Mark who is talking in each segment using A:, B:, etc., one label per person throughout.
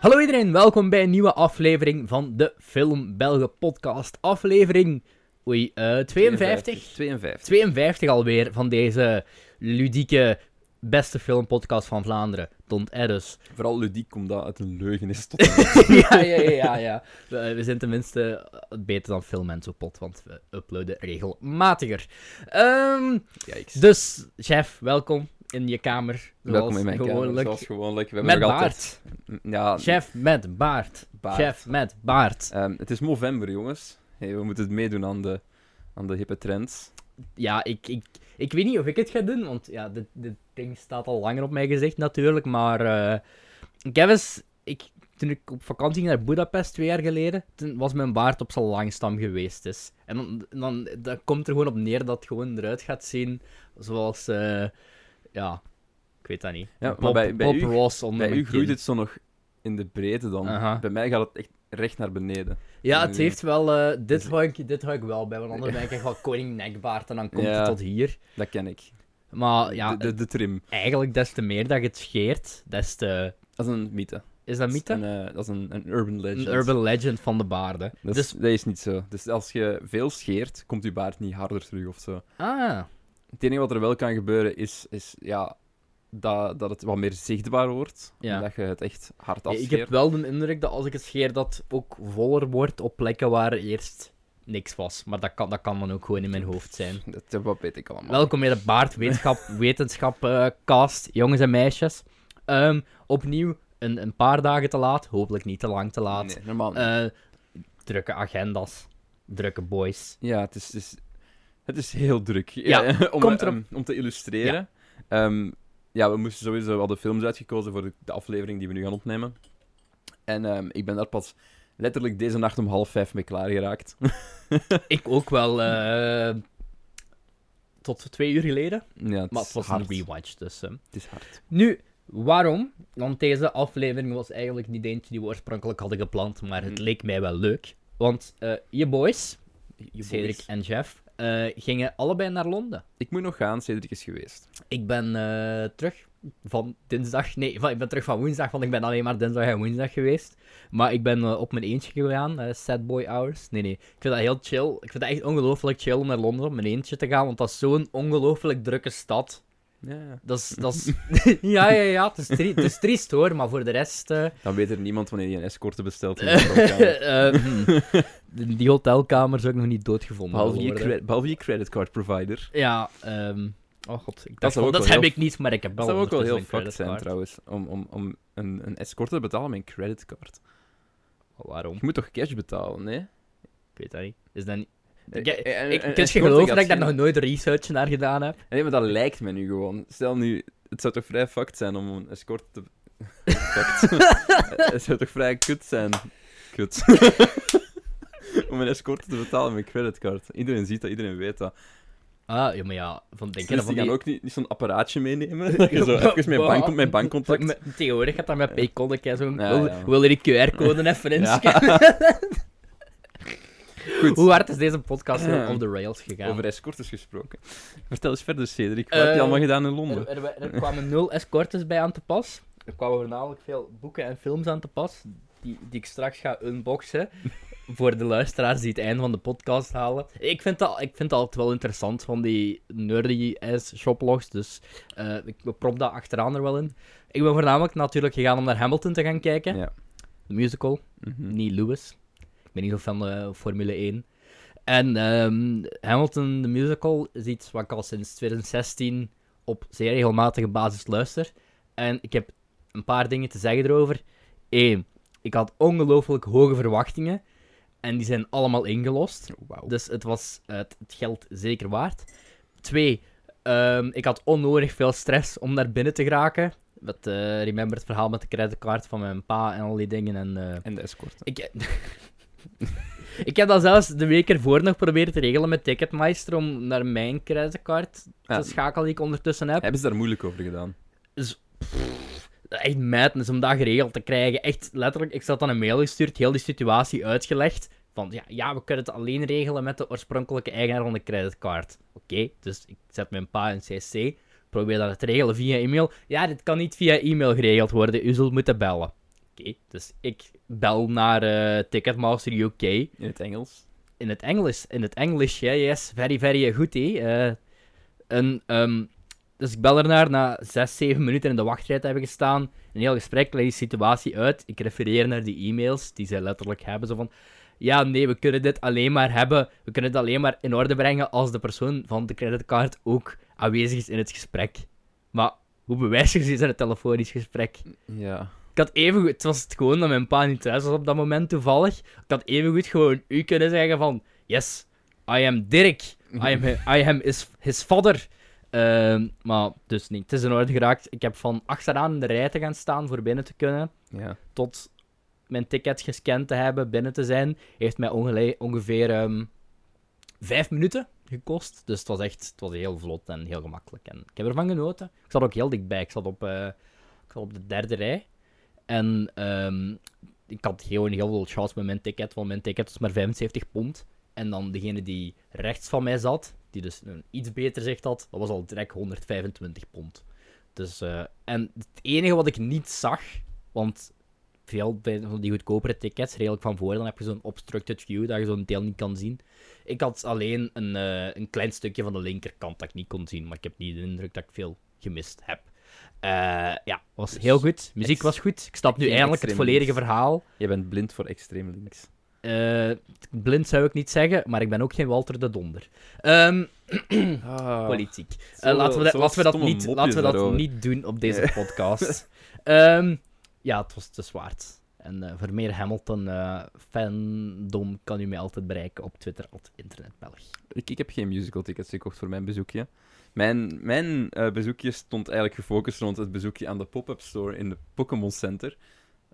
A: Hallo iedereen, welkom bij een nieuwe aflevering van de Film Belgen podcast. Aflevering oei, eh 52?
B: 52.
A: 52 alweer van deze ludieke beste filmpodcast van Vlaanderen, Tont Eddus.
B: Vooral ludiek, omdat het een leugen is. Tot...
A: ja, ja, ja, ja. ja. We, we zijn tenminste eh, beter dan Film en zo pot, want we uploaden regelmatiger. Ehm,
B: Yikes.
A: dus, chef, welkom in je kamer.
B: Welkom in mijn kamer,
A: gewoonlijk.
B: Zoals gewoonlijk. We hebben
A: Met
B: nog
A: baard.
B: Altijd... Ja,
A: Chef met baard.
B: baard.
A: Chef met baard.
B: Ehm, het is november, jongens. Hey, we moeten het meedoen aan de, aan de hippe trends.
A: Ja, ik, ik, ik weet niet of ik het ga doen, want ja, dit, dit ding staat al langer op mijn gezicht natuurlijk. Maar eh, ik heb eens, ik, toen ik op vakantie ging naar Budapest twee jaar geleden, toen was mijn baard op zijn langstam geweest is. En dan, dan dat komt er gewoon op neer dat het gewoon eruit gaat zien zoals, eh, ja, ik weet dat niet.
B: Ja, maar
A: Bob,
B: bij- bij
A: Bob
B: u-
A: Ross onder
B: Bij
A: mijn
B: u groeit
A: kin.
B: het zo nog in de breedte dan.
A: Aha.
B: Bij mij gaat het echt recht naar beneden.
A: Ja, het
B: Nee.
A: heeft wel, eh, dit,
B: Dus-
A: hou ik, dit hou ik wel bij, want anders ben ik echt wel koning nekbaard en dan komt
B: Ja.
A: het tot hier.
B: Dat ken ik.
A: Maar ja, eh,
B: de, de, de trim.
A: eigenlijk des te meer dat je het scheert, des te...
B: Dat is een mythe.
A: Is dat mythe?
B: Dat is een, eh, dat is een, een urban legend.
A: Een urban legend van de baarden.
B: Dat is,
A: Dus,
B: dat is niet zo. Dus als je veel scheert, komt je baard niet harder terug of zo.
A: ah,
B: Het enige wat er wel kan gebeuren is, is ja, dat, dat het wat meer zichtbaar wordt.
A: Ja.
B: Dat je het echt hard
A: ik
B: afscheert.
A: heb wel de indruk dat als ik het scheer, dat het ook voller wordt op plekken waar eerst niks was. Maar dat kan, dat kan dan ook gewoon in mijn hoofd zijn.
B: Dat, eh, wat weet ik allemaal.
A: Welkom bij de baardwetenschap wetenschap, eh, cast, jongens en meisjes. Ehm, opnieuw een, een paar dagen te laat, hopelijk niet te lang te laat.
B: Nee, normaal niet.
A: Eh, drukke agendas, drukke boys.
B: Ja, het is, het is, het is heel druk.
A: Ja,
B: om,
A: komt
B: eh,
A: erop.
B: om, om te illustreren. Ja. ja, we moesten sowieso, we hadden films uitgekozen voor de, de aflevering die we nu gaan opnemen. En ehm, ik ben daar pas letterlijk deze nacht om half vijf mee klaargeraakt.
A: Ik ook wel eh, tot twee uur geleden,
B: ja, het
A: maar
B: is
A: het was een
B: hard.
A: rewatch, dus... ehm,
B: Het is hard.
A: Nu, waarom? Want deze aflevering was eigenlijk niet eentje die we oorspronkelijk hadden gepland, maar het
B: Mm.
A: leek mij wel leuk. Want eh, je boys,
B: Je
A: Cedric
B: boys.
A: en Jeff, eh, gingen allebei naar Londen.
B: Ik moet nog gaan, Cedric is geweest.
A: Ik ben eh, terug van dinsdag. Nee, van, ik ben terug van woensdag, want ik ben alleen maar dinsdag en woensdag geweest. Maar ik ben eh, op mijn eentje gegaan, eh, sad boy hours. Nee, nee. Ik vind dat heel chill. Ik vind dat echt ongelooflijk chill om naar Londen op mijn eentje te gaan, want dat is zo'n ongelooflijk drukke stad.
B: Ja.
A: Dat is... Dat is... ja, ja, ja. Het is, tri- het is triest hoor, maar voor de rest... eh,
B: Dan weet er niemand wanneer je een escorte bestelt. in de hotelkamer.
A: Eh, hm. die hotelkamer zou ik nog niet doodgevonden
B: Behalve je,
A: willen worden.
B: cre- behalve je creditcard provider.
A: Ja, ehm, oh god. Ik dacht, van,
B: zou ook
A: dat
B: wel
A: heb
B: heel-
A: ik niet, maar ik heb
B: Dat
A: wel
B: zou ook wel heel
A: ondertussen een
B: fucked zijn
A: creditcard.
B: trouwens. Om, om, om een, een escorte te betalen met een creditcard.
A: Waarom?
B: Je moet toch cash betalen, nee?
A: Ik weet dat niet. Is dat niet...
B: Eh,
A: Ja,
B: eh, eh,
A: Ik
B: een
A: kan je
B: escorte
A: geloven dat
B: gaat
A: ik daar
B: geen-
A: nog nooit research naar gedaan heb?
B: Nee, maar dat lijkt me nu gewoon. Stel nu, het zou toch vrij fucked zijn om een escort te. fucked. het zou toch vrij kut zijn. Kut. om een escorte te betalen met een creditcard. Iedereen ziet dat, iedereen weet dat.
A: Ah, ja, maar ja. Van, denk je dat
B: Dus
A: van
B: die
A: die...
B: gaan ook niet, niet zo'n apparaatje meenemen. Dat je zo even met, bank, met bankcontact.
A: Met- Tegenwoordig gaat dat met Paycode. hè, Zo'n...
B: Ja,
A: wil,
B: ja.
A: wil je die QR-code even
B: Ja.
A: inscannen?
B: Goed.
A: Hoe hard is deze podcast
B: Ja.
A: op de rails gegaan?
B: Over escortes gesproken. Vertel eens verder, Cedric. Wat heb je
A: Eh,
B: allemaal gedaan in
A: Er,
B: Londen?
A: er- er kwamen nul escortes bij aan te pas. Er kwamen voornamelijk veel boeken en films aan te pas, die, die ik straks ga unboxen. Voor de luisteraars die het einde van de podcast halen. Ik vind dat, ik vind dat altijd wel interessant van die nerdy ass shoplogs. Dus eh, ik prop dat achteraan er wel in. Ik ben voornamelijk natuurlijk gegaan om naar Hamilton te gaan kijken.
B: Ja.
A: De musical.
B: Mhm.
A: Niet Lewis. Ik ben niet zo fan eh, van Formule 1. En ehm, Hamilton, de musical, is iets wat ik al sinds 2016 op zeer regelmatige basis luister. En ik heb een paar dingen te zeggen erover. Eén, ik had ongelooflijk hoge verwachtingen. En die zijn allemaal ingelost.
B: Wauw.
A: Dus het was eh, het, het geld zeker waard. Twee, ehm, ik had onnodig veel stress om naar binnen te geraken. Met, eh, remember het verhaal met de creditcard van mijn pa en al die dingen. En, eh,
B: En de escorte.
A: ik, ik heb dat zelfs de week ervoor nog proberen te regelen met Ticketmeister om naar mijn creditcard
B: Ja.
A: te schakelen die ik ondertussen heb.
B: Hebben ze daar moeilijk over gedaan?
A: Echt madness om dat geregeld te krijgen. Echt letterlijk, ik zat dan een mail gestuurd, heel die situatie uitgelegd. Van ja, ja, we kunnen het alleen regelen met de oorspronkelijke eigenaar van de creditcard. Oké, dus ik zet mijn pa in CC, probeer dat te regelen via e-mail. Ja, dit kan niet via e-mail geregeld worden, u zult moeten bellen. Dus ik bel naar eh, Ticketmaster UK
B: In het Engels.
A: in het Engels. In het Engels, ja, yes. Very, very goed, hé. Eh, en, ehm, dus ik bel ernaar, na 6, 7 minuten in de wachtrij te hebben gestaan. Een heel gesprek, leg die situatie uit. Ik refereer naar die e-mails die zij letterlijk hebben. Zo van, ja, nee, we kunnen dit alleen maar hebben. We kunnen het alleen maar in orde brengen als de persoon van de creditcard ook aanwezig is in het gesprek. Maar hoe bewijs je zoiets in een telefonisch gesprek?
B: Ja.
A: Ik had evengoed, het was het gewoon dat mijn pa niet thuis was op dat moment toevallig. Ik had evengoed gewoon u kunnen zeggen van, yes, I am Dirk. I am, I am his, his father. Ehm, maar dus niet, het is in orde geraakt. Ik heb van achteraan in de rij te gaan staan voor binnen te kunnen.
B: Ja.
A: Tot mijn ticket gescand te hebben, binnen te zijn. Heeft mij ongele- ongeveer ehm, vijf minuten gekost. Dus het was echt het was heel vlot en heel gemakkelijk. En ik heb ervan genoten. Ik zat ook heel dichtbij. Ik zat op, eh, ik zat op de derde rij. En ehm, ik had gewoon heel veel chance met mijn ticket, want mijn ticket was maar 75 pond. En dan degene die rechts van mij zat, die dus een iets beter zicht had, dat was al direct 125 pond. Dus, eh, en het enige wat ik niet zag, want veel bij van die goedkopere tickets, redelijk van voor, dan heb je zo'n obstructed view, dat je zo'n deel niet kan zien. Ik had alleen een, eh, een klein stukje van de linkerkant dat ik niet kon zien, maar ik heb niet de indruk dat ik veel gemist heb. Eh, ja, was
B: Dus
A: heel goed. Muziek
B: ex-
A: was goed. Ik snap nu
B: geen
A: eindelijk het
B: extreem
A: volledige
B: links.
A: verhaal.
B: Je bent blind voor extreem links.
A: Eh, blind zou ik niet zeggen, maar ik ben ook geen Walter de Donder. Ehm,
B: Ah.
A: politiek.
B: Zo-
A: Eh, laten we, dat-
B: zo
A: laten we dat,
B: stomme
A: niet,
B: mopjes
A: laten we dat
B: daarover.
A: niet doen op deze
B: Nee.
A: podcast. Ehm, ja, het was te zwaard. En eh, voor meer Hamilton-fandom kan u mij altijd bereiken op Twitter, at internetbelg.
B: Ik, ik heb geen musical tickets gekocht voor mijn bezoekje. Mijn, mijn eh, bezoekje stond eigenlijk gefocust rond het bezoekje aan de pop-up store in de Pokémon Center.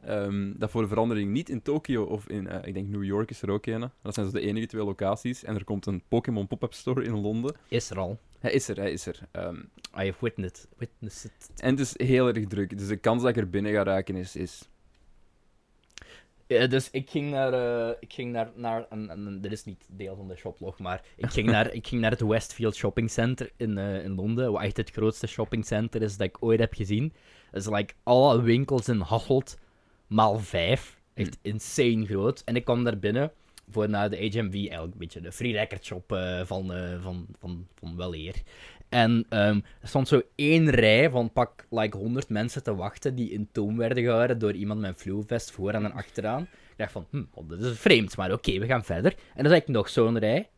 B: Ehm, dat voor de verandering niet in Tokio of in, eh, ik denk New York is er ook een. Dat zijn dus de enige twee locaties. En er komt een Pokémon pop-up store in Londen.
A: Is er al. Ah,
B: Hij is er, hij is er. Ehm,
A: I have witnessed, witnessed it.
B: en het is heel erg druk. Dus de kans dat ik er binnen ga raken is, is
A: Eh, dus ik ging naar, eh, ik ging naar, naar en, en- en dit is niet deel van de shoplog, maar ik ging naar, ik ging naar het Westfield Shopping Center in, eh, in Londen, wat echt het grootste shoppingcenter is dat ik ooit heb gezien. Dus like, alle winkels in Hasselt, maal vijf. Echt
B: Hm.
A: insane groot. En ik kwam daar binnen voor naar de HMV, eigenlijk een beetje de free record shop eh, van, eh, van, van, van weleer. En ehm, er stond zo één rij van pak like 100 mensen te wachten die in toom werden gehouden door iemand met een fluovest vooraan en achteraan. Ik dacht van, hm, oh, dit is vreemd, maar oké, we gaan verder. En dan zag ik nog zo'n rij.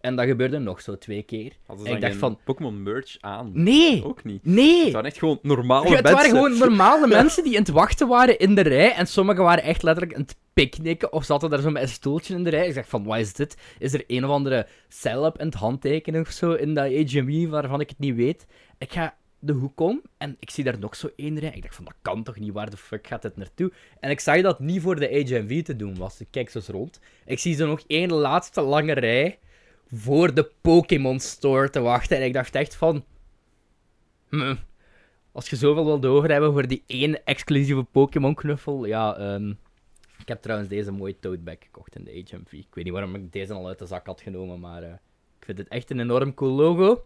A: En dat gebeurde nog zo twee keer.
B: Hadden
A: En
B: ze
A: ik
B: dan
A: dacht
B: geen Oh.
A: van,
B: Pokémon merch aan?
A: nee,
B: Ook niet.
A: nee.
B: Het waren echt gewoon normale
A: Ja, het
B: mensen.
A: waren gewoon normale mensen die in het wachten waren in de rij. En sommigen waren echt letterlijk aan het picknicken of zaten daar zo met een stoeltje in de rij. Ik dacht van, wat is dit? Is er een of andere celeb in het handtekenen of zo in dat HMI waarvan ik het niet weet? Ik ga de hoek om en ik zie daar nog zo één rij. Ik dacht van, dat kan toch niet? Waar de fuck gaat dit naartoe? En ik zag dat het niet voor de HMV te doen was. Ik kijk zo eens rond. Ik zie zo nog één laatste lange rij voor de Pokémon Store te wachten. En ik dacht echt van... hmm, als je zoveel wilde over hebben voor die één exclusieve Pokémon-knuffel, ja... ehm, ik heb trouwens deze mooie toadbag gekocht in de HMV. Ik weet niet waarom ik deze al uit de zak had genomen, maar... eh, ik vind het echt een enorm cool logo.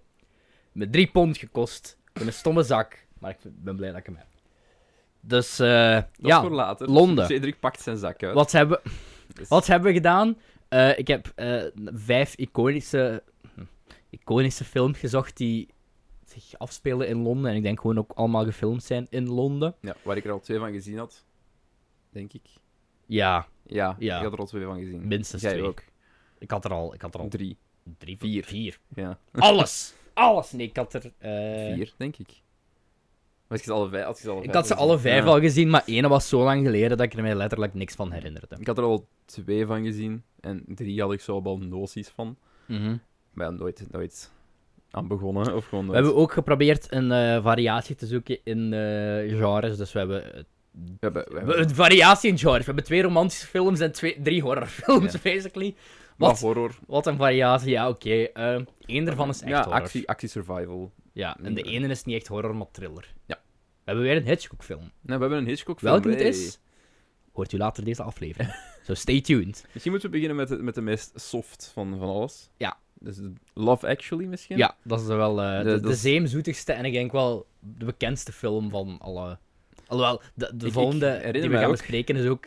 A: Met 3 pond gekost. Voor een stomme zak. Maar ik vind- ben blij dat ik hem heb. Dus, eh,
B: Dat
A: ja...
B: is voor later.
A: Londen.
B: Cedric pakt zijn zak uit.
A: Wat hebben,
B: Dus-
A: wat hebben we gedaan? Eh, ik heb eh, vijf iconische, hm, iconische films gezocht die zich afspelen in Londen. En ik denk gewoon ook allemaal gefilmd zijn in Londen.
B: Ja, waar ik er al twee van gezien had, denk ik.
A: Ja,
B: Ja,
A: Ja.
B: ik had er al twee van gezien.
A: Minstens
B: Jij
A: twee.
B: ook.
A: ik had er al, ik had er al
B: Drie.
A: drie,
B: Vier.
A: vier.
B: Ja,
A: Alles! Alles! Nee, ik had er... eh,
B: vier, denk ik. Maar als je ze alle vijf als je ze alle
A: Ik
B: vijf
A: had ze
B: gezien-
A: alle vijf
B: Ja.
A: al gezien, maar ene was zo lang geleden dat ik er mij letterlijk niks van herinnerde.
B: Ik had er al twee van gezien. En drie had ik zo al noties van.
A: Mhm.
B: Maar ja, nooit, nooit aan begonnen. Of gewoon
A: We
B: nooit.
A: hebben ook geprobeerd een eh, variatie te zoeken in eh, genres, dus we hebben eh,
B: We hebben- we
A: We-
B: hebben-
A: Een variatie in genre. We hebben twee romantische films en twee, drie horrorfilms,
B: Ja.
A: basically.
B: maar
A: Wat,
B: horror.
A: wat een variatie, ja, oké. Ehm, Eén daarvan is echt
B: ja,
A: horror.
B: actie, actie survival.
A: Ja, en de
B: Minder.
A: ene is niet echt horror, maar thriller.
B: Ja.
A: We hebben weer een Hitchcock-film.
B: Nou, we hebben een Hitchcock film.
A: Welke het is, hoort u later deze aflevering. so stay tuned.
B: Misschien moeten we beginnen met de, met de meest soft van, van alles.
A: Ja.
B: Dus Love Actually misschien?
A: Ja, dat is wel eh,
B: De-
A: de, de,
B: dat is-
A: zeemzoetigste en ik denk wel de bekendste film van alle Alhoewel, de, de
B: ik
A: volgende
B: herinner
A: die we
B: mij
A: gaan
B: ook-
A: bespreken is ook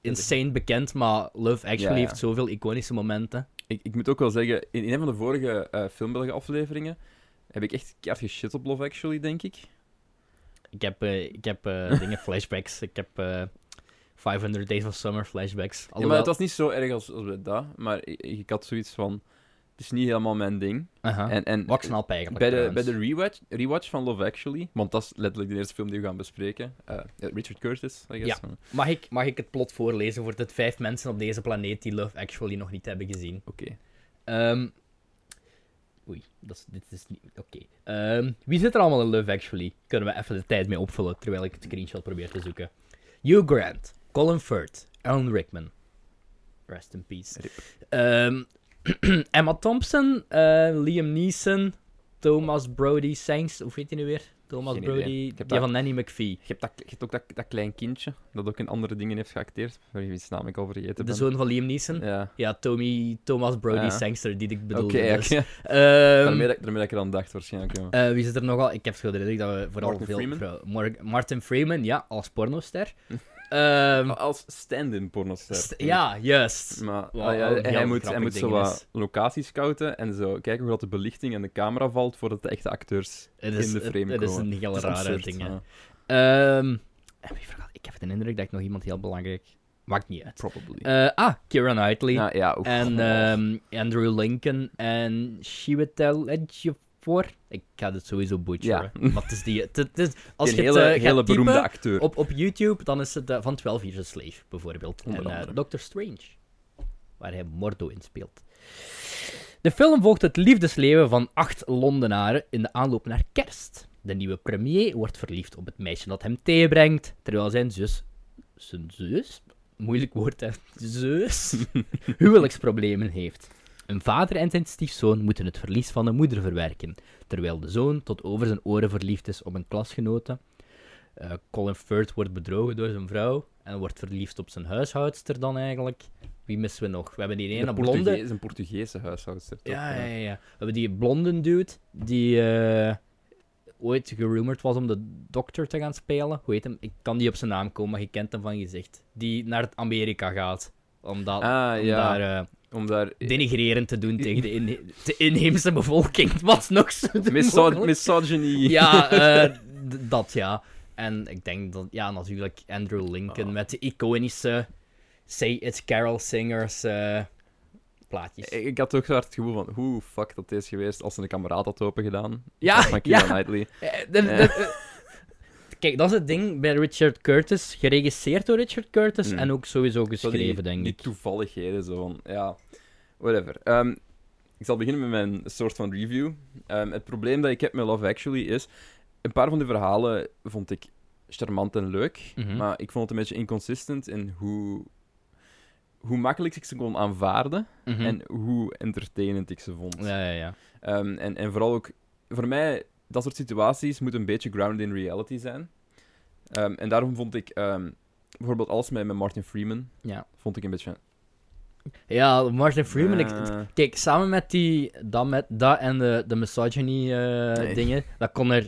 A: insane bekend, maar Love Actually
B: Ja, ja.
A: heeft zoveel iconische momenten.
B: Ik, ik moet ook wel zeggen, in, in een van de vorige eh filmbelgen afleveringen heb ik echt keihard geshit op Love Actually, denk ik.
A: Ik heb, eh, ik heb eh, dingen, flashbacks. Ik heb eh 500 Days of Summer flashbacks.
B: Ja, maar
A: Alhoewel...
B: het was niet zo erg als, als bij dat, maar ik, ik had zoiets van, het is niet helemaal mijn ding.
A: Aha.
B: En, en
A: Wat ik snap Ah, eigenlijk.
B: bij de, bij
A: trouwens.
B: de rewatch, rewatch van Love Actually, want dat is letterlijk de eerste film die we gaan bespreken, eh, Richard Curtis, I guess. Oké.
A: Mag, ik, mag ik het plot voorlezen voor de vijf mensen op deze planeet die Love Actually nog niet hebben gezien? Ehm, oei, dat is, dit is niet. Oké. Ehm, wie zit er allemaal in Love Actually? Kunnen we even de tijd mee opvullen terwijl ik het screenshot probeer te zoeken? Hugh Grant, Colin Firth, Alan Rickman. Rest in peace.
B: Rip.
A: Ehm, Emma Thompson, eh, Liam Neeson, Thomas Brody Sanks, hoe heet hij nu weer? Thomas
B: Geen idee.
A: Brody,
B: Ik heb
A: die
B: dat-
A: van Nanny McPhee.
B: Je hebt, dat, je hebt ook dat, dat klein kindje, dat ook in andere dingen heeft geacteerd, waar je wiens naam ik al vergeten
A: De
B: ben.
A: zoon van Liam Neeson. Ja,
B: Ja.
A: Tommy, Thomas Brody
B: Ah, ja.
A: Sangster, die ik
B: Oké,
A: bedoelde. dus.
B: oké.
A: Ehm,
B: daarmee, dat ik- daarmee dat ik er aan dacht waarschijnlijk. ja.
A: Eh, wie zit er nogal? Ik heb veel de indruk dat we vooral
B: Martin
A: veel
B: Freeman? Ah,
A: vrouwen- Mar- Martin Freeman, ja, als pornoster. Ehm,
B: Als stand-in pornoster.
A: st- ja, juist.
B: Maar
A: Wel
B: ah ja,
A: een heel
B: hij moet, hij
A: grappig
B: moet zo
A: ding
B: wat
A: is.
B: locaties scouten en zo kijken hoe dat de belichting en de camera valt voordat de echte acteurs
A: Het is,
B: in de
A: het-
B: frame
A: het is
B: komen.
A: een heel
B: Dat is
A: rare
B: absurd, Ah,
A: ding. hè.
B: ja.
A: Ehm, heb ik vergat- ik heb de indruk dat ik nog iemand heel belangrijk. Maakt niet uit.
B: Probably.
A: Eh, ah, Kira Knightley.
B: ja, ja, ook.
A: En
B: Oh.
A: ehm, Andrew Lincoln en Chiwetel Ejiofor. Ik ga dit sowieso butcheren.
B: Ja.
A: Maar het is die... Het, het is, als
B: een
A: je het,
B: hele,
A: eh, gaat
B: hele
A: typen-
B: beroemde acteur.
A: Op, op YouTube, dan is het eh, van 12 Years a Slave, bijvoorbeeld.
B: Onder
A: en eh,
B: andere.
A: Doctor Strange, waar hij Mordo in speelt. De film volgt het liefdesleven van acht Londenaren in de aanloop naar kerst. De nieuwe premier wordt verliefd op het meisje dat hem thee brengt, terwijl zijn zus... Zijn zus? Moeilijk woord, hè. Zus? Huwelijksproblemen heeft. Een vader en zijn stiefzoon moeten het verlies van de moeder verwerken, terwijl de zoon tot over zijn oren verliefd is op een klasgenote eh, Colin Firth wordt bedrogen door zijn vrouw en wordt verliefd op zijn huishoudster dan eigenlijk. Wie missen we nog? We hebben die ene
B: een
A: blonde.
B: Portugees, een Portugese huishoudster. toch?
A: Ja, ja, ja. We hebben die blonde dude die eh, ooit gerumored was om de dokter te gaan spelen. Hoe heet hem? Ik kan niet op zijn naam komen, maar je kent hem van gezicht. Die naar het Amerika gaat. Om, dat,
B: Ah,
A: om
B: ja.
A: daar eh,
B: Om daar...
A: denigrerend te doen tegen de, inhe- de inheemse bevolking. Wat nog zo te
B: Miso
A: mogelijk-
B: misogyny.
A: ja, eh, d- dat ja. En ik denk dat, ja, natuurlijk Andrew Lincoln
B: Ah.
A: met de iconische Say It's Carol Singers eh, plaatjes.
B: Ik, ik had ook zo hard het gevoel van, hoe fuck dat is geweest als ze een kameraad had opengedaan.
A: Ja,
B: Van
A: ja.
B: Keira Knightley.
A: Eh, de- de-
B: Ja.
A: eh, Kijk, dat is het ding bij Richard Curtis. Geregisseerd door Richard Curtis
B: Mm.
A: en ook sowieso
B: Zo
A: geschreven,
B: die,
A: denk
B: die
A: ik.
B: toevalligheden, zo van, ja, whatever. Ehm, ik zal beginnen met mijn soort van review. Ehm, het probleem dat ik heb met Love Actually is, een paar van die verhalen vond ik charmant en leuk,
A: Mhm.
B: maar ik vond het een beetje inconsistent in hoe, hoe makkelijk ik ze kon aanvaarden
A: Mhm.
B: en hoe entertainend ik ze vond.
A: Ja, ja, ja.
B: Ehm, en, en vooral ook, voor mij, dat soort situaties moet een beetje grounded in reality zijn. Ehm, en daarom vond ik ehm, bijvoorbeeld alles met, met Martin Freeman,
A: Ja.
B: vond ik een beetje...
A: Ja, Martin Freeman. ik-
B: Eh,
A: Kijk, samen met die, dat, met, dat en de, de misogyny eh,
B: Nee.
A: dingen, dat kon er...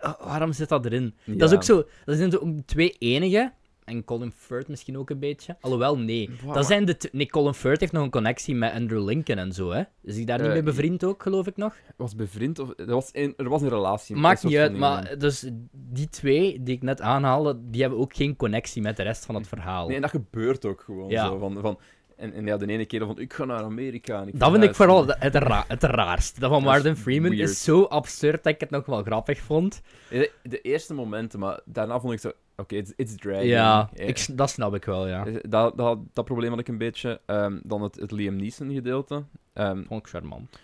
A: eh, waarom zit dat erin?
B: ja.
A: Dat is ook zo. Dat zijn zo ook twee enige. En Colin Firth misschien ook een beetje. Alhoewel, nee.
B: Wow,
A: Dat
B: maar-
A: zijn de tw- nee, Colin Firth heeft nog een connectie met Andrew Lincoln en zo, hè? Is hij daar niet
B: Eh,
A: mee bevriend ook, geloof ik nog?
B: Was bevriend of... Er was een, er was een relatie. een
A: Maakt
B: soort
A: niet uit,
B: van eh, een-
A: maar dus die twee die ik net aanhaalde, die hebben ook geen connectie met de rest van het verhaal.
B: Nee, en dat gebeurt ook gewoon
A: Ja.
B: zo. Van, van, en, en ja, de ene keer van, ik ga naar Amerika en ik
A: dat vind ik
B: verhuis.
A: vooral het, het ra- het raarste. Dat van
B: Dat is
A: Martin Freeman
B: weird.
A: is zo absurd dat ik het nog wel grappig vond.
B: De, Eh, de eerste momenten, maar daarna vond ik zo... Oké, it's, it's dragging.
A: ja,
B: Eh,
A: ik, s- dat snap ik wel, ja.
B: Dat, dat, dat probleem had ik een beetje. Ehm, dan het, het Liam Neeson gedeelte. Ehm,
A: Vond ik charmant.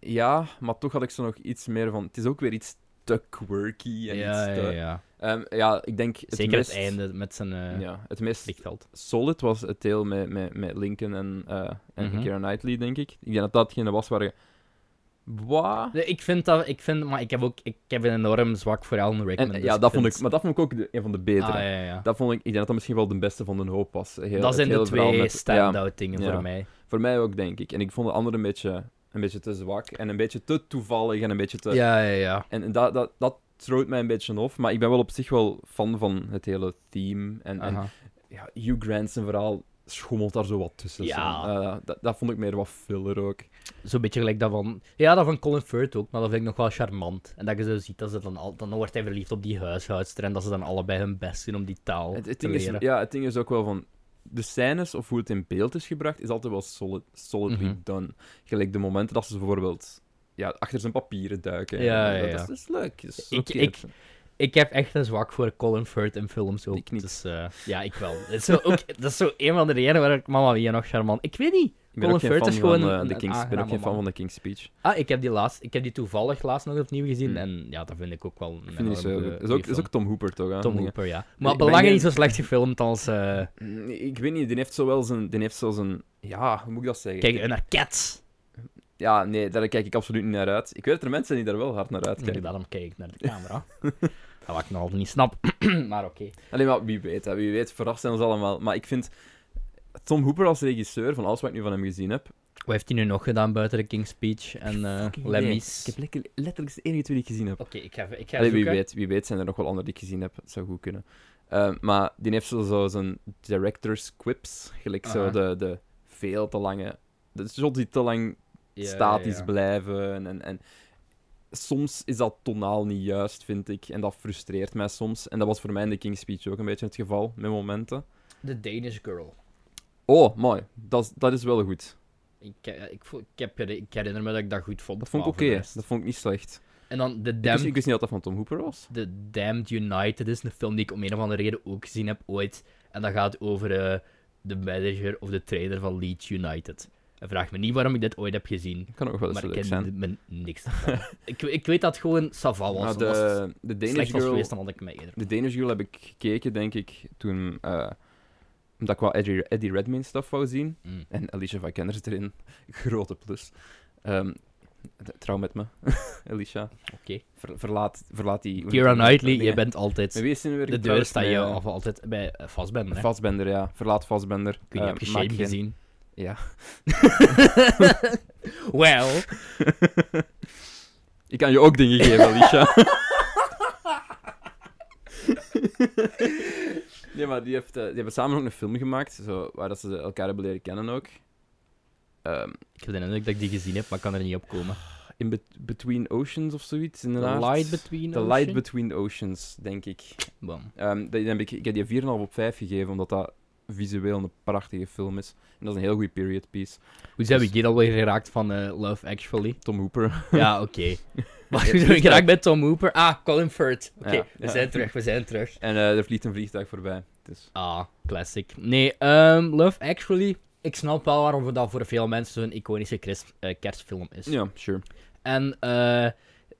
B: ja, maar toch had ik zo nog iets meer van... Het is ook weer iets te quirky en
A: Ja,
B: iets te...
A: ja,
B: Ehm,
A: ja.
B: Ja, ik denk... Het
A: Zeker
B: meest,
A: het einde met zijn eh
B: Ja, het meest
A: vliegveld.
B: solid was het deel met, met, met Lincoln en, eh en
A: Mhm.
B: Keira Knightley, denk ik. Ik denk dat dat hetgene was waar je... Wat?
A: Nee, ik vind dat, ik vind, maar ik heb ook, ik heb een enorm zwak voor Alan Rickman.
B: En,
A: dus
B: ja, dat vond
A: vind-
B: ik, maar dat vond ik ook de- een van de betere.
A: Ah, ja, ja. Dat,
B: Dat vond ik, ik denk dat dat misschien wel de beste van de hoop was. Heel, het
A: zijn de
B: hele verhaal
A: twee
B: met- ja,
A: stand-out dingen
B: ja.
A: voor mij.
B: voor mij ook, denk ik. En ik vond de andere een beetje, een beetje te zwak en een beetje te toevallig en een beetje te...
A: Ja, ja, ja.
B: En dat, dat, dat throat mij een beetje af. Maar ik ben wel op zich wel fan van het hele theme. En, en
A: Aha.
B: ja, Hugh Grant zijn verhaal schommelt daar zo wat tussen.
A: Ja.
B: zo. Eh, dat, dat vond ik meer wat filler ook.
A: Zo'n beetje gelijk dat van... Ja, dat van Colin Firth ook, maar dat vind ik nog wel charmant. En dat je zo ziet dat ze dan... Al, dan wordt hij verliefd op die huishoudster en dat ze dan allebei hun best doen om die taal
B: Het, het
A: te
B: ding is,
A: leren.
B: ja, het ding is ook wel van. De scènes of hoe het in beeld is gebracht, is altijd wel solid, solidly
A: Mhm.
B: done. Gelijk de momenten dat ze bijvoorbeeld ja, achter zijn papieren duiken.
A: Ja,
B: En
A: ja,
B: dat,
A: ja.
B: Is, dat is leuk. dat is
A: Ik-
B: oké.
A: ik- Ik heb echt een zwak voor Colin Firth in films ook.
B: Ik niet.
A: Dus, eh, ja, ik wel. Dat is, zo ook, dat is zo een van de redenen waar ik Mama Mia nog charmant... Ik weet niet.
B: Ik ben
A: Colin
B: ook geen
A: Firth
B: fan
A: is gewoon
B: van, eh,
A: een-
B: de
A: een
B: King's, ik ben ook
A: aangename
B: geen fan
A: man.
B: van de King's Speech.
A: Ah, ik heb die, laatst, ik heb die toevallig laatst nog opnieuw gezien.
B: Hmm.
A: En ja, dat vind ik ook wel... een
B: Ik vind die zo
A: enorm
B: goed.
A: goede-
B: Is ook,
A: goede
B: is ook Tom Hooper, toch? Hè?
A: Tom
B: Dingen.
A: Hooper, ja.
B: ben
A: Maar belangrijk
B: geen-
A: niet zo slecht gefilmd als... eh,
B: Mm, Ik weet niet, die heeft zo wel zijn... Die heeft zo zijn... Ja, hoe moet ik dat zeggen?
A: kijk, naar Cats.
B: Ja, nee, daar kijk ik absoluut niet naar uit. Ik weet dat er mensen zijn die daar wel hard naar uitkijken.
A: Daarom kijk ik naar de camera. dat wat ik nog altijd niet snap. maar oké.
B: Alleen maar, wie weet, hè, wie weet, verrast zijn ons allemaal. Maar ik vind Tom Hooper als regisseur, van alles wat ik nu van hem gezien heb...
A: Wat heeft hij nu nog gedaan buiten de King's Speech en eh Lemmy's?
B: Ik heb lekker- letterlijk de enige twee die ik gezien heb.
A: Oké, ik ga, even- ik ga
B: Allee, wie,
A: zoeken.
B: weet, wie weet zijn er nog wel anderen die ik gezien heb. Het zou goed kunnen. Eh, maar die heeft zo, zo zijn director's quips. Gelijk zo
A: Aha.
B: de, de veel te lange... De shots die te lang
A: Ja, ja,
B: statisch
A: ja.
B: blijven. En, en soms is dat tonaal niet juist, vind ik. En dat frustreert mij soms. En dat was voor mij in de King's Speech ook een beetje het geval, met momenten.
A: The Danish Girl.
B: Oh, mooi. Dat, is- dat is wel goed.
A: Ik, eh, ik, voel- ik, heb, ik herinner me dat ik dat goed vond.
B: Dat vond ik
A: maar
B: oké.
A: voor de rest-
B: Dat vond ik niet slecht.
A: En dan The
B: Ik wist, ik
A: Damned,
B: wist niet dat dat van Tom Hooper was.
A: The Damned United is een film die ik om een of andere reden ook gezien heb ooit. En dat gaat over eh, de manager of de trainer van Leeds United. En vraag me niet waarom ik dit ooit heb gezien.
B: Dat kan ook wel eens
A: Maar ik
B: leuk
A: ken
B: zijn.
A: d- me niks ervan. ik, ik weet dat het gewoon Saval was.
B: Maar
A: Als het
B: Nou, de, de
A: slecht
B: Danish
A: was
B: Girl
A: geweest, dan had ik mij eerder.
B: De Danish Girl heb ik gekeken, denk ik, toen... eh, omdat ik wel Eddie, Eddie Redmayne stuff wou zien.
A: Mm.
B: En Alicia Vikander zit erin. Grote plus. Ehm, d- trouw met me, Alicia.
A: Oké.
B: Ver- verlaat, verlaat die... hoe noemt
A: Kira
B: die-
A: Knightley,
B: Nee.
A: je bent
B: Met
A: altijd.
B: wie is die nu weer
A: De deur
B: getrouwd?
A: staat
B: Met,
A: je
B: eh,
A: of altijd bij eh, vastbenden. Hè?
B: Fassbender, ja. Verlaat Fassbender.
A: Ik weet niet,
B: Eh,
A: heb je
B: maak
A: Shame
B: geen-
A: gezien?
B: Ja.
A: Well.
B: Ik kan je ook dingen geven, Alicia. nee, maar die, heeft, eh, die hebben samen ook een film gemaakt, zo, waar dat ze elkaar hebben leren kennen ook. Ehm,
A: Ik heb de indruk dat ik die gezien heb, maar ik kan er niet op komen.
B: in Bet- Between Oceans of zoiets,
A: The
B: inderdaad.
A: Light Between
B: The Light Between Oceans, denk ik.
A: Boom.
B: Ehm, die heb ik, ik heb die 4,5 op 5 gegeven, omdat dat visueel een prachtige film is. En dat is een heel goede period piece.
A: Hoe zijn we
B: Dus-
A: hier alweer geraakt van eh, Love Actually?
B: Tom Hooper.
A: Ja, oké. Maar Hoe zijn we geraakt bij Tom Hooper? Ah, Colin Firth. Oké,
B: Ja,
A: we
B: ja.
A: zijn terug, we zijn terug.
B: En eh, er vliegt een vliegtuig voorbij. Dus.
A: Ah, classic. Nee, ehm, Love Actually. Ik snap wel waarom dat voor veel mensen zo'n iconische kris- eh, kerstfilm is.
B: Ja, sure.
A: En eh,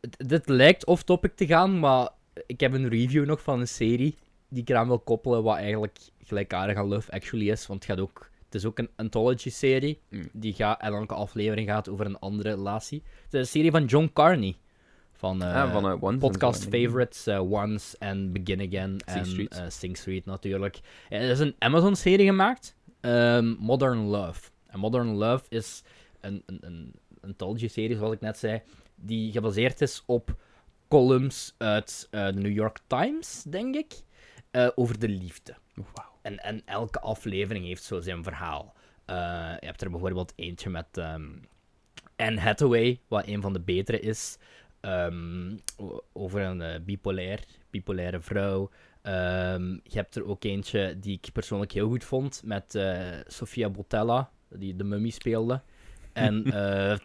A: d- dit lijkt off-topic te gaan, maar ik heb een review nog van een serie die ik eraan wil koppelen, wat eigenlijk gelijkaardig aan Love Actually is. Want het, gaat ook, het is ook een anthology-serie,
B: Mm.
A: die gaat, en elke aflevering gaat over een andere relatie. Het is een serie van John Carney, van, eh
B: Ja, van eh, Once en zo,
A: podcast
B: denk ik.
A: favorites, eh, Once en Begin Again en
B: Street.
A: eh, Sing Street natuurlijk. En er is een Amazon-serie gemaakt, ehm, Modern Love. En Modern Love is een, een, een anthology-serie, zoals ik net zei, die gebaseerd is op columns uit eh, de New York Times, denk ik, eh, over de liefde.
B: Wauw.
A: En, en elke aflevering heeft zo zijn verhaal. Eh, je hebt er bijvoorbeeld eentje met ehm, Anne Hathaway, wat een van de betere is, ehm, o- over een eh, bipolair, bipolaire vrouw. Ehm, je hebt er ook eentje die ik persoonlijk heel goed vond, met eh, Sofia Botella, die de mummy speelde. En eh,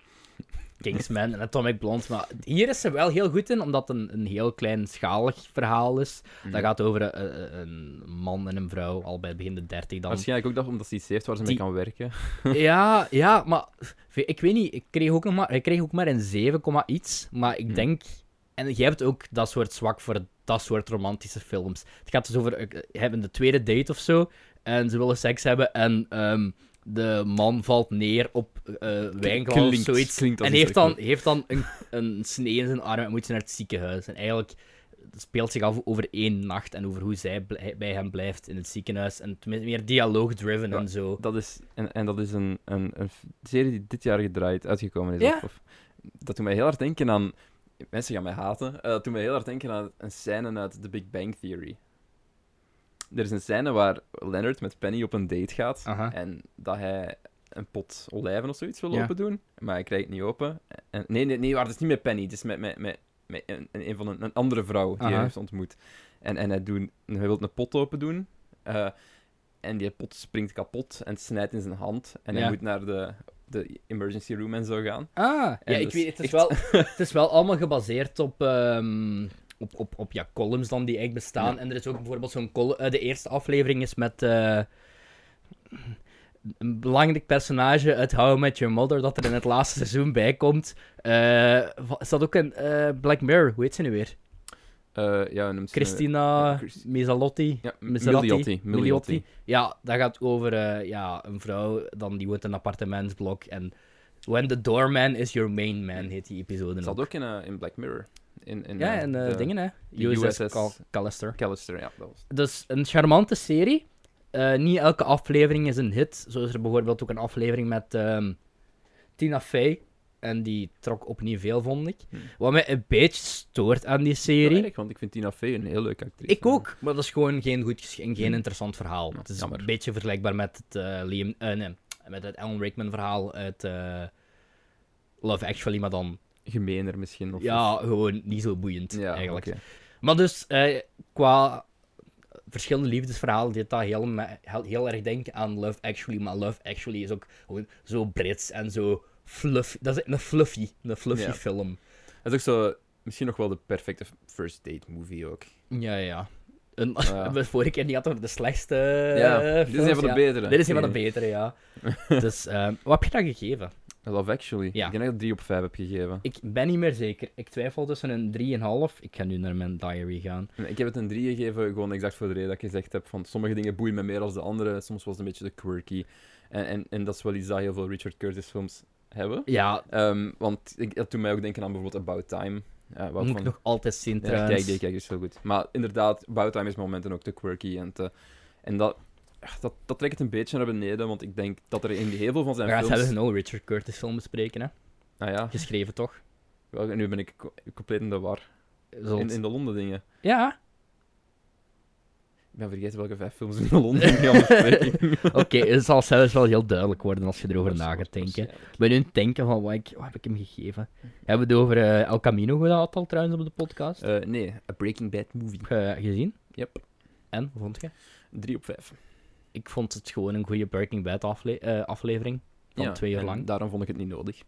A: Kingsman en Atomic Blonde. Maar hier is ze wel heel goed in, omdat het een, een heel kleinschalig verhaal is. Dat gaat over eh, eh, een man en een vrouw, al bij het begin de dertig dan.
B: Waarschijnlijk ook dat omdat ze iets heeft waar ze
A: Die-
B: mee kan werken.
A: Ja, ja, maar ik weet niet, ik kreeg ook, nog maar, ik kreeg ook maar een 7, komma iets. Maar ik
B: Hmm.
A: denk, en jij hebt ook dat soort zwak voor dat soort romantische films. Het gaat dus over, eh, eh, hebben de tweede date of zo, en ze willen seks hebben en ehm, de man valt neer op eh wijnglas of
B: Klinkt-
A: zoiets.
B: klinkt als
A: en
B: iets
A: heeft
B: dat ik
A: dan, heeft dan een, een snee in zijn arm en moet ze naar het ziekenhuis. En eigenlijk het speelt zich af over één nacht en over hoe zij bl- bij hem blijft in het ziekenhuis. En het is meer dialoog-driven
B: Ja,
A: en zo.
B: Dat is, en, en dat is een, een, een f- serie die dit jaar gedraaid, uitgekomen is.
A: Ja.
B: Of, of- dat doet mij heel hard denken aan Mensen gaan mij haten. Eh, dat doet me heel hard denken aan een scène uit The Big Bang Theory. Er is een scène waar Leonard met Penny op een date gaat.
A: Aha.
B: En dat hij een pot olijven of zoiets wil
A: Ja.
B: open doen. Maar hij krijgt het niet open. En, nee, nee, nee, waar, het is niet met Penny. Het is met, met, met, met een, een, een van een, een andere vrouw die
A: Aha.
B: hij heeft ontmoet. En, en hij, doet, hij wil een pot open doen. eh, en die pot springt kapot en het snijdt in zijn hand. En
A: Ja.
B: hij moet naar de, de emergency room en zo gaan.
A: Ah,
B: En
A: ja, ik
B: dus
A: weet, het, is
B: echt-
A: wel, het is wel allemaal gebaseerd op, ehm, op, op, op ja, columns dan die echt bestaan. En er is ook bijvoorbeeld zo'n column... eh, de eerste aflevering is met... eh, een belangrijk personage uit How I Met Your Mother, dat er in het laatste seizoen bij komt. Eh, va- is dat ook een eh, Black Mirror? Hoe heet ze nu weer?
B: Eh, ja, noemt ze-
A: Christina
B: eh, Chris-
A: Mezzalotti.
B: Ja,
A: Mizzotti,
B: Miliotti.
A: Miliotti.
B: Miliotti.
A: Ja, dat gaat over eh, ja, een vrouw, dan die woont in een appartementsblok. En When the Doorman is Your Main Man heet die episode.
B: Zat
A: nog.
B: ook in, eh, in Black Mirror. In, in,
A: Ja,
B: eh,
A: en eh,
B: de-
A: dingen, hè.
B: de
A: USS,
B: USS.
A: Cal- Callister.
B: Callister, ja, dat was het.
A: Dus een charmante serie. Eh, niet elke aflevering is een hit. Zo is er bijvoorbeeld ook een aflevering met ehm, Tina Fey. En die trok opnieuw veel, vond ik.
B: Hm.
A: Wat mij een beetje stoort aan die
B: Wel
A: serie.
B: erg, want ik vind Tina Fey een heel leuke actrice.
A: Ik ook, maar dat is gewoon geen, goed, ges- en geen interessant verhaal.
B: Hmm. Ja,
A: het is
B: jammer.
A: een beetje vergelijkbaar met het, eh, Liam, eh, nee, met het Alan Rickman verhaal uit eh, Love Actually, maar dan
B: Gemeener misschien. Of
A: ja, gewoon niet zo boeiend eigenlijk.
B: oké.
A: Maar dus, eh, qua verschillende liefdesverhalen deed dat heel, me- heel, heel erg denken aan Love Actually. Maar Love Actually is ook gewoon zo Brits en zo fluff. Dat is een fluffy, een fluffy
B: Ja.
A: film.
B: Het is ook zo, misschien nog wel de perfecte first date movie ook.
A: Ja, Ah, ja. En,
B: Ja.
A: we vorige keer niet hadden we de slechtste
B: ja,
A: eh,
B: dit is
A: films,
B: een van de
A: ja.
B: betere.
A: Dit is een van de betere, ja. dus, ehm, wat heb je dat gegeven?
B: betere. Love Actually.
A: Ja.
B: Ik denk dat ik 3 op 5 heb gegeven.
A: Ik ben niet meer zeker. Ik twijfel tussen een 3,5. Ik ga nu naar mijn diary gaan.
B: En Ik heb het een 3 gegeven, gewoon exact voor de reden dat ik gezegd heb van sommige dingen boeien me meer dan de andere. Soms was het een beetje de quirky. En, en, en dat is wel iets dat heel veel Richard Curtis films hebben.
A: Ja,
B: Ehm, want ik, dat doet mij ook denken aan bijvoorbeeld About Time. eh,
A: dat
B: waarvan-
A: moet ik nog altijd zien
B: Ja,
A: trouwens.
B: kijk, die kijk is heel goed. Maar inderdaad, Bouwtime is met momenten ook te quirky en te... En dat, dat, dat trekt het een beetje naar beneden, want ik denk dat er in heel veel van zijn
A: We gaan
B: films...
A: zelfs een oude Richard Curtis film bespreken, hè.
B: Nou ja,
A: Geschreven, toch?
B: wel, nu ben ik co- compleet in de war.
A: Zot.
B: In, in de Londen dingen.
A: Ja.
B: Ik ben vergeten welke vijf films in de Londen dingen gaan bespreken.
A: Oké, het zal zelfs wel heel duidelijk worden als je erover na gaat denken.
B: Waarschijnlijk.
A: Ik ben nu aan het denken van, wat, ik, wat heb ik hem gegeven? Hebben we het over eh, El Camino gehad al trouwens op de podcast?
B: Eh, nee, A Breaking Bad Movie.
A: Heb je eh, gezien?
B: Yep.
A: En, hoe vond je?
B: Drie op vijf.
A: Ik vond het gewoon een goede Breaking Bad afle- eh, aflevering. Van twee uur
B: en
A: lang.
B: daarom vond ik het niet nodig.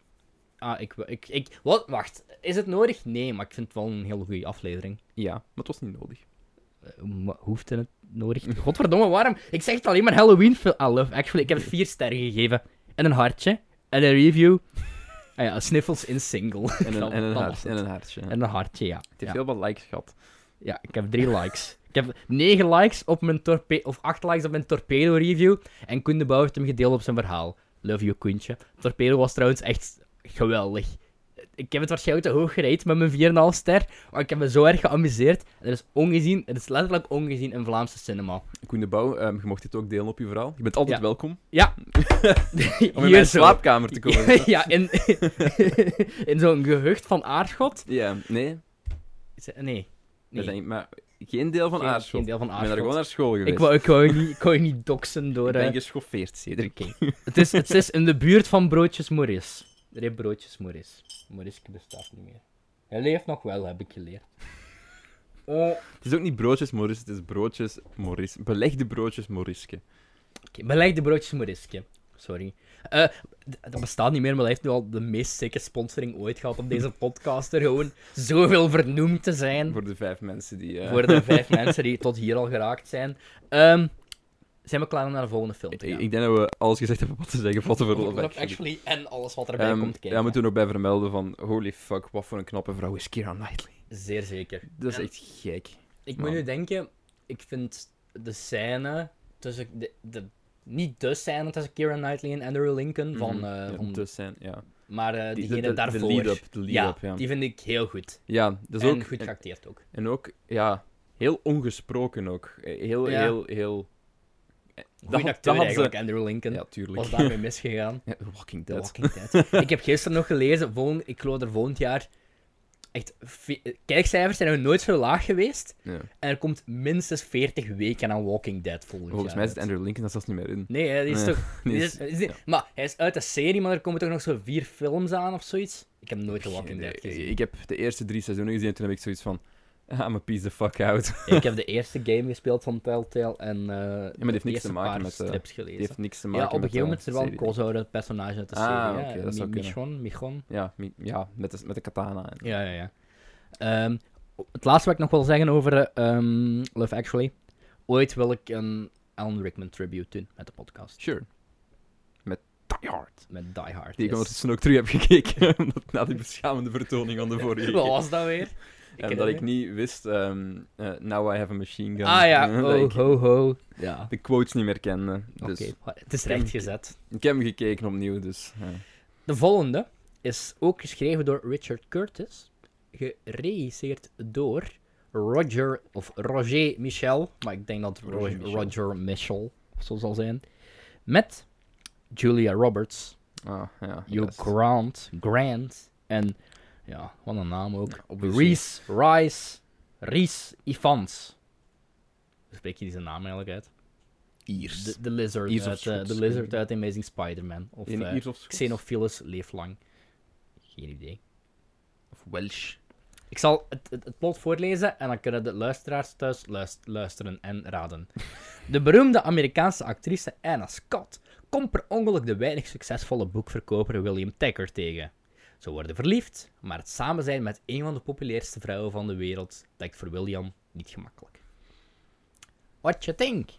A: Ah, ik, ik, ik... Wat? Wacht. Is het nodig? Nee, maar ik vind het wel een heel goede aflevering.
B: Ja, maar het was niet nodig.
A: Eh, maar hoeft het nodig? Godverdomme, waarom? Ik zeg het alleen maar Halloween film. I love actually. Ik heb er vier sterren gegeven. En een hartje. En een review. Ah ja, sniffles in single.
B: En een,
A: Dan-
B: en een,
A: dan
B: hart,
A: was het.
B: en een hartje.
A: En een hartje, ja.
B: Het
A: Ja,
B: heeft heel wat likes gehad.
A: ja, ik heb drie likes. Ik heb negen likes op mijn torpedo... Of acht likes op mijn torpedo review. En Koen de Bouw heeft hem gedeeld op zijn verhaal. Love you, Koentje. Torpedo was trouwens echt geweldig. Ik heb het waarschijnlijk te hoog gereed met mijn 4,5 ster. Maar ik heb me zo erg geamuseerd. En er is ongezien, het is letterlijk ongezien in Vlaamse cinema.
B: Koen de Bouw, ehm, je mocht dit ook delen op je verhaal. Je bent altijd
A: Ja.
B: welkom.
A: Ja.
B: Om in mijn
A: zo.
B: slaapkamer te komen.
A: Ja, ja, in, in zo'n gehucht van aardgod.
B: Ja, nee.
A: Is het- Nee.
B: Dat
A: nee.
B: zijn, maar geen deel van
A: Geen- geen
B: Aarschot. Ik
A: deel van
B: ben daar
A: aardgod.
B: gewoon naar school geweest.
A: ik, wou, ik, wou je niet, ik wou je niet doxen door...
B: Ik
A: eh,
B: ben geschoffeerd, Cedric.
A: Oké. het, is, het is in de buurt van Broodjes Morris. Er heeft Broodjes Morris. Morriske bestaat niet meer. Hij leeft nog wel, heb ik geleerd. Eh, Oké,
B: Het is ook niet broodjes Morris, het is broodjes Morris. Belegde broodjes Morriske.
A: beleg de Broodjes Morriske. Sorry. Eh, d- dat bestaat niet meer, maar hij heeft nu al de meest sikke sponsoring ooit gehad op deze podcast. Er gewoon zoveel vernoemd te zijn.
B: Voor de vijf mensen die... eh,
A: Hm. Voor de vijf mensen die tot hier al geraakt zijn. Ehm, zijn we klaar om naar de volgende film
B: Ik,
A: te gaan?
B: ik denk dat we alles gezegd hebben wat te zeggen vatten voor
A: Love
B: Love
A: Actually.
B: Actually.
A: en alles wat erbij
B: Ehm,
A: komt kijken.
B: ja, we moeten er ook bij vermelden van... Holy fuck, wat voor een knappe vrouw is Kira Knightley.
A: Zeer zeker.
B: Dat is
A: En-
B: echt gek.
A: Ik
B: Man.
A: moet nu denken, ik vind de scène tussen. De, de, niet de scène tussen Kieran Knightley en Andrew Lincoln, van,
B: Mhm.
A: eh,
B: Ja,
A: van,
B: de scène, ja.
A: maar eh,
B: die-
A: diegene
B: de- de
A: daarvoor.
B: lead-up, de lead-up, ja.
A: Die vind ik heel goed.
B: Ja, dat is
A: en
B: ook...
A: goed
B: en-
A: geacteerd ook.
B: En ook, ja, heel ongesproken ook. Eh, Heel,
A: Ja.
B: heel, heel... eh, dat
A: Goeie
B: had-
A: acteur
B: dat had ze-
A: eigenlijk, Andrew Lincoln.
B: Ja, tuurlijk.
A: was daarmee misgegaan.
B: Ja, Walking
A: The
B: Dead.
A: Walking Dead. ik heb gisteren nog gelezen, volgend, ik geloof er volgend jaar echt, ve- kijkcijfers zijn nog nooit zo laag geweest.
B: Ja.
A: En er komt minstens 40 weken aan Walking Dead volgend
B: Volgens
A: jaar
B: mij zit
A: uit.
B: Andrew Lincoln dat zelfs niet meer in.
A: Nee, hè, die is
B: Nee,
A: toch...
B: die
A: die
B: is-
A: is- is niet- Maar hij is uit de serie, maar er komen toch nog zo vier films aan of zoiets? Ik heb nooit The Walking Dead
B: Geen idee.
A: gezien.
B: Eh, Ik heb de eerste drie seizoenen gezien en toen heb ik zoiets van... Ah, I'm a piece the fuck out.
A: ik heb de eerste game gespeeld van Telltale en eh ja,
B: heeft niks te maken met, eh,
A: strips gelezen.
B: Die heeft niks te maken
A: ja, op een
B: met
A: gegeven
B: de
A: moment is er wel een
B: serie.
A: crossover personage uit de
B: Ah,
A: serie.
B: oké,
A: ja.
B: dat zou
A: Mi-
B: kunnen.
A: Michon, Michon.
B: Ja, mi- ja met, de, met de katana. En...
A: Ja, ja, ja. Ehm, het laatste wat ik nog wil zeggen over eh, ehm, Love Actually. Ooit wil ik een Alan Rickman tribute doen met de podcast.
B: Sure. Met Die Hard.
A: Met Die Hard.
B: Die ik
A: yes.
B: ondertussen ook terug heb gekeken. omdat na die beschamende vertoning van de vorige keer.
A: Wat was dat weer?
B: En
A: Oh, ken
B: dat
A: het
B: ik niet wist... ehm, eh, Now I have a machine gun.
A: Ah ja,
B: dat
A: oh,
B: ik
A: ho, ho. Ja.
B: de quotes niet meer kende.
A: Oké,
B: Dus
A: het is recht gezet.
B: ik heb hem gekeken opnieuw, dus... ja.
A: De volgende is ook geschreven door Richard Curtis, geregisseerd door Roger, of Roger Michel, maar ik denk dat
B: Roger
A: Roger
B: Michel.
A: Michel, Roger Michel of zo zal zijn, met Julia Roberts,
B: Ah, ja.
A: Hugh
B: yes.
A: Grant, Grant en, ja, wat een naam ook,
B: Obviously.
A: Reese Rice, Reese Ifans. Hoe spreek je deze naam eigenlijk uit?
B: Iers.
A: De, de lizard,
B: Iers of
A: uit, eh, de
B: Scots.
A: lizard uit Amazing Spider-Man. Of
B: In
A: eh,
B: Iers of Scots?
A: Xenophilus leeft lang. Geen idee.
B: Of Welsh.
A: Ik zal het, het, het plot voorlezen en dan kunnen de luisteraars thuis luis- luisteren en raden. De beroemde Amerikaanse actrice Anna Scott komt per ongeluk de weinig succesvolle boekverkoper William Thacker tegen. Ze worden verliefd, maar het samen zijn met een van de populairste vrouwen van de wereld lijkt voor William niet gemakkelijk. What you think?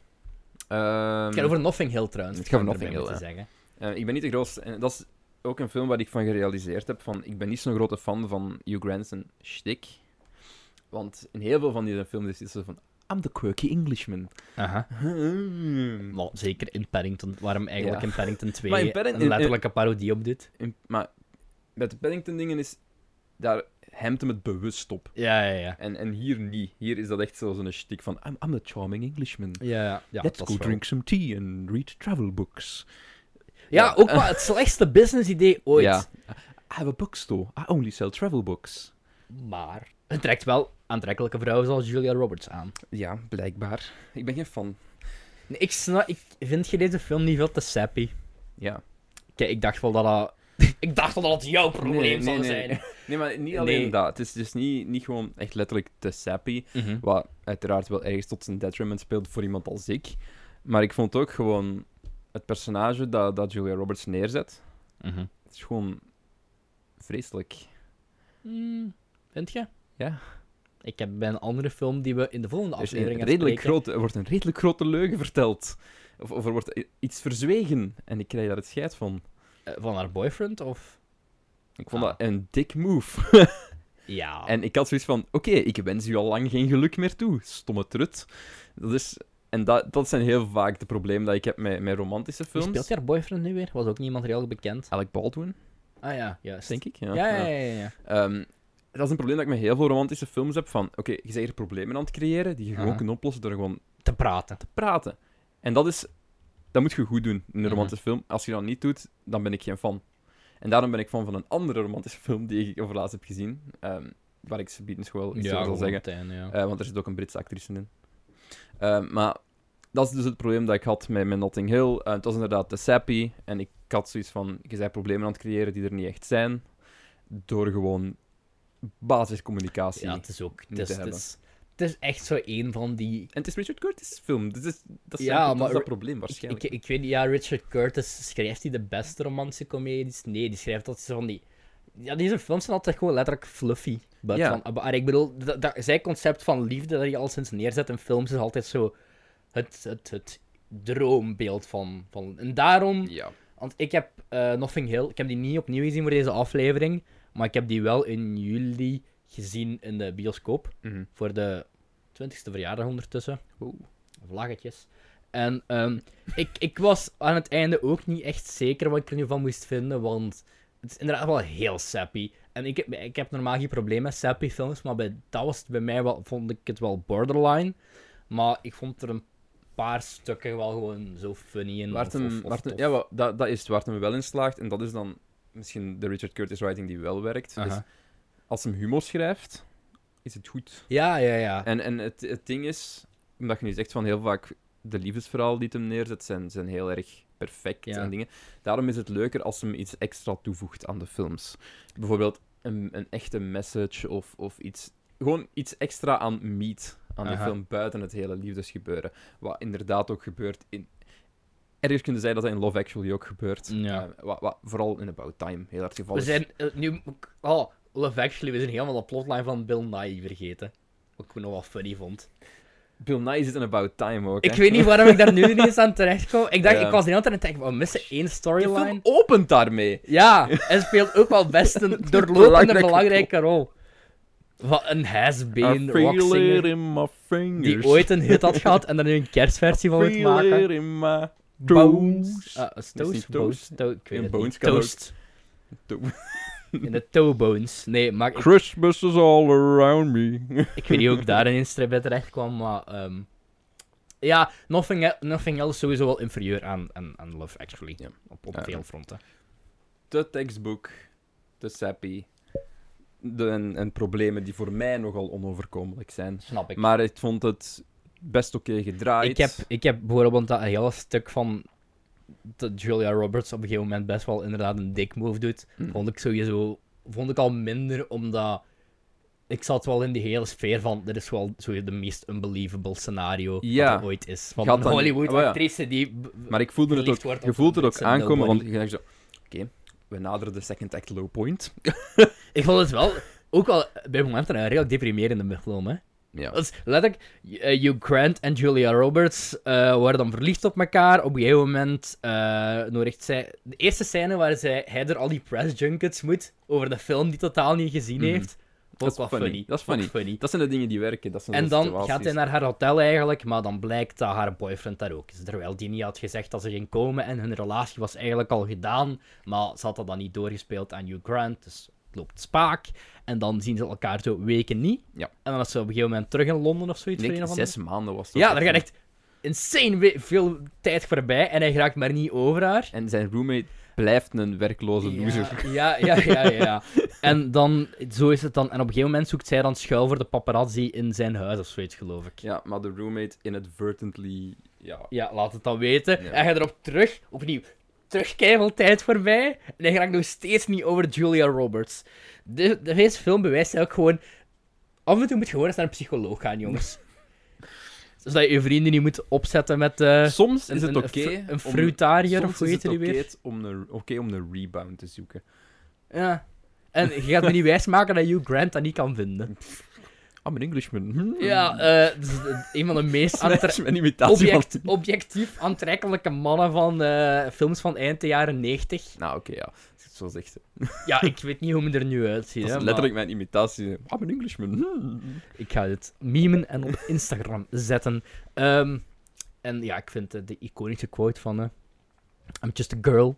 B: Ehm,
A: Het gaat over Nothing Hill trouwens.
B: het gaat over
A: om erbij
B: Nothing
A: te
B: Hill,
A: zeggen.
B: eh, ik ben niet de grootste. En dat is ook een film waar ik van gerealiseerd heb. Van, ik ben niet zo'n grote fan van Hugh Grant's shtick. Want in heel veel van die films is het zo van... I'm the quirky Englishman.
A: Aha. Wel, zeker in Paddington, waarom eigenlijk
B: Ja.
A: in Paddington 2
B: Maar in Padding- in-
A: een letterlijke parodie op doet.
B: In- maar met de Paddington-dingen is... Daar hemt hem het bewust op.
A: Ja, ja, ja.
B: En, en hier niet. Hier is dat echt zo- zo'n shtick van... I'm, I'm the charming Englishman.
A: Ja, ja, ja,
B: Let's
A: dat
B: go
A: is wel-
B: drink some tea and read travel books.
A: Ja,
B: Ja.
A: ook wel het slechtste business idee ooit.
B: Ja. I have a bookstore. I only sell travel books.
A: Maar het trekt wel aantrekkelijke vrouwen zoals Julia Roberts aan.
B: Ja, blijkbaar. Ik ben geen fan.
A: Nee, ik, snap, ik vind je deze film niet veel te sappy.
B: Ja.
A: Kijk, ik dacht wel dat dat... ik dacht wel dat het jouw probleem zou zijn.
B: Nee, maar niet alleen
A: Nee.
B: dat. Het is dus niet, niet gewoon echt letterlijk te sappy. Wat uiteraard wel ergens tot zijn detriment speelt voor iemand als ik. Maar ik vond ook gewoon het personage dat, dat Julia Roberts neerzet.
A: Mhm.
B: Het is gewoon vreselijk.
A: Mm, vind je?
B: Ja.
A: Ik heb bij een andere film die we in de volgende
B: Er, is een
A: aflevering gaan
B: redelijk
A: spreken-
B: grote, er wordt een redelijk grote leugen verteld. Of, of er wordt i- iets verzwegen. En ik krijg daar het scheid van.
A: eh, van haar boyfriend, of...
B: Ik vond
A: Ah.
B: dat een dik move.
A: Ja.
B: En ik had zoiets van: oké, ik wens u al lang geen geluk meer toe, stomme trut. Dat is, en dat, dat zijn heel vaak de problemen dat ik heb met, met romantische
A: Wie
B: films.
A: speelt haar boyfriend nu weer? Was ook niemand heel bekend.
B: Alec Baldwin,
A: Ah ja, juist.
B: denk ik. Ja,
A: Ja, ja,
B: ja.
A: ja. ja, ja.
B: Ehm, dat is een probleem dat ik met heel veel romantische films heb: van oké, je bent hier problemen aan het creëren die je gewoon
A: Aha.
B: kunt oplossen door gewoon
A: Te praten.
B: te praten. En dat is, dat moet je goed doen in een
A: Mhm.
B: romantische film. Als je dat niet doet, dan ben ik geen fan. En daarom ben ik fan van een andere romantische film die ik over laatst heb gezien, ehm, waar ik ze bieden wel iets over zal zeggen.
A: ja.
B: Eh, want er zit ook een Britse actrice in. Eh, maar dat is dus het probleem dat ik had met, met Notting Hill. Eh, het was inderdaad te sappy. En ik had zoiets van, je bent problemen aan het creëren die er niet echt zijn. Door gewoon basiscommunicatie.
A: ja, het is ook... Het
B: niet
A: is,
B: te
A: het,
B: hebben.
A: is, het is echt zo één van die...
B: En het is Richard Curtis' film. Dus is, dat, is
A: Ja,
B: ja, dat
A: maar
B: is dat
A: Ri-
B: probleem
A: Ik,
B: waarschijnlijk.
A: ik, ik weet niet, ja, Richard Curtis, schrijft hij de beste romantische comedies? Nee, die schrijft altijd zo van die... Ja, deze films zijn altijd gewoon letterlijk fluffy. But
B: Ja.
A: van, maar ik bedoel, dat, dat, zijn concept van liefde dat je al sinds neerzet in films is altijd zo het, het, het droombeeld van, van... En daarom
B: Ja.
A: Want ik heb eh, Nothing Hill, ik heb die niet opnieuw gezien voor deze aflevering, maar ik heb die wel in juli gezien in de bioscoop
B: Mhm.
A: voor de 20ste verjaardag ondertussen.
B: Oeh.
A: Vlaggetjes. En ehm, ik, ik was aan het einde ook niet echt zeker wat ik er nu van moest vinden, want het is inderdaad wel heel sappy. En ik heb, ik heb normaal geen probleem met sappy films, maar bij, dat was het bij mij wel, vond ik het wel borderline. Maar ik vond er een paar stukken wel gewoon zo funny en
B: Waar
A: of-
B: het hem-
A: of- of
B: waar het hem-
A: tof.
B: ja, wel, dat, dat is het, waar het hem wel in slaagt. En dat is dan misschien de Richard Curtis writing die wel werkt. Dus
A: Aha.
B: als hem humor schrijft, is het goed.
A: Ja, ja, ja.
B: En, en het, het ding is, omdat je nu zegt van heel vaak de liefdesverhalen die het hem neerzet, zijn, zijn heel erg perfect
A: Ja.
B: en dingen. Daarom is het leuker als hem iets extra toevoegt aan de films. Bijvoorbeeld een, een echte message of, of iets. Gewoon iets extra aan meat aan die
A: Aha.
B: film buiten het hele liefdesgebeuren. Wat inderdaad ook gebeurt in. Ergens kunnen zij dat dat in Love Actually ook gebeurt.
A: Ja.
B: Eh, wat, wat vooral in About Time heel erg geval
A: We
B: is.
A: zijn eh, nu... Oh, Love Actually, we zijn helemaal de plotline van Bill Nye vergeten. Wat ik nog wel funny vond.
B: Bill Nye zit in About Time ook.
A: Ik weet niet waarom ik daar nu ineens aan terecht kwam. Ik dacht,
B: Ja.
A: ik was de hele tijd aan het denken, we missen één
B: De film
A: storyline.
B: opent daarmee.
A: Ja, en speelt ook wel best een doorlopende
B: Belangrijke
A: belangrijke rol. Wat een
B: I
A: has-been
B: feel it
A: rockzanger
B: in my fingers.
A: die ooit een hit had gehad en daar nu een kerstversie van wil maken.
B: in my
A: Bones. Ah, is
B: Is
A: toast?
B: die
A: Bones?
B: toast?
A: To- ik weet
B: In
A: het
B: Bones
A: niet.
B: kan ook.
A: Toast. In de toe bones. Nee, maar ik,
B: Christmas is all around me.
A: ik weet niet hoe ik daar ineens bij terecht kwam, maar... ehm, ja, Nothing, El- nothing Else is sowieso wel inferieur aan, aan, aan Love Actually.
B: Ja.
A: Op, op
B: Ja.
A: veel fronten.
B: De tekstboek, de sappy, de, en, en problemen die voor mij nogal onoverkomelijk zijn.
A: Snap ik.
B: Maar ik vond het best oké gedraaid.
A: Ik heb, ik heb bijvoorbeeld dat hele stuk van dat Julia Roberts op een gegeven moment best wel inderdaad een dik move doet.
B: Hmm.
A: Vond ik sowieso vond ik al minder, omdat ik zat wel in die hele sfeer van dit is wel zo de meest unbelievable scenario
B: Ja.
A: dat er ooit is. Van
B: Gaat
A: een
B: dan-
A: Hollywood
B: oh ja.
A: actrice die... b- b-
B: Maar ik voelde het
A: verliefd
B: ook,
A: wordt op
B: je voelt
A: een
B: het ook
A: mensen
B: aankomen, want
A: nobody.
B: je dacht zo... Oké, we naderen de second act low point.
A: Ik vond het wel... Ook wel bij momenten een redelijk deprimerende film, hè.
B: Ja.
A: Dat is letterlijk, eh, Hugh Grant en Julia Roberts eh waren dan verliefd op elkaar. Op een gegeven moment eh, nodigt zij... De eerste scène waar zij, hij er al die press junkets moet over de film die totaal niet gezien
B: Mhm.
A: heeft. Vond
B: Dat
A: ik
B: is
A: wel
B: funny.
A: funny.
B: Dat is
A: Vond ik
B: funny. Dat zijn de dingen die werken. Dat zijn
A: En
B: zo'n
A: dan
B: situaties.
A: gaat hij naar haar hotel eigenlijk, maar dan blijkt dat haar boyfriend daar ook is. Terwijl die niet had gezegd dat ze ging komen en hun relatie was eigenlijk al gedaan, maar ze had dat dan niet doorgespeeld aan Hugh Grant, dus het loopt spaak. En dan zien ze elkaar zo weken niet.
B: Ja.
A: En dan is ze op een gegeven moment terug in Londen of
B: Ik
A: zoiets.
B: denk
A: voor een of andere-
B: zes maanden was dat.
A: ja, daar gaat echt insane we- veel tijd voorbij en hij raakt maar niet over haar.
B: En zijn roommate blijft een werkloze loser.
A: Ja, ja, ja, ja, ja. En dan, zo is het dan. En op een gegeven moment zoekt zij dan schuil voor de paparazzi in zijn huis of zoiets, geloof ik.
B: Ja, maar de roommate inadvertently. Ja.
A: Ja, laat het dan weten.
B: Ja.
A: En hij erop terug, opnieuw, terug keiveel tijd voorbij. En hij raakt nog steeds niet over Julia Roberts. De, de, deze film bewijst ook gewoon... Af en toe moet je gewoon eens naar een psycholoog gaan, jongens. Zodat je je vrienden niet moet opzetten met... eh,
B: Soms
A: een-
B: is het
A: een-
B: oké.
A: een fru-
B: om-
A: Een fruitariër
B: soms
A: of hoe
B: is
A: heet
B: het
A: die
B: oké
A: weer?
B: om een- Oké om een rebound te zoeken.
A: Ja. En je gaat me niet wijsmaken dat Hugh Grant dat niet kan vinden.
B: I'm an Englishman. Hmm.
A: Ja, eh, dus, eh, een van de meest
B: Dat
A: aantre-
B: is mijn imitatie van-
A: object- objectief aantrekkelijke mannen van eh, films van eind de jaren 90.
B: Nou, oké, ja. Als je het zo zegt. Dat
A: Ja, ik weet niet hoe me er nu uitziet.
B: is
A: hè, maar
B: letterlijk mijn imitatie. I'm an Englishman. Hmm.
A: Ik ga dit memen en op Instagram zetten. Ehm, en ja, ik vind eh, de iconische quote van... eh, I'm just a girl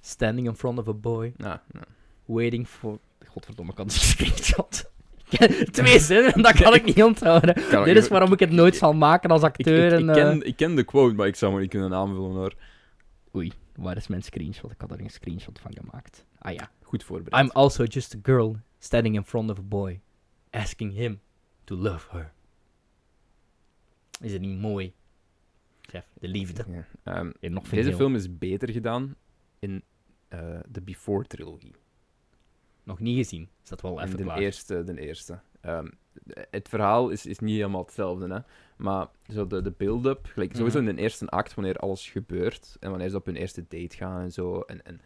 A: standing in front of a boy.
B: Nou, nou.
A: Waiting for. Godverdomme, ik had een screenshot. Twee zinnen, en dat kan ik niet onthouden.
B: Kan
A: Dit
B: ik-
A: is waarom ik het nooit zal maken als
B: Ik,
A: acteur.
B: ik, ik
A: en, eh,
B: ken, ik ken de quote, maar ik zou hem niet kunnen aanvullen hoor.
A: Oei, eh, waar is mijn screenshot? Ik had er een screenshot van gemaakt. Ah ja.
B: Goed voorbereid.
A: I'm also just a girl standing in front of a boy, asking him to love her. Is het niet mooi? Chef, de liefde.
B: Ja. Ehm,
A: In nog veel.
B: Deze film is beter gedaan in eh, de Before-trilogie.
A: Nog niet gezien. Is dat wel
B: En
A: even
B: de
A: klaar?
B: eerste, de eerste. Ehm, d- het verhaal is, is niet helemaal hetzelfde, hè. Maar zo de, de build-up, gelijk sowieso
A: Mhm.
B: in de eerste act, wanneer alles gebeurt, en wanneer ze op hun eerste date gaan en zo. En, en,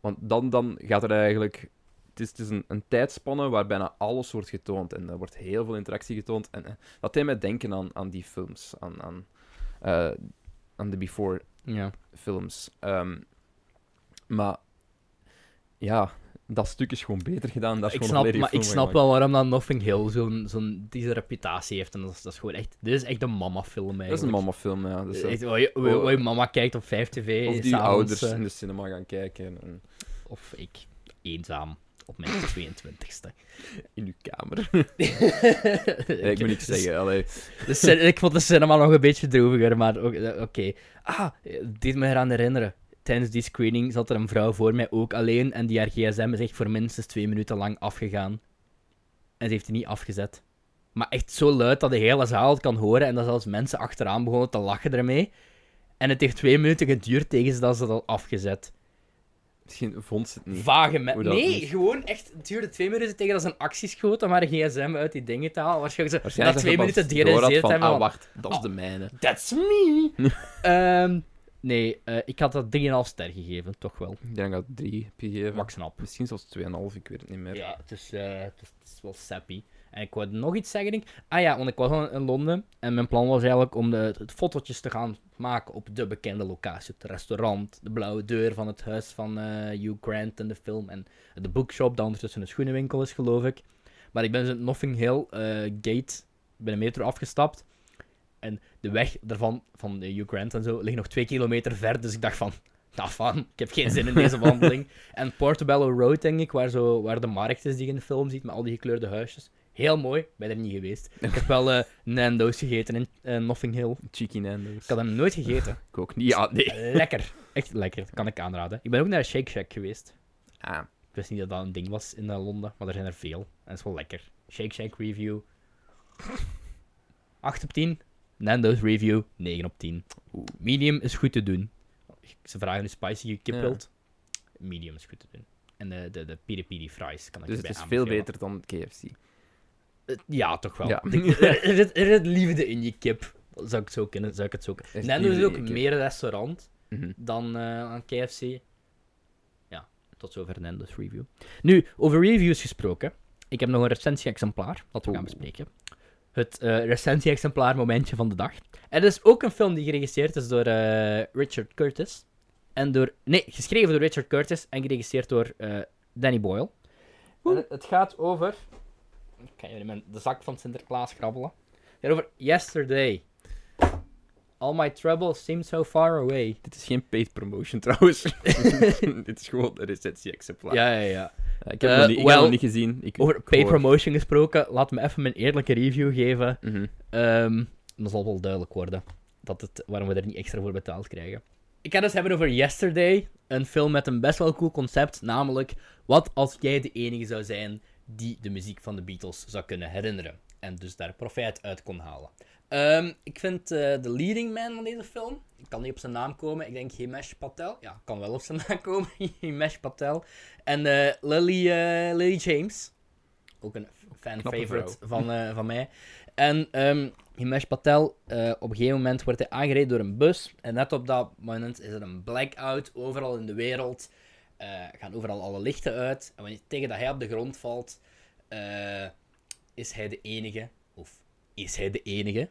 B: want dan, dan gaat er eigenlijk... Het is, het is een, een tijdspanne waar bijna alles wordt getoond. En er wordt heel veel interactie getoond. En eh, dat deed mij denken aan, aan die films, aan, aan, eh, aan de Before
A: Ja.
B: films. Ehm, maar ja, dat stuk is gewoon beter gedaan. Dat is
A: Ik
B: gewoon
A: snap,
B: een
A: maar
B: volledig
A: ik
B: film
A: snap wel waarom dat Nothing Hill zo'n zo'n deze reputatie heeft. En dat is, dat is gewoon echt... Dit is echt een mama-film,
B: gemaakt. Dat is een mama-film, ja. Dus, eh,
A: Echt, waar je, waar- waar je mama kijkt op 5TV.
B: of die
A: s'avonds,
B: ouders
A: eh,
B: in de cinema gaan kijken en- en
A: of ik, eenzaam, op mijn 22ste.
B: in uw kamer. Eh, ik moet niks zeggen, allee.
A: Dus, ik vond de cinema nog een beetje droeviger, maar ook- eh, oké. Ah, het deed me eraan herinneren. Tijdens die screening zat er een vrouw voor mij ook alleen en die haar gsm is echt voor minstens twee minuten lang afgegaan. En ze heeft die niet afgezet. Maar echt zo luid dat de hele zaal het kan horen en dat zelfs mensen achteraan begonnen te lachen ermee. En het heeft twee minuten geduurd tegen ze dat ze dat had afgezet.
B: Misschien vond ze het niet.
A: Vage me-
B: Hoe dat
A: Nee,
B: is.
A: gewoon echt. Het duurde twee minuten tegen dat ze een actie schoot om haar gsm uit die dingen te halen. Waarschijnlijk ze na
B: Waarschijnlijk
A: twee
B: dat ze
A: minuten
B: pas door had
A: derealiseerd
B: van,
A: hebben.
B: Ah,
A: van,
B: wacht, dat is
A: Ah.
B: de mijne.
A: That's me! Ehm, nee, eh, ik had dat 3,5 ster gegeven, toch wel.
B: Ik denk dat ik drie heb gegeven.
A: Wat ik snap.
B: Misschien zelfs 2,5, ik weet het niet meer.
A: Ja, het is, eh, het is, het is wel sappy. En ik wou nog iets zeggen, denk ik. Ah ja, want ik was al in Londen en mijn plan was eigenlijk om de, het fotootjes te gaan maken op de bekende locatie. Het restaurant, de blauwe deur van het huis van eh, Hugh Grant in de film en de bookshop dat ondertussen een schoenenwinkel is, geloof ik. Maar ik ben dus in Nothing Hill eh, Gate bij de metro afgestapt. En de weg daarvan, van de Hugh Grant en zo, ligt nog twee kilometer ver. Dus ik dacht van, nou van, ik heb geen zin in deze wandeling. En Portobello Road, denk ik, waar, zo, waar de markt is die je in de film ziet, met al die gekleurde huisjes. Heel mooi, ben er niet geweest. Ik heb wel eh, Nando's gegeten in eh, Nothing Hill.
B: Cheeky Nando's.
A: Ik had hem nooit gegeten.
B: Ik ook niet. Ja, nee.
A: Lekker. Echt lekker, dat kan ik aanraden. Ik ben ook naar Shake Shack geweest.
B: Ah,
A: Ik wist niet dat dat een ding was in eh, Londen, maar er zijn er veel. En dat is wel lekker. Shake Shack review. 8 op 10. Nando's review 9 op 10.
B: Oeh.
A: Medium is goed te doen. Ze vragen hoe spicy je kip
B: Ja.
A: wilt. Medium is goed te doen. En de, de, de piri piri fries kan ik
B: dus het
A: erbij
B: is veel
A: aanbevelen.
B: beter dan KFC.
A: Eh, Ja, toch wel.
B: Ja.
A: Er, er zit, er zit liefde in je kip. Zou ik, zo kunnen, zou ik het zo
B: Er
A: kunnen.
B: is
A: Nando's is
B: liefde
A: ook
B: in je kip.
A: meer een restaurant
B: Mhm.
A: dan eh, aan KFC. Ja, tot zover Nando's review. Nu, over reviews gesproken. Ik heb nog een recensie-exemplaar dat we gaan
B: Oeh.
A: bespreken. Het eh recensie-exemplaar momentje van de dag. En het is ook een film die geregisseerd is door eh, Richard Curtis. En door, nee, geschreven door Richard Curtis en geregisseerd door eh, Danny Boyle. En het- het gaat over... Ik kan jullie mijn- de zak van Sinterklaas grabbelen. Het gaat over Yesterday. All my trouble seems so far away.
B: Dit is geen paid promotion trouwens. Dit is gewoon een recensie-exemplaar.
A: Ja, ja, ja.
B: Eh, ik heb,
A: Eh,
B: hem nog, niet, ik heb
A: wel,
B: hem nog niet gezien. Ik,
A: Over
B: ik
A: pay
B: hoor-
A: promotion gesproken, laat me even mijn eerlijke review geven.
B: Mhm.
A: Ehm, dan zal wel duidelijk worden dat het, waarom we er niet extra voor betaald krijgen. Ik ga het dus hebben over Yesterday, een film met een best wel cool concept, namelijk wat als jij de enige zou zijn die de muziek van de Beatles zou kunnen herinneren en dus daar profijt uit kon halen. Ehm, ik vind eh, de leading man van deze film, ik kan niet op zijn naam komen, ik denk Himesh Patel, ja, kan wel op zijn naam komen, Himesh Patel, en eh, Lily, eh, Lily James, ook een
B: Knappe
A: fan-favorite van, eh, van mij. En ehm, Himesh Patel, eh, op een gegeven moment wordt hij aangereden door een bus. En net op dat moment is er een blackout overal in de wereld. Eh, gaan overal alle lichten uit. En wanneer, tegen dat hij op de grond valt, eh, is hij de enige, of is hij de enige,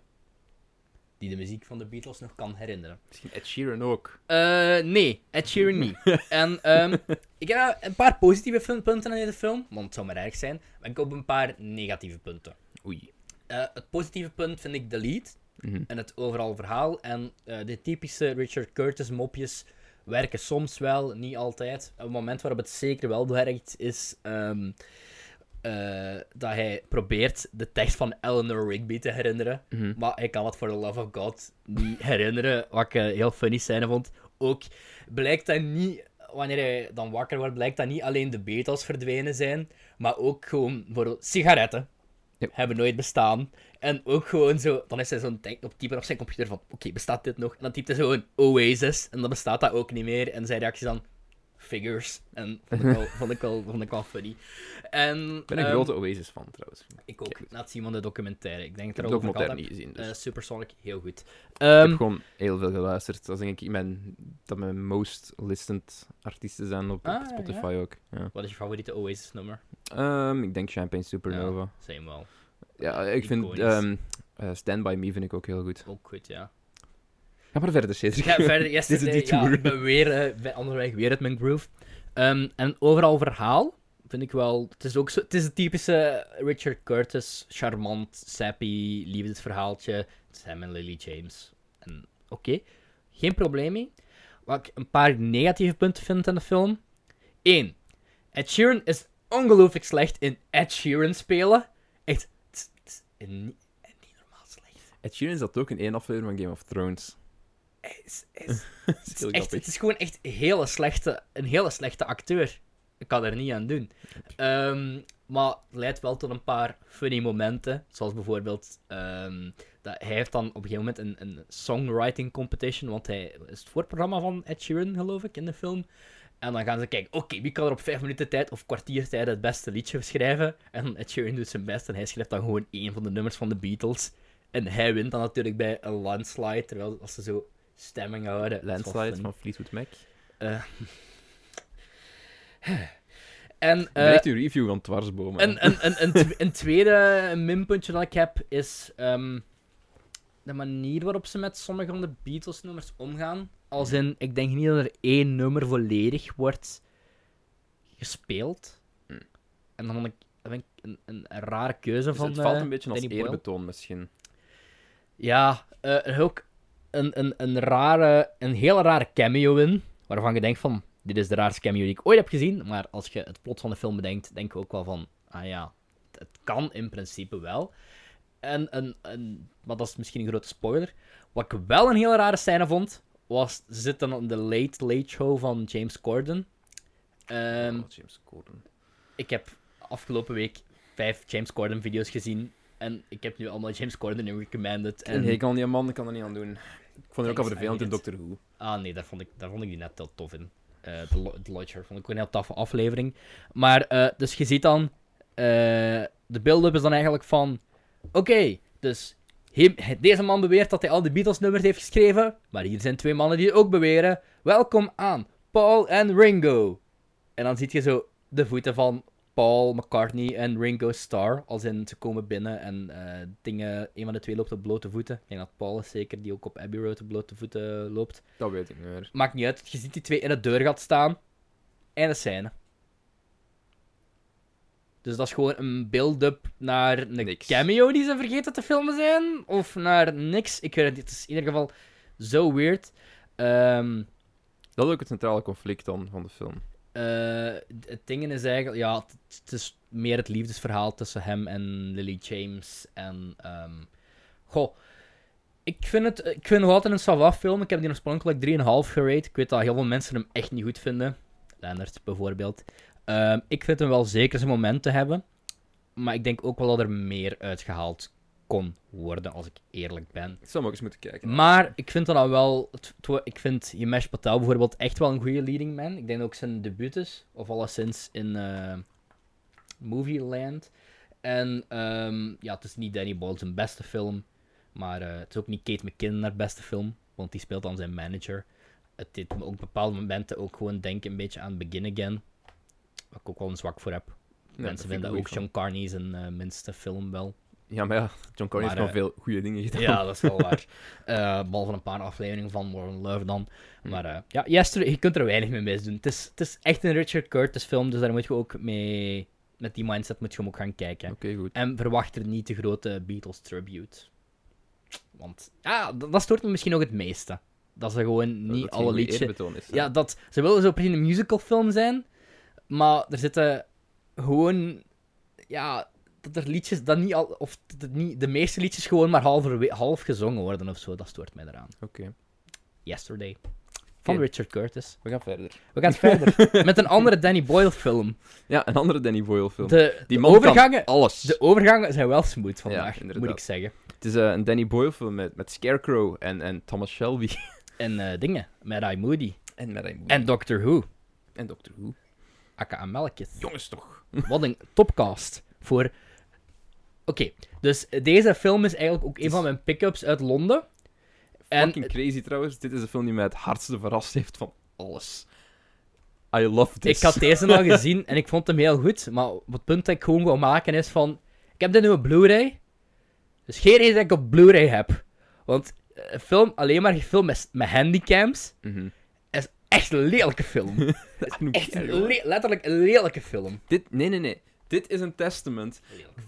A: die de muziek van de Beatles nog kan herinneren.
B: Misschien Ed Sheeran ook.
A: Eh, nee, Ed Sheeran niet. en ehm, ik heb een paar positieve fun- punten aan deze film, want het zou maar erg zijn. Maar ik heb ook een paar negatieve punten.
B: Oei.
A: Eh, het positieve punt vind ik de lead
B: Mhm.
A: en het overal verhaal. En eh, de typische Richard Curtis mopjes werken soms wel, niet altijd. Een moment waarop het zeker wel werkt is ehm, eh, dat hij probeert de tekst van Eleanor Rigby te herinneren.
B: Mhm.
A: Maar ik kan het voor de love of God niet herinneren. Wat ik eh, heel funny scène vond. Ook blijkt dat niet, wanneer hij dan wakker wordt, blijkt dat niet alleen de Beatles verdwenen zijn. Maar ook gewoon bijvoorbeeld sigaretten.
B: Ja.
A: Hebben nooit bestaan. En ook gewoon zo, dan is hij zo'n denk op typen op zijn computer van, oké, bestaat dit nog? En dan typt hij zo'n Oasis, en dan bestaat dat ook niet meer. En zijn reactie is dan, figures. En vond ik wel, vond ik wel, vond ik wel funny. En,
B: Ik ben een
A: ehm,
B: grote Oasis-fan trouwens. Ik
A: Ik ook, na het zien van de documentaire. Ik denk
B: heb
A: dat
B: de
A: ook nog
B: documentaire
A: altijd...
B: niet gezien, dus...
A: Eh,
B: ik
A: Supersonic, heel goed.
B: heb
A: Ehm,
B: gewoon heel veel geluisterd. Dat is denk ik mijn, dat mijn most listened artiesten zijn op, op
A: Ah, ja.
B: Spotify ook. Ja.
A: Wat is je favoriete Oasis nummer?
B: Ehm, ik denk Champagne Supernova.
A: Same wel.
B: Ja, ik vind
A: Iconisch.
B: ehm, eh, Stand By Me vind ik ook heel goed.
A: Ook goed, ja.
B: Ga maar verder, Cedric.
A: Dus Ik ga verder. Yesterday,
B: Dit is
A: ja,
B: detour.
A: ik ben weer, eh, bij- onderweg weer uit mijn groove. Ehm, en overal verhaal vind ik wel... Het is ook zo... Het is het typische Richard Curtis, charmant, sappy, liefdesverhaaltje. Het is hem en Lily James. En oké, geen probleem mee. Wat ik een paar negatieve punten vind aan de film. 1. Ed Sheeran is ongelooflijk slecht in Ed Sheeran spelen. Echt, het is niet, niet normaal slecht.
B: Ed Sheeran zat ook in één aflevering van Game of Thrones.
A: Hij is- hij is-
B: Dat is
A: Het
B: heel
A: is, echt,
B: grappig.
A: het is gewoon echt hele slechte, een hele slechte acteur. ik kan er niet aan doen. Ehm, maar het leidt wel tot een paar funny momenten. Zoals bijvoorbeeld, ehm, dat hij heeft dan op een gegeven moment een, een songwriting competition. Want hij is het voorprogramma van Ed Sheeran, geloof ik, in de film. En dan gaan ze kijken, oké, wie kan er op vijf minuten tijd of kwartiertijd het beste liedje schrijven? En Ed Sheeran doet zijn best en hij schrijft dan gewoon één van de nummers van de Beatles. En hij wint dan natuurlijk bij een landslide, terwijl als ze zo stemming houden. dat is wel
B: Landslide
A: funny.
B: van Fleetwood Mac.
A: En, eh,
B: Direct uw review van Dwarsbomen.
A: Een, een, een, een, tw- een tweede minpuntje dat ik heb is ehm, de manier waarop ze met sommige van de Beatles-nummers omgaan. Als in, ik denk niet dat er één nummer volledig wordt gespeeld.
B: Hmm.
A: En dan vond ik, dat vind ik een, een, een rare keuze
B: Dus
A: van.
B: het valt
A: eh,
B: een beetje als
A: Danny Boyle.
B: eerbetoon misschien.
A: Ja, eh, er is ook een, een, een, rare, een hele rare cameo in. Waarvan je denkt van, dit is de raarste cameo die ik ooit heb gezien. Maar als je het plot van de film bedenkt, denk je ook wel van, ah ja, het, het kan in principe wel. En, een een maar dat is misschien een grote spoiler. Wat ik wel een hele rare scène vond, was, ze zitten aan de Late Late Show van James Corden. Ehm,
B: Oh, James Corden.
A: ik heb afgelopen week vijf James Corden video's gezien. En ik heb nu allemaal James Corden in recommended.
B: En
A: En
B: ik kan die man, ik kan er niet aan doen. Ik vond het ook al
A: Thanks,
B: vervelend
A: I
B: in
A: need it.
B: Doctor Who.
A: Ah nee, daar vond ik, daar vond ik die net heel tof in. Eh, de, lo- de Lodger vond ik ook een heel toffe aflevering. Maar, eh, dus je ziet dan... eh, de build-up is dan eigenlijk van... Oké, dus... hem- deze man beweert dat hij al de Beatles-nummers heeft geschreven. Maar hier zijn twee mannen die het ook beweren. Welkom aan Paul en Ringo. En dan zie je zo de voeten van Paul McCartney en Ringo Starr. Als in, ze komen binnen en eh, dingen... Een van de twee loopt op blote voeten. Ik denk dat Paul is zeker, die ook op Abbey Road op blote voeten loopt.
B: Dat weet ik niet meer.
A: Maakt niet uit. Je ziet die twee in het deurgat staan. En een scène. Dus dat is gewoon een build-up naar een
B: Niks.
A: cameo die ze vergeten te filmen zijn. Of naar niks. Ik weet het niet. Het is in ieder geval zo weird. Ehm,
B: Dat is ook het centrale conflict dan van de film.
A: eh, het ding is eigenlijk... Ja, het, het is meer het liefdesverhaal tussen hem en Lily James. En... ehm, goh... Ik vind het ik vind het nog altijd een Savaf film. Ik heb die oorspronkelijk 3,5 gerate. Ik weet dat heel veel mensen hem echt niet goed vinden. Leonard bijvoorbeeld. Ehm, ik vind hem wel zeker zijn momenten hebben. Maar ik denk ook wel dat er meer uitgehaald kon worden, als ik eerlijk ben.
B: Ik zou hem ook eens moeten kijken.
A: Maar ik vind dat dan wel. het- het wo- Ik vind Yemesh Patel bijvoorbeeld echt wel een goede leading man. Ik denk ook zijn debuut is, of alleszins in eh Movie Land. En ehm, ja, het is niet Danny Boyle zijn beste film. Maar eh, het is ook niet Kate McKinnon haar beste film, want die speelt dan zijn manager. Het deed me ook bepaalde momenten ook gewoon denken een beetje aan Begin Again. Waar ik ook wel een zwak voor heb.
B: Ja, dat
A: Mensen
B: vind ik
A: vinden
B: een
A: ook
B: goeie
A: John Carney zijn eh, minste film wel.
B: film. Ja, maar eh, ja, John Corden heeft
A: Maar,
B: wel veel goede dingen gedaan.
A: Ja, dat is wel waar. Eh behalve een paar afleveringen van Modern Love dan. Maar eh, ja, Yesterday, je kunt er weinig mee misdoen. Het is, het is echt een Richard Curtis film, dus daar moet je ook mee... Met die mindset moet je hem ook gaan kijken.
B: Oké, goed.
A: En verwacht er niet de grote Beatles tribute. Want ja, d- dat stoort me misschien ook het meeste. Dat ze gewoon
B: Dat
A: niet
B: het geen
A: alle
B: goeie
A: liedjes...
B: eerbetoon Is, hè.
A: Ja, dat, ze willen zo precies een musicalfilm zijn, maar er zitten gewoon... Ja, dat er liedjes, dat niet al, of dat het niet, de meeste liedjes gewoon maar halverwe- half gezongen worden of zo, dat stoort mij eraan.
B: Oké,
A: Yesterday. Van
B: Oké.
A: Richard Curtis.
B: we gaan verder.
A: We gaan verder met een andere Danny Boyle film.
B: Ja, een andere Danny Boyle film.
A: De,
B: Die
A: de
B: man kan
A: overgangen,
B: Alles.
A: de overgangen zijn wel smooth vandaag, moet
B: inderdaad.
A: ik zeggen.
B: Het is eh, een Danny Boyle film met, met Scarecrow en, en Thomas Shelby.
A: En eh, dingen, met I. Moody.
B: en met Raymond.
A: En Doctor Who,
B: en Doctor Who.
A: aka Melkis.
B: Jongens toch.
A: Wat een topcast voor. Oké, dus deze film is eigenlijk ook een van mijn pick-ups uit Londen. En-
B: Fucking crazy trouwens. Dit is een film die mij het hardste verrast heeft van alles. I love this.
A: Ik had deze al gezien en ik vond hem heel goed. Maar het punt dat ik gewoon wil maken is van... Ik heb dit nu op Blu-ray. Dus geen reden dat ik op Blu-ray heb. Want een film, alleen maar gefilmd met, met handycams,
B: Mhm.
A: is echt een lelijke film.
B: Dat is genoeg
A: Echt een
B: erg.
A: le- letterlijk een lelijke film.
B: Dit, nee, nee, nee. Dit is een testament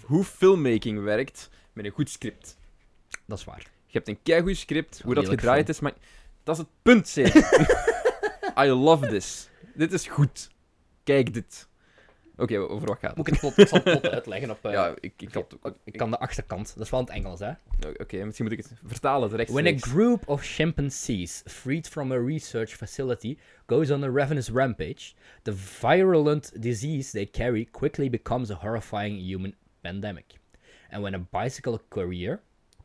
B: hoe filmmaking werkt met een goed script.
A: Dat is waar.
B: Je hebt een keigoed script, hoe dat
A: Lelijk
B: gedraaid is, maar dat is het punt, zeg. I love this. Dit is goed. Kijk dit. Oké, over wat gaat het?
A: Moet ik het plot, ik zal het plot uitleggen op... eh,
B: Ja, ik, ik
A: oké,
B: had...
A: o- ik kan de achterkant. Dat is wel in het Engels, hè.
B: Oké, misschien moet ik het vertalen direct.
A: When a group of chimpanzees, freed from a research facility, goes on a ravenous rampage, the virulent disease they carry quickly becomes a horrifying human pandemic. And when a bicycle courier,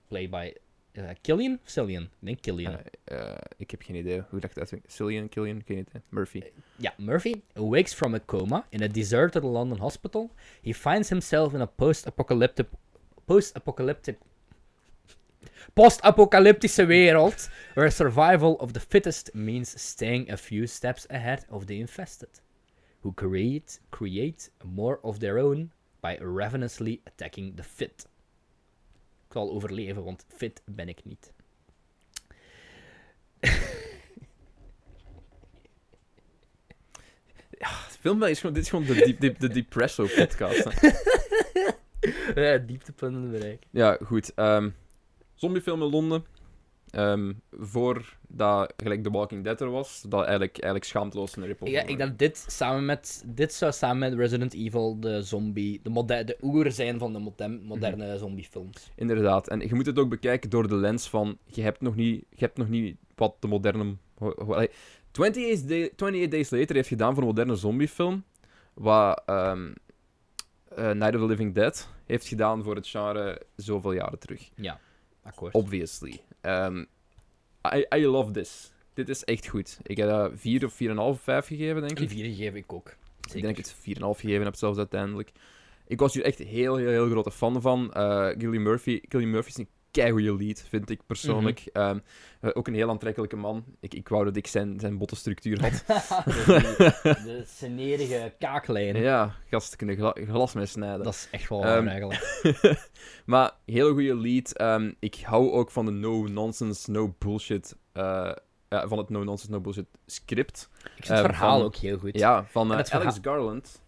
A: played by uh, Killian? Cillian? I think Killian.
B: Eh, ik heb geen idee hoe dat ik dat uitspreek. Cillian, Killian, geen idee. Murphy.
A: Yeah, Murphy awakes from a coma in a deserted London hospital. He finds himself in a post-apocalyptic, post-apocalyptic, post-apocalyptische wereld where survival of the fittest means staying a few steps ahead of the infested, who create create more of their own by ravenously attacking the fit. Ik zal overleven, want fit ben ik niet.
B: Film is gewoon, dit is gewoon de, diep, de, de Depresso podcast. hè.
A: Ja, dieptepunten bereiken.
B: ja, goed. ehm, zombiefilm in Londen. Ehm voor dat gelijk The Walking Dead er was, dat eigenlijk, eigenlijk schaamteloos een rip-off
A: Ja,
B: was.
A: ik dacht dit samen met. Dit zou samen met Resident Evil de zombie. De, moder, de oer zijn van de modem-
B: Mhm.
A: moderne zombiefilms.
B: Inderdaad. En je moet het ook bekijken door de lens van... Je hebt nog niet, je hebt nog niet wat de moderne... ho- ho- allee, 28, Day- 28 Days Later heeft gedaan voor een moderne zombiefilm. Wat ehm, eh, Night of the Living Dead heeft gedaan voor het genre zoveel jaren terug.
A: Ja, akkoord.
B: Obviously. Ehm, I, I love this. Dit is echt goed. Ik heb dat 4 of 4,5, 5 gegeven, denk
A: Een
B: ik.
A: vier geef ik ook. Zeker.
B: Ik denk dat ik het 4,5 gegeven heb, zelfs uiteindelijk. Ik was hier echt heel, heel, heel grote fan van. Eh Gilly Murphy. Gilly Murphy is een keigoede lead, vind ik persoonlijk.
A: Mhm.
B: Ehm, eh, ook een heel aantrekkelijke man. Ik, ik wou dat ik zijn, zijn botte structuur had.
A: de, de sneerige kaaklijn.
B: ja, gast, ik kunnen gla- glas mee snijden.
A: Dat is echt wel
B: Ehm,
A: waar eigenlijk.
B: maar heel goede lead. Ehm, ik hou ook van de no-nonsense, no-bullshit... eh, ja, van het no-nonsense, no-bullshit script.
A: Ik vind
B: ehm,
A: het verhaal
B: van-
A: ook heel goed.
B: Ja, van eh,
A: het verhaal-
B: Alex Garland.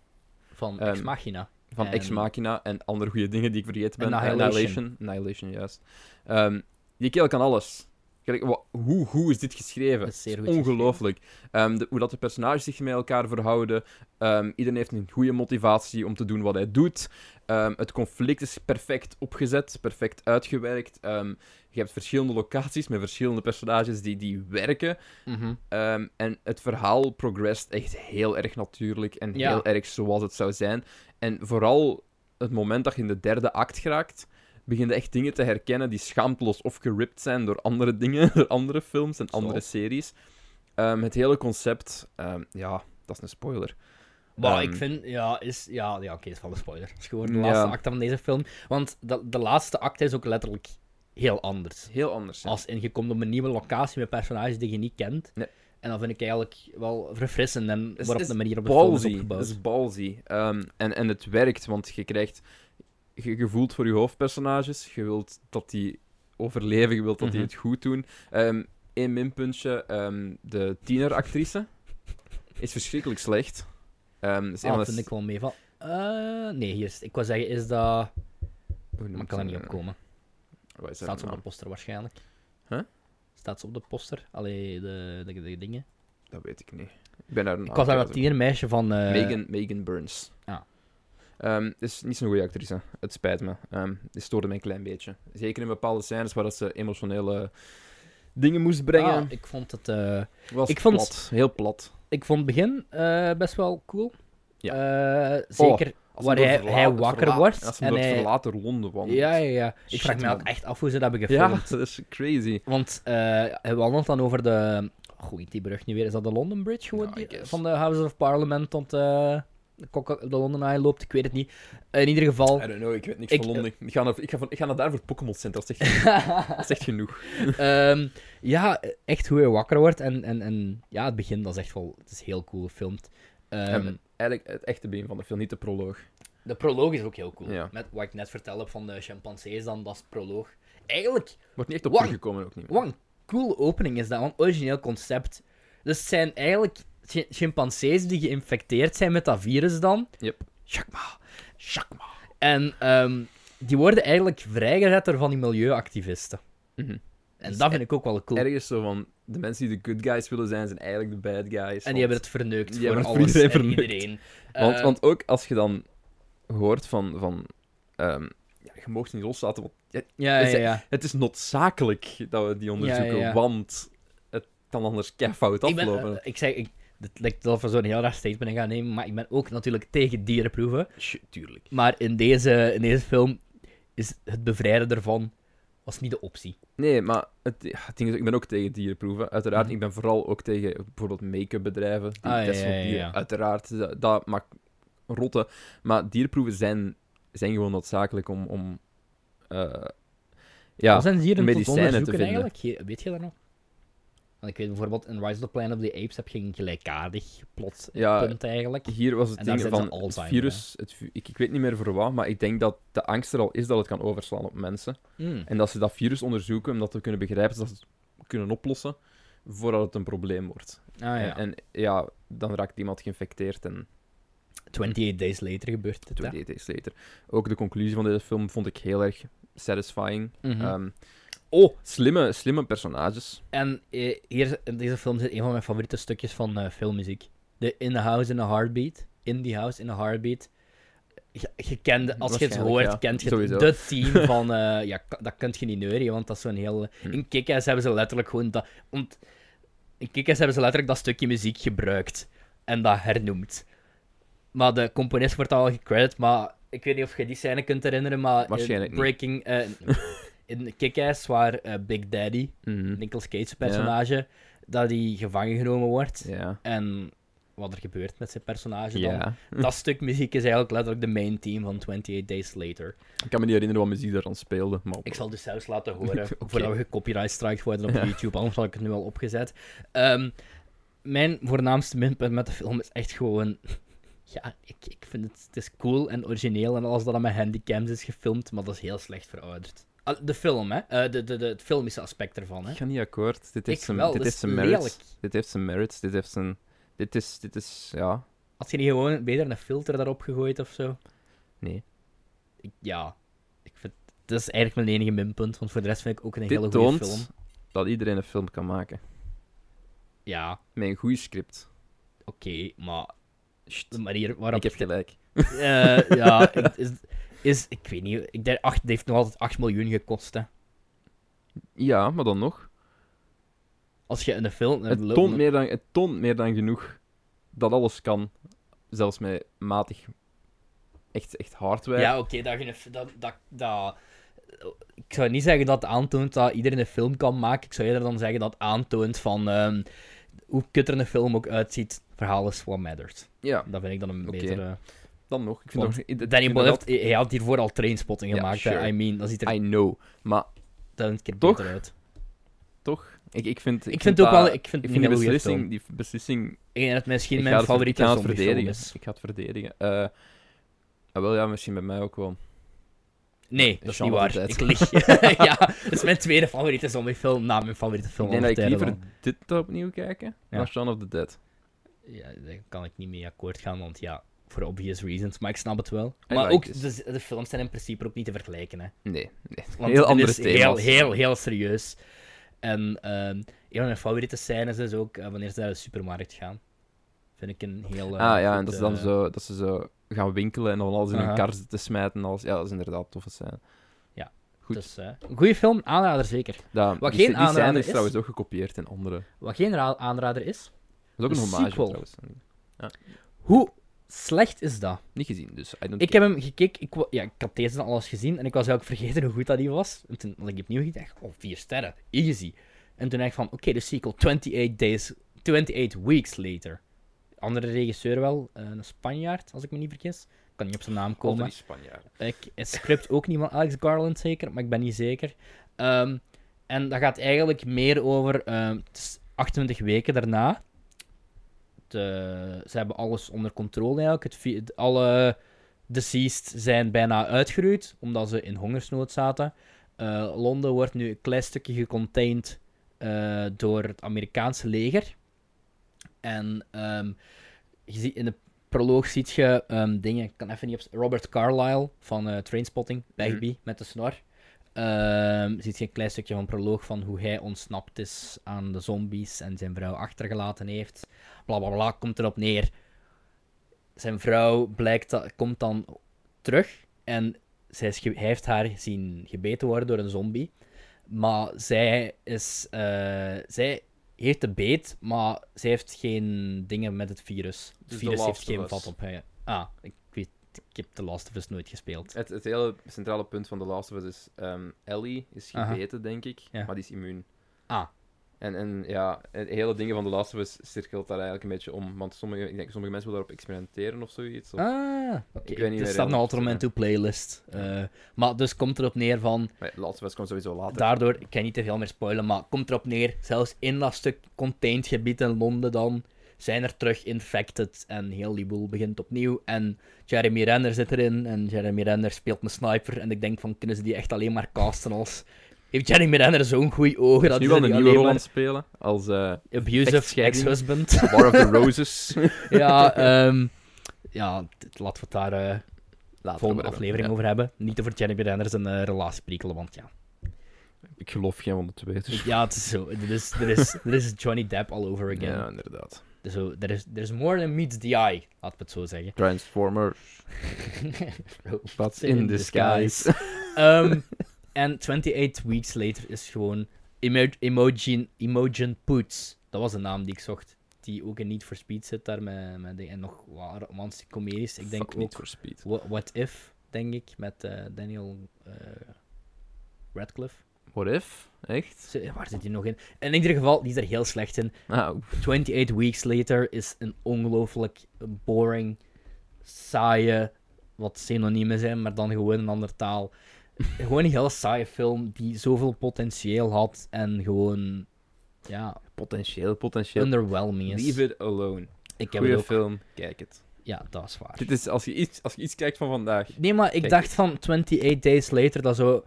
A: Van
B: ehm,
A: Ex Machina.
B: Van
A: En-
B: Ex Machina en andere goede dingen die ik vergeten ben.
A: Annihilation.
B: Annihilation, Annihilation, juist. Ehm, die kerel kan alles. Kijk, wa- hoe, hoe is dit geschreven?
A: Dat is zeer goed
B: Ongelooflijk. Ehm, de- hoe dat de personages zich met elkaar verhouden. Ehm, iedereen heeft een goede motivatie om te doen wat hij doet. Ehm, het conflict is perfect opgezet, perfect uitgewerkt. Ehm, je hebt verschillende locaties met verschillende personages die, die werken.
A: Mhm.
B: Ehm, en het verhaal progressed echt heel erg natuurlijk en
A: Ja.
B: heel erg zoals het zou zijn. En vooral het moment dat je in de derde act geraakt, begin je echt dingen te herkennen die schaamteloos of geript zijn door andere dingen, door andere films en andere series. Ehm, het hele concept, ehm, ja, dat is een spoiler.
A: Maar
B: Ehm,
A: ik vind, ja, is, ja, ja oké, het is wel een spoiler. Het is gewoon de
B: Ja.
A: laatste acte van deze film. Want de, de laatste acte is ook letterlijk heel anders.
B: Heel anders. hè.
A: Als in, je komt op een nieuwe locatie met personages die je niet kent.
B: Nee.
A: En dat vind ik eigenlijk wel verfrissend en
B: Het is-
A: waarop
B: het
A: de
B: is
A: manier op de film is
B: ballsy.
A: opgebouwd.
B: Het is ballsy. Ehm, en, en het werkt, want je krijgt... Je, je voelt voor je hoofdpersonages. Je wilt dat die overleven. Je wilt dat die
A: Mhm.
B: het goed doen. Ehm Eén minpuntje. ehm, de tieneractrice is verschrikkelijk slecht. Ehm, dat is een
A: Ah,
B: van
A: dat
B: de-
A: vind ik wel mee van. Eh, nee, hier is, ik wou zeggen, is dat.
B: hoe noemt
A: Maar ik kan er
B: ze-
A: niet op komen.
B: Wat is haar
A: Staat ze op de
B: naam?
A: poster waarschijnlijk?
B: Huh?
A: Staat ze op de poster? Allee, de, de, de dingen.
B: Dat weet ik niet. Nou, Ik ben daar
A: ik was daar dat tienermeisje van. eh,
B: Megan, Megan Burns.
A: Ah.
B: Ehm, is niet zo'n goede actrice. Het spijt me. Ehm dit stoorde mij een klein beetje. Zeker in bepaalde scènes waar dat ze emotionele dingen moest brengen.
A: Ah, ik vond het. eh,
B: was
A: ik vond-
B: plat. Heel plat.
A: ik vond het begin eh, best wel cool.
B: Ja. Oh,
A: Eh, zeker.
B: Als
A: Waar
B: hem door
A: hij-
B: verla-
A: hij wakker
B: verla-
A: wordt
B: Als hij
A: en
B: door het
A: hij-
B: verlaten ronde wandelt.
A: ja, ja, ja. Ik
B: Shit,
A: vraag me ook
B: man.
A: echt af hoe ze dat hebben
B: Ja,
A: gefilmd.
B: dat is crazy.
A: Want eh, hij wandelt dan over de. Goh, die brug nu weer. Is dat de London Bridge? Gewoon
B: Nou, I
A: die-
B: guess.
A: van de Houses of Parliament tot eh, de, Coca- de London Eye loopt. Ik weet het niet. In ieder geval.
B: I don't know, ik weet niks
A: Ik- eh,
B: van Londen. Ik ga, naar, ik, ga van, ik ga naar daar voor het Pokémon Center. Dat is, echt, dat is echt genoeg.
A: Ehm, ja, echt hoe hij wakker wordt. En, en, en ja, het begin dat is echt wel. Het is heel cool gefilmd. Ehm,
B: Ehm, Eigenlijk het echte begin van de film, niet de proloog.
A: de proloog is ook heel cool.
B: Ja.
A: Met wat ik net vertelde heb van de chimpansees, dan dat is proloog. Eigenlijk
B: Wordt niet echt op
A: Wat?
B: teruggekomen ook niet. meer.
A: Wat een cool opening is dat, wat een origineel concept. Dus het zijn eigenlijk chi- chimpansees die geïnfecteerd zijn met dat virus dan.
B: Yep.
A: Chakma. Chakma. En ehm, die worden eigenlijk vrijgezet door van die milieuactivisten.
B: Mhm.
A: En En
B: Dus
A: dat
B: e-
A: vind ik ook wel cool.
B: Ergens zo van, de mensen die de good guys willen zijn, zijn eigenlijk de bad guys.
A: En die hebben het verneukt
B: die
A: voor
B: hebben het voor
A: alles en
B: iedereen verneukt.
A: iedereen.
B: Want,
A: Eh,
B: want ook als je dan hoort van... van ehm, ja, je mag niet loslaten, want
A: ja, ja,
B: is-
A: ja.
B: het is noodzakelijk dat we die onderzoeken,
A: ja.
B: want het kan anders keifout
A: Ik, ben,
B: aflopen.
A: eh, ik zeg, ik, het lijkt alsof we zo'n heel raar statement in gaan nemen, maar ik ben ook natuurlijk tegen dierenproeven.
B: Sj, tuurlijk.
A: Maar in deze, in deze film is het bevrijden ervan was niet de optie.
B: Nee, maar het, ja, het ding is, ik ben ook tegen dierenproeven. Uiteraard,
A: Mhm.
B: ik ben vooral ook tegen bijvoorbeeld make-up bedrijven. Die
A: Ah, ja,
B: testen op
A: ja, ja,
B: dieren.
A: ja.
B: Uiteraard, dat, dat maakt rotte. Maar dierproeven zijn, zijn gewoon noodzakelijk om... om eh, ja,
A: Wat zijn dieren tot
B: medicijnen te
A: onderzoeken
B: vinden.
A: eigenlijk? Ge- weet je dat nog? Want ik weet bijvoorbeeld, in Rise of the Planet of the Apes heb je een gelijkaardig plot
B: Ja.
A: punt eigenlijk.
B: hier was het
A: En daar
B: ding
A: zijn
B: van
A: ze
B: het
A: Alzheimer,
B: virus. Het, vi- ik, ik weet niet meer voor wat, maar ik denk dat de angst er al is dat het kan overslaan op mensen.
A: Hmm.
B: En dat ze dat virus onderzoeken, omdat we kunnen begrijpen dat ze het kunnen oplossen voordat het een probleem wordt.
A: Ah ja.
B: En, en ja, dan raakt iemand geïnfecteerd en
A: 28 Days Later gebeurt het. hè?
B: 28 days later. Ook de conclusie van deze film vond ik heel erg satisfying.
A: Mhm.
B: Ehm, oh, slimme, slimme personages.
A: En eh, hier, in deze film zit een van mijn favoriete stukjes van eh, filmmuziek. De In the House in a Heartbeat. In the House in a Heartbeat. Je, je kende, als je het
B: Waarschijnlijk,
A: hoort,
B: ja.
A: kent je
B: Sowieso.
A: het, de team van... eh, ja, ka- dat kunt je niet neuren, want dat is zo'n heel...
B: Hm.
A: In Kick-Ass hebben ze letterlijk gewoon dat... Want in Kick-Ass hebben ze letterlijk dat stukje muziek gebruikt. En dat hernoemd. Maar de componist wordt al gecredit, maar... Ik weet niet of je die scène kunt herinneren, maar...
B: Waarschijnlijk
A: in
B: niet.
A: Breaking... eh, in Kick-Ass, waar eh, Big Daddy...
B: Mhm.
A: Nicolas Cage's personage, dat hij gevangen genomen wordt.
B: Ja.
A: En wat er gebeurt met zijn personage dan.
B: ja.
A: Dat stuk muziek is eigenlijk letterlijk de main theme van 28 Days Later.
B: Ik kan me niet herinneren wat muziek daar dan speelde. Maar...
A: Ik zal dus zelfs laten horen,
B: Oké.
A: voordat we gecopyright strike worden op
B: Ja.
A: YouTube, anders had ik het nu al opgezet. Ehm, mijn voornaamste minpunt met de film is echt gewoon... Ja, ik, ik vind het, het is cool en origineel en alles dat aan mijn handycams is gefilmd, maar dat is heel slecht verouderd. Ah, De film, hè? Eh, de, de, de, het filmische aspect ervan, hè?
B: Ik ga niet akkoord. Dit heeft
A: Ik
B: zijn,
A: wel,
B: dit
A: dat
B: heeft
A: is
B: zijn merits.
A: lelijk.
B: Dit heeft zijn merits. Dit heeft zijn... Dit is... Dit is... Ja.
A: Had je niet gewoon beter een filter daarop gegooid of zo?
B: Nee.
A: Ik- ja, ik vind, dat is eigenlijk mijn enige minpunt, want voor de rest vind ik ook een hele
B: Dit
A: goede
B: toont
A: film.
B: dat iedereen een film kan maken.
A: Ja,
B: Met een goed script.
A: oké, maar
B: Sst,
A: de manier waarop...
B: ik heb gelijk.
A: Eh, ja, ik- is, is... Ik weet niet, ik denk, acht, die heeft nog altijd 8 miljoen gekost, hè.
B: Ja, maar dan nog.
A: Als je in een film... een
B: Het
A: lo-
B: toont, meer dan, het toont meer dan genoeg dat alles kan. Zelfs met matig... Echt, echt hardware.
A: Ja, oké, dat, je een- dat, dat, dat... Ik zou niet zeggen dat het aantoont dat iedereen een film kan maken. Ik zou eerder dan zeggen dat het aantoont van... ehm, hoe kut er een film ook uitziet, het verhaal is what matters.
B: Ja,
A: Dat vind ik dan een
B: Oké.
A: betere...
B: dan nog. Ik vind
A: Want
B: nog ik- ik
A: Danny
B: vind
A: Boyle
B: dat-
A: heeft... Hij had hiervoor al Trainspotting
B: Ja,
A: gemaakt,
B: sure.
A: hè. I mean, dat ziet er
B: I know. Maar
A: duizend keer
B: Toch?
A: beter uit.
B: toch... Ik, ik vind...
A: Ik, vind het ook wel...
B: dat-
A: Ik vind,
B: Ik
A: het
B: vind die
A: een hele goede film.
B: beslissing, die beslissing...
A: Ik denk dat het misschien
B: ik ga
A: mijn
B: het-
A: favoriete
B: ik ga het
A: zombiefilm
B: verdedigen.
A: is.
B: Ik ga het verdedigen. Eh, ah, wel, ja, misschien bij mij ook wel.
A: Nee,
B: Een
A: dat is niet
B: genre
A: waar.
B: tijd.
A: Ik lieg. ja, het is mijn tweede favoriete zombiefilm na mijn favoriete film.
B: ik denk
A: aller
B: dat ik
A: tijden
B: liever
A: dan.
B: dit opnieuw kijken
A: Ja.
B: dan Shaun of the Dead.
A: Ja, daar kan ik niet mee akkoord gaan, want ja, voor obvious reasons. Maar ik snap het wel.
B: I
A: Maar
B: like
A: ook,
B: this.
A: de, de films zijn in principe ook niet te vergelijken, hè.
B: Nee, nee.
A: Want
B: heel
A: het
B: andere
A: is
B: thema's.
A: Heel, heel, heel serieus. En ehm, een van mijn favoriete scènes is ook eh, wanneer ze naar de supermarkt gaan. Vind ik een heel... eh,
B: ah ja, en
A: goed,
B: dat ze dan
A: eh,
B: zo, dat ze zo gaan winkelen en dan alles in hun
A: Aha.
B: kar zitten te smijten. en Alles. Ja, dat is inderdaad toffe scène. goed.
A: Dus, eh, een goede film, aanrader zeker.
B: Dat, dus
A: Wat
B: die,
A: geen
B: die scène
A: aanrader
B: is,
A: is-
B: trouwens ook gekopieerd in andere.
A: Wat geen ra- aanrader is,
B: Dat is ook
A: Een
B: een hommage
A: sequel.
B: trouwens.
A: hoe slecht is dat?
B: Niet gezien, dus I don't
A: Ik heb hem gekeken, ik, wa- ja, ik had deze dan alles gezien en ik was eigenlijk vergeten hoe goed dat die was. En toen had ik die opnieuw gekeken, dacht ik, oh, vier sterren, easy. En toen dacht ik van, oké, de sequel, 28 days, 28 weeks later. Andere regisseur wel, eh, een Spanjaard, als ik me niet vergis. Ik kan niet op zijn naam
B: care. Altijd
A: komen.
B: die Spanjaarden.
A: Ik, het script ook niet van Alex Garland zeker, maar ik ben niet zeker. Ehm, en dat gaat eigenlijk meer over ehm, het is 28 weken daarna. Het, eh, ze hebben alles onder controle eigenlijk. Het, vi- het- alle deceased zijn bijna uitgeroeid, omdat ze in hongersnood zaten. Eh, Londen wordt nu een klein stukje gecontained eh, door het Amerikaanse leger. En ehm, je ziet in de proloog ziet je ehm, dingen. Ik kan even niet op. Robert Carlyle van eh, Trainspotting, Bagby met de snor. Ehm ziet je een klein stukje van een proloog van hoe hij ontsnapt is aan de zombies en zijn vrouw achtergelaten heeft. Bla bla bla, komt erop neer. Zijn vrouw blijkt dat, komt dan terug en zij is ge- hij heeft haar zien gebeten worden door een zombie. Maar zij, is, eh, zij heeft de beet, maar zij heeft geen dingen met het virus. Het
B: Dus The
A: virus heeft
B: Last of
A: geen
B: Us.
A: vat op haar. Ah, ik, weet, ik heb The Last of Us nooit gespeeld.
B: Het, het hele centrale punt van The Last of Us is... ehm, Ellie is
A: Aha.
B: gebeten, denk ik,
A: Ja.
B: maar die is immuun.
A: Ah.
B: En, en ja, het hele ding van The Last of Us cirkelt daar eigenlijk een beetje om. Want sommige, ik denk, sommige mensen willen daarop experimenteren of zoiets. Of,
A: Ah, oké.
B: Ik weet niet
A: Er
B: meer
A: staat nog altijd
B: helemaal.
A: op mijn to-playlist. Eh, maar dus komt erop neer van...
B: Maar The Last of Us komt sowieso later.
A: Daardoor, ik kan niet te veel meer spoilen, maar komt erop neer, zelfs in dat stuk contained gebied in Londen dan, zijn er terug infected en heel die boel begint opnieuw. En Jeremy Renner zit erin en Jeremy Renner speelt een sniper en ik denk van, kunnen ze die echt alleen maar casten als... Heeft Jeremy Renner zo'n goeie ogen dat
B: nu
A: ze
B: wel
A: die
B: een nieuwe
A: alleen
B: rol aan
A: maar...
B: het spelen. Als eh
A: Abusive
B: vechtscheiding.
A: ex-husband.
B: War of the Roses.
A: ja, ehm ja, dit- laten we het daar... eh,
B: Later
A: volgende
B: over
A: aflevering
B: hebben.
A: over hebben. Niet over Jeremy Renner zijn eh, relatie prikkelen, want ja.
B: Ja. Ik geloof geen van de twee. dus-
A: Ik- Ja, het is zo. Er is, er is, er is Johnny Depp all over again.
B: Ja, inderdaad.
A: Dus zo, er is, er is more than meets the eye, laten we het zo zeggen.
B: Transformers. Oh, What's in,
A: In
B: the
A: disguise.
B: skies?
A: Ehm, En 28 Weeks Later is gewoon Emo- Imogen, Imogen Poots. Dat was de naam die ik zocht. Die ook in Need for Speed zit daar met, met dingen. En nog wat romantische comedies. Ik denk
B: Fuck Need
A: ook
B: for Speed.
A: Wha- What If, denk ik, met eh, Daniel eh, Radcliffe.
B: What if? Echt?
A: Ze- eh, Waar zit hij nog in? In ieder geval, die is er heel slecht in.
B: Nou,
A: 28 Weeks Later is een ongelooflijk boring, saaie, wat synoniemen zijn, maar dan gewoon een andere taal. gewoon een heel saaie film die zoveel potentieel had en gewoon, ja,
B: potentieel, potentieel.
A: underwhelming is.
B: Leave it alone.
A: ik heb
B: Goeie
A: het ook...
B: film, kijk het.
A: Ja, dat is waar.
B: Dit is, als, je iets, als je iets kijkt van vandaag,
A: Nee, maar ik
B: Kijk.
A: dacht van 28 Days Later, dat zo...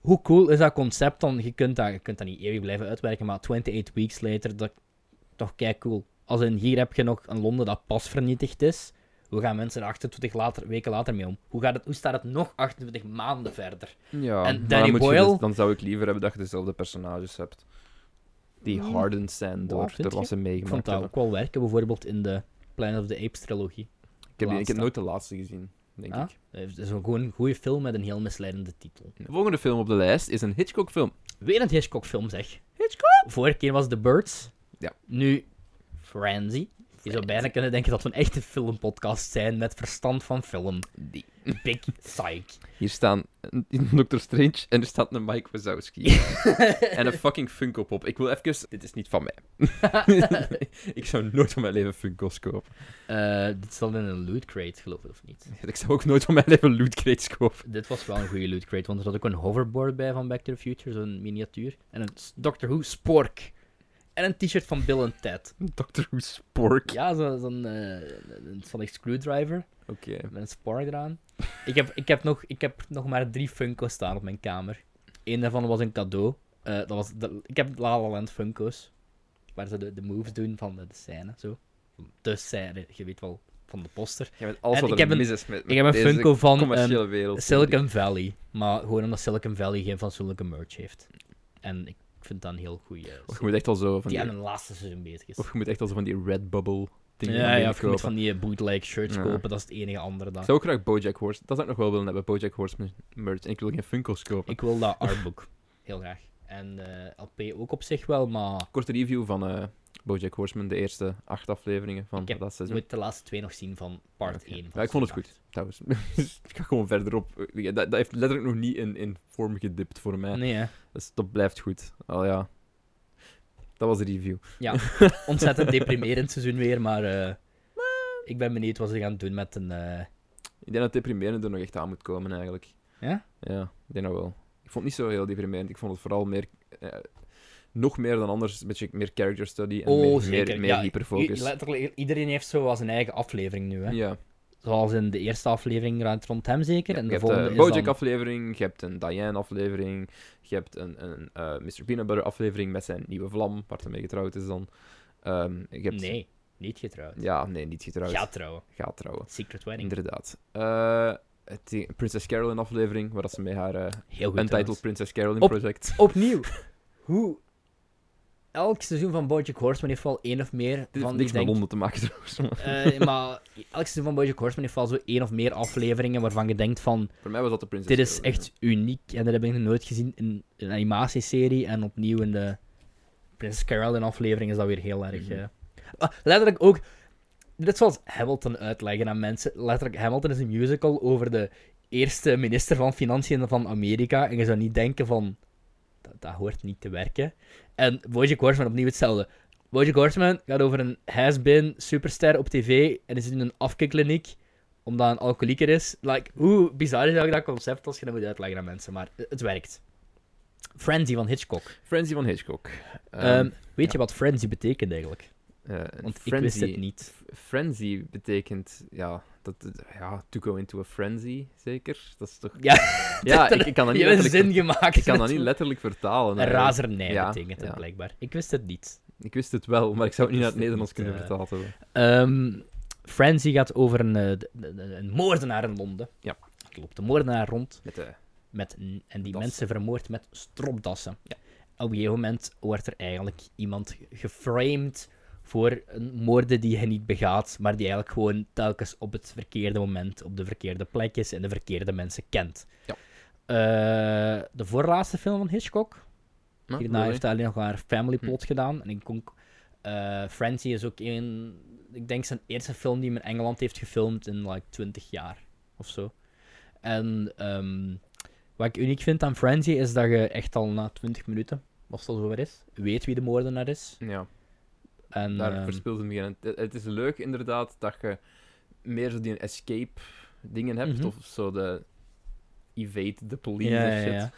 A: Hoe cool is dat concept dan? Je kunt dat, je kunt dat niet eeuwig blijven uitwerken, maar 28 Weeks Later, dat toch kijk cool. Als in, hier heb je nog een Londen dat pas vernietigd is. Hoe gaan mensen er 28 later, weken later mee om? Hoe, gaat het, hoe staat het nog 28 maanden verder?
B: Ja,
A: En Danny
B: maar dan moet je
A: Boyle?
B: dus- dan zou ik liever hebben dat je dezelfde personages hebt. Die
A: Ja.
B: hardened zijn door,
A: vind
B: door
A: je?
B: wat ze
A: Ik
B: meegemaakt
A: vond dat
B: hebben.
A: ook wel werken, bijvoorbeeld in de Planet of the Apes trilogie.
B: Ik heb, die- ik
A: laatste.
B: heb nooit de laatste gezien, denk
A: Ah,
B: ik.
A: Het is gewoon een goede film met een heel misleidende titel.
B: De volgende film op de lijst is een Hitchcock-film.
A: Weer een Hitchcock-film, zeg. Hitchcock? Vorige keer was The Birds.
B: Ja.
A: Nu Frenzy. Je zou bijna kunnen denken dat we een echte filmpodcast zijn met verstand van film.
B: Die.
A: Big Psych.
B: Hier staan een- een Dr. Strange en er staat een Mike Wazowski. en een fucking Funko Pop. Ik wil even... Dit is niet van mij. ik zou nooit van mijn leven Funko's kopen.
A: Eh, dit zat in een loot crate, geloof ik, of niet?
B: Ik zou ook nooit van mijn leven loot crates kopen.
A: Dit was wel een goede loot crate, want er zat ook een hoverboard bij van Back to the Future, zo'n miniatuur. En een s- Doctor Who spork. En een t-shirt van Bill en Ted.
B: Dr. Who Spork.
A: Ja, zo- zo'n eh, een sonic screwdriver.
B: Oké.
A: Met een spark eraan. Ik heb, ik, heb nog, ik heb nog maar drie Funko's staan op mijn kamer. Eén daarvan was een cadeau. Eh, dat was de- ik heb La La Land Funko's. Waar ze de, de moves doen van de, de scène. Zo. De scène, je weet wel, van de poster.
B: Jij bent alles
A: En
B: wat
A: ik
B: er
A: heb een-
B: mis is met,
A: Ik heb een
B: deze
A: Funko van ehm,
B: commerciële wereld.
A: Silicon Valley. Maar gewoon omdat Silicon Valley geen fatsoenlijke merch heeft. En ik vind dat een heel goeie. eh,
B: Of Oh, je moet echt al zo van
A: die
B: die,
A: aan een laatste seizoen bezig is.
B: of je moet echt al zo van die Redbubble dingen
A: ja, ja, of je moet
B: kopen.
A: van die eh, bootleg shirts
B: Ja.
A: kopen. Dat is het enige andere dan.
B: Ik zou ook graag Bojack Horseman... Dat zou ik nog wel willen hebben, Bojack Horseman merch. En ik wil geen Funko's kopen.
A: Ik wil dat artbook. Heel graag. En eh, LP ook op zich wel, maar
B: Korte review van eh, Bojack Horseman, de eerste acht afleveringen van
A: Ik heb
B: dat
A: ik
B: seizoen.
A: moet de laatste twee nog zien van part
B: Oké.
A: 1.
B: Ja, ik vond het goed, trouwens. Dus ik ga gewoon verder op. Ja, dat, dat heeft letterlijk nog niet in, in vorm gedipt voor mij.
A: Nee, hè.
B: Dus dat blijft goed. Al ja. Dat was de review.
A: ontzettend deprimerend seizoen weer, maar eh, ik ben benieuwd wat ze gaan doen met een... eh,
B: Ik denk dat deprimerende er nog echt aan moet komen, eigenlijk.
A: Ja?
B: Ja, ik denk dat wel. Ik vond het niet zo heel deprimerend. Ik vond het vooral meer... eh, nog meer dan anders, een beetje meer character study en meer, meer, meer
A: Oh, Ja, i-
B: hyperfocus.
A: letterlijk, iedereen heeft zo wel zijn eigen aflevering nu, hè.
B: Ja.
A: Zoals in de eerste aflevering rond, rond hem zeker, en
B: je
A: de
B: hebt eh,
A: volgende
B: een
A: is dan-
B: Bojack-aflevering, je hebt een Diane-aflevering, je hebt een, een eh, Mr. Peanut Butter-aflevering met zijn nieuwe vlam, waar hij mee getrouwd is dan. Ehm, je hebt...
A: Nee, niet getrouwd.
B: Ja, nee, niet getrouwd.
A: Gaat trouwen.
B: Gaat trouwen.
A: Secret Wedding.
B: Inderdaad. Eh, het die Princess Carolyn aflevering, waar dat ze met haar eh,
A: Heel goed.
B: Untitled
A: trouwens.
B: Princess Carolyn
A: Op-
B: project.
A: Opnieuw. Hoe... Elk seizoen van BoJack Horseman heeft wel één of meer
B: Dit heeft
A: van die
B: niks met
A: denk...
B: Londen te maken trouwens. maar
A: Eh, maar elk seizoen van BoJack Horseman heeft wel zo één of meer afleveringen waarvan je denkt van...
B: Voor mij was dat de Princess
A: Dit is
B: Carolyn,
A: echt uniek en dat heb ik nog nooit gezien in een animatieserie. En opnieuw in de Princess Carolyn aflevering is dat weer heel erg.
B: Mhm.
A: eh. Ah, letterlijk ook. Dit is zoals Hamilton uitleggen aan mensen. Letterlijk, Hamilton is een musical over de eerste minister van Financiën van Amerika. En je zou niet denken van. Dat, dat hoort niet te werken. En Bojack Horseman opnieuw hetzelfde. Bojack Horseman gaat over een has-been superster op tv en is in een afkikkliniek omdat een alcoholieker is. Like, hoe bizar is eigenlijk dat concept als je dat moet uitleggen aan mensen, maar het werkt. Frenzy van Hitchcock.
B: ja. Frenzy van Hitchcock.
A: Ehm,
B: Ehm,
A: weet
B: ja.
A: je wat frenzy betekent eigenlijk?
B: eh, een
A: Want ik wist
B: frenzy-
A: het niet.
B: F- Frenzy betekent, ja, dat, dat- ja, to go into a frenzy, zeker. Dat is toch...
A: Ja,
B: ja ik, ik kan dat niet
A: Je hebt een zin
B: letterlijk,
A: gemaakt.
B: ik kan dat niet letterlijk vertalen.
A: Een
B: eh.
A: razernij
B: Ja,
A: betekent het
B: ja.
A: blijkbaar. Ik wist het niet.
B: Ik wist het wel, maar ik zou het niet naar het
A: Ik wist
B: Nederlands
A: het niet, eh,
B: kunnen vertaald hebben.
A: Ehm, frenzy gaat over een, eh, de- de- de- een moordenaar in Londen.
B: Ja.
A: Er loopt een moordenaar rond
B: Met eh, de...
A: met, n- en die
B: Das.
A: mensen vermoord met stropdassen.
B: Ja.
A: Op een gegeven moment wordt er eigenlijk iemand ge- geframed voor een moorden die hij niet begaat, maar die eigenlijk gewoon telkens op het verkeerde moment, op de verkeerde plek is en de verkeerde mensen kent.
B: Ja.
A: Eh, de voorlaatste film van Hitchcock.
B: Huh?
A: Hierna
B: Really?
A: heeft hij alleen nog haar Family
B: Hm.
A: Plot gedaan. En ik kon, eh Frenzy is ook een, ik denk zijn eerste film die hem in Engeland heeft gefilmd in like 20 jaar of zo. En ehm, wat ik uniek vind aan Frenzy is dat je echt al na 20 minuten, als het al zover is, weet wie de moordenaar is.
B: Ja,
A: En,
B: daar
A: ehm,
B: verspilt het begin. Het, het is leuk inderdaad dat je meer zo die escape dingen hebt,
A: Mhm.
B: of zo de evade the police
A: ja,
B: of
A: ja,
B: shit.
A: ja.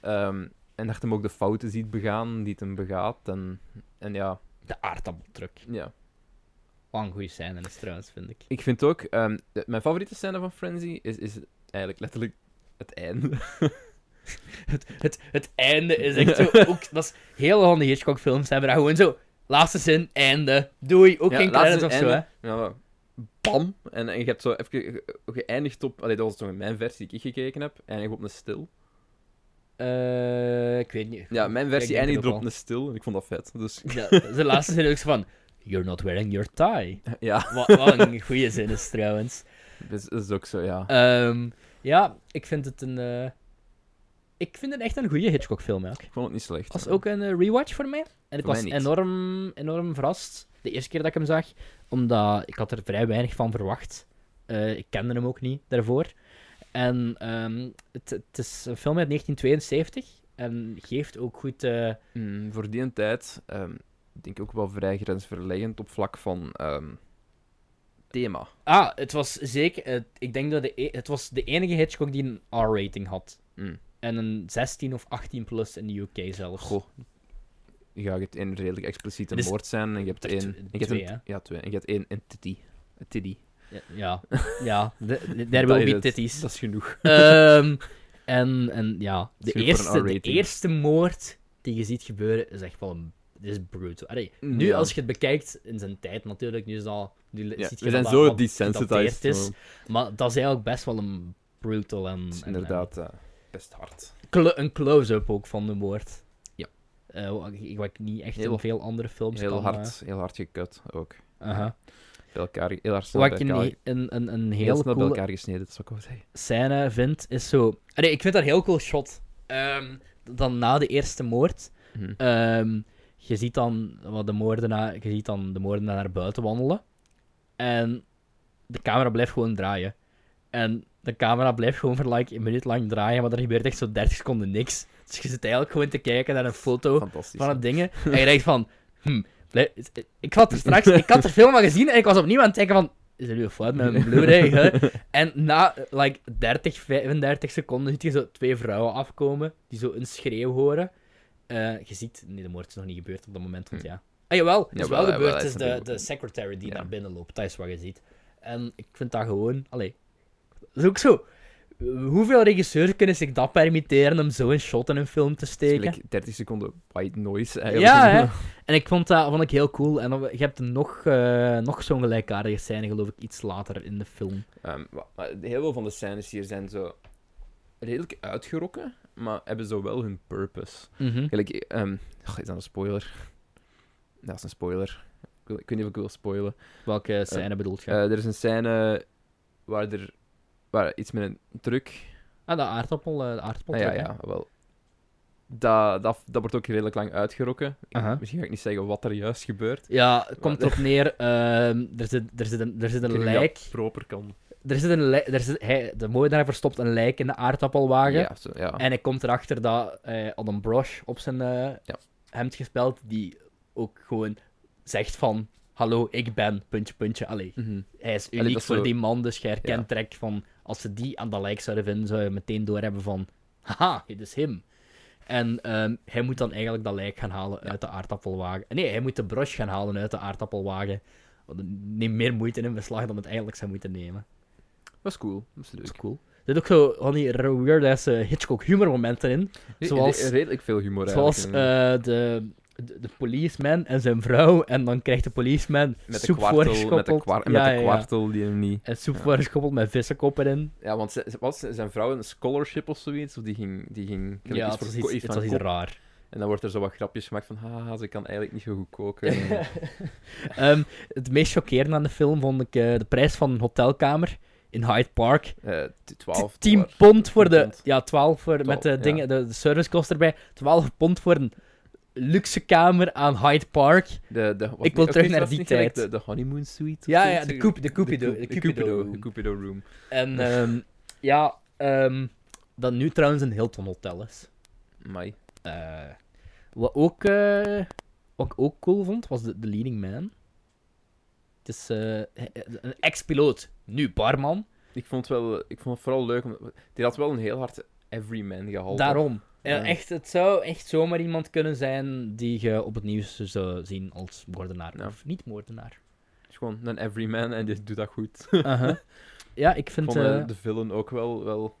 B: Ehm, en dat je hem ook de fouten ziet begaan die het hem begaat. En, en ja,
A: De aardappeltruc.
B: ja,
A: Wat een goede scène is trouwens, vind ik.
B: ik vind ook... ehm, de- mijn favoriete scène van Frenzy is, is eigenlijk letterlijk het einde.
A: Het, het einde is echt zo... Ook, dat is heel van de Hitchcock-films hebben daar gewoon zo... Laatste zin, einde. Doei. Ook
B: Ja,
A: geen
B: laatste
A: credits of zo,
B: einde.
A: hè.
B: Ja, maar bam! En, en je hebt zo even ge- geëindigd op... Allee, dat was toch in mijn versie die ik gekeken heb. Eindig op een stil.
A: Eh, ik weet niet.
B: Ja, mijn versie
A: denk het
B: eindigt
A: ook
B: op
A: wel.
B: een stil. En ik vond dat vet. Dus
A: Ja, de laatste zin ook zo van... You're not wearing your tie.
B: ja,
A: Wat, wat een goede zin is trouwens.
B: dat is, dat is ook zo, ja.
A: Ehm, ja, ik vind het een... eh, ik vind het echt een goede Hitchcock-film, ja.
B: Ik vond het niet slecht.
A: was ook een eh, rewatch voor mij. En ik
B: Voor
A: was
B: mij niet.
A: enorm, enorm verrast. De eerste keer dat ik hem zag. Omdat ik had er vrij weinig van verwacht. Eh ik kende hem ook niet daarvoor. En ehm, het, het is een film uit 1972. En geeft ook goed... eh,
B: Mm, voor die tijd ehm, denk ik ook wel vrij grensverleggend op vlak van ehm, thema.
A: Ah, het was zeker... eh, ik denk dat de e- het was de enige Hitchcock die een R-rating had.
B: Mm.
A: En een 16 of 18 plus in de UK zelfs.
B: Goh. Ja, je hebt één redelijk expliciete
A: Er is-
B: moord zijn en je hebt
A: Dus er
B: één...
A: tw-
B: en je hebt
A: twee,
B: een-
A: hè?
B: Ja, twee. En je hebt één entity. Een tiddy.
A: Ja, ja. ja de- there
B: Dat
A: will
B: is
A: be
B: het.
A: titties.
B: Dat is genoeg.
A: Ehm, en, en ja, de
B: Super
A: eerste, de
B: R-rating.
A: eerste moord die je ziet gebeuren is echt wel een, is brutal. Allee, nu,
B: Ja.
A: als je het bekijkt, in zijn tijd natuurlijk, nu is dat... Nu
B: Ja,
A: ziet je
B: we
A: dat
B: zijn
A: dat
B: zo
A: wat
B: desensitized.
A: gedateerd is.
B: maar
A: Maar dat is eigenlijk best wel een brutal en...
B: Het is
A: en- en
B: inderdaad eh, best hard.
A: clo- een close-up ook van de moord.
B: Ja.
A: Eh, wat, ik- wat ik niet echt
B: Heel-
A: in veel andere films
B: Heel
A: kan...
B: hard, eh, heel hard gekut ook.
A: eh, aha.
B: Bij elkaar, heel hard snel
A: Wat
B: bij
A: ik
B: elkaar,
A: een, een, een, een
B: heel
A: hele
B: snel bij
A: coole
B: elkaar gesneden, dat is wat ik wou zeggen.
A: scène vind, is zo... Allee, ik vind dat een heel cool shot. Ehm, dan na de eerste moord...
B: Mhm.
A: Ehm, je ziet dan wat de moordenaar, je ziet dan de moordenaar naar buiten wandelen. En de camera blijft gewoon draaien. En de camera blijft gewoon voor like een minuut lang draaien, maar er gebeurt echt zo 30 seconden niks. Dus je zit eigenlijk gewoon te kijken naar een foto
B: Fantastisch.
A: Oh, van het ding. En je denkt van, hm, blij- ik had er straks, ik had er veel van gezien en ik was opnieuw aan het denken van, is er nu een fout met mijn Blu-ray? hè? En na eh, like 30, 35 seconden ziet je zo twee vrouwen afkomen die zo een schreeuw horen. Eh, je ziet, nee, de moord is nog niet gebeurd op dat moment, want
B: Hm.
A: ja. Ah, jawel, het is
B: Jawel,
A: wel
B: jawel,
A: gebeurd.
B: hij
A: Het
B: is
A: is de,
B: natuurlijk-
A: de secretary die
B: Ja.
A: naar binnen loopt, dat is wat je ziet. En ik vind dat gewoon, allee, dat is ook zo. Hoeveel regisseurs kunnen zich dat permitteren om zo'n shot in een film te
B: Het is
A: steken?
B: gelijk 30 seconden white noise eigenlijk.
A: Ja, hè? En ik vond dat vond ik heel cool. En dan, je hebt nog, eh, nog zo'n gelijkaardige scène, geloof ik, iets later in de film.
B: Ehm, wa- maar heel veel van de scènes hier zijn zo redelijk uitgerokken, maar hebben zo wel hun purpose.
A: Mhm.
B: Gelijk, ehm, goh, is dat een spoiler? Dat is een spoiler. Ik, wil- ik weet niet of ik wil spoilen.
A: Welke scène bedoelt je?
B: Eh, er is een scène waar er waar iets met een truck
A: ah, de aardappel. eh, de aardappel
B: Ah, ja, ja, wel. Dat, dat, dat wordt ook redelijk lang uitgerokken. Ik-
A: Aha.
B: Misschien ga ik niet zeggen wat er juist gebeurt.
A: Ja, het komt erop neer. ehm, er, zit, er, zit een, er zit
B: Ik
A: een
B: weet niet of
A: lijk.
B: dat proper kan.
A: Er zit een lijk. Er zit, hij, de moordenaar verstopt een lijk in de aardappelwagen.
B: Ja, zo, ja.
A: En hij komt erachter dat eh Adam Brosh op zijn eh,
B: Ja.
A: hemd gespeld, die ook gewoon zegt van... Hallo, ik ben... Puntje, puntje. Allee,
B: Mhm.
A: hij is
B: dat
A: uniek
B: is
A: voor
B: zo-
A: die man, dus je herkent direct van... Als ze die aan dat lijk zouden vinden, zou je meteen doorhebben van... Haha, dit is hem. En ehm, hij moet dan eigenlijk dat lijk gaan halen uit de aardappelwagen. Nee, hij moet de brosh gaan halen uit de aardappelwagen. Want het neemt meer moeite in beslag dan het eigenlijk zou moeten nemen.
B: Dat is cool. Dat is leuk.
A: Dat is cool. Er zit ook zo van die weird-ass eh, Hitchcock humormomenten in.
B: Re-
A: Zoals-
B: re- redelijk veel humor
A: Zoals
B: eigenlijk. in-
A: eh, de, de, de policeman en zijn vrouw. En dan krijgt de policeman
B: met de
A: soep
B: kwartel, met de,
A: voorgeschoppeld.
B: kwar-
A: Ja,
B: met
A: ja,
B: de
A: ja.
B: kwartel die hem niet...
A: En soep
B: Ja.
A: voorgeschoppeld met vissenkoppen in.
B: Ja, want ze- ze- was zijn vrouw een scholarship of zoiets? Of die ging... Die ging gelijk
A: ja,
B: iets
A: het
B: voor
A: was
B: ko-
A: iets,
B: iets
A: het
B: van
A: was iets
B: kop.
A: raar.
B: En dan wordt er zo wat grapjes gemaakt van... Haha, ze kan eigenlijk niet zo goed koken.
A: Ehm, het meest chockerende aan de film vond ik eh, de prijs van een hotelkamer in Hyde Park.
B: Eh, t- 12
A: 10
B: dollar.
A: pond voor de...
B: 10 pond.
A: Ja, 12 voor, met
B: Twaalf,
A: de,
B: ja.
A: dingen, de, de servicekost erbij. 12 pond voor een luxe kamer aan Hyde Park.
B: De, de, was
A: Ik wil
B: ook
A: terug
B: iets
A: naar
B: was
A: die
B: niet gelijk
A: tijd.
B: De, de honeymoon suite? of
A: Ja, ja,
B: zoiets?
A: de coup- de Cupido-
B: coup-
A: de
B: de
A: Cupido
B: Cupido,
A: room.
B: de Cupido room.
A: En ehm, ja, ehm, dat nu trouwens een Hilton hotel is.
B: Amai.
A: Eh, wat, ook, eh, wat ik ook cool vond, was de, de leading man. Het is eh, een ex-piloot, nu barman.
B: Ik vond het wel, ik vond het vooral leuk. Omdat, die had wel een heel hard everyman gehaald.
A: Daarom. Eh,
B: Ja.
A: echt, het zou echt zomaar iemand kunnen zijn die je op het nieuws zou zien als moordenaar.
B: Ja.
A: Of niet-moordenaar.
B: Het is gewoon een everyman en die doet dat goed.
A: Uh-huh. Ja, ik
B: Ik
A: vind...
B: vond eh,
A: eh,
B: de villain ook wel, wel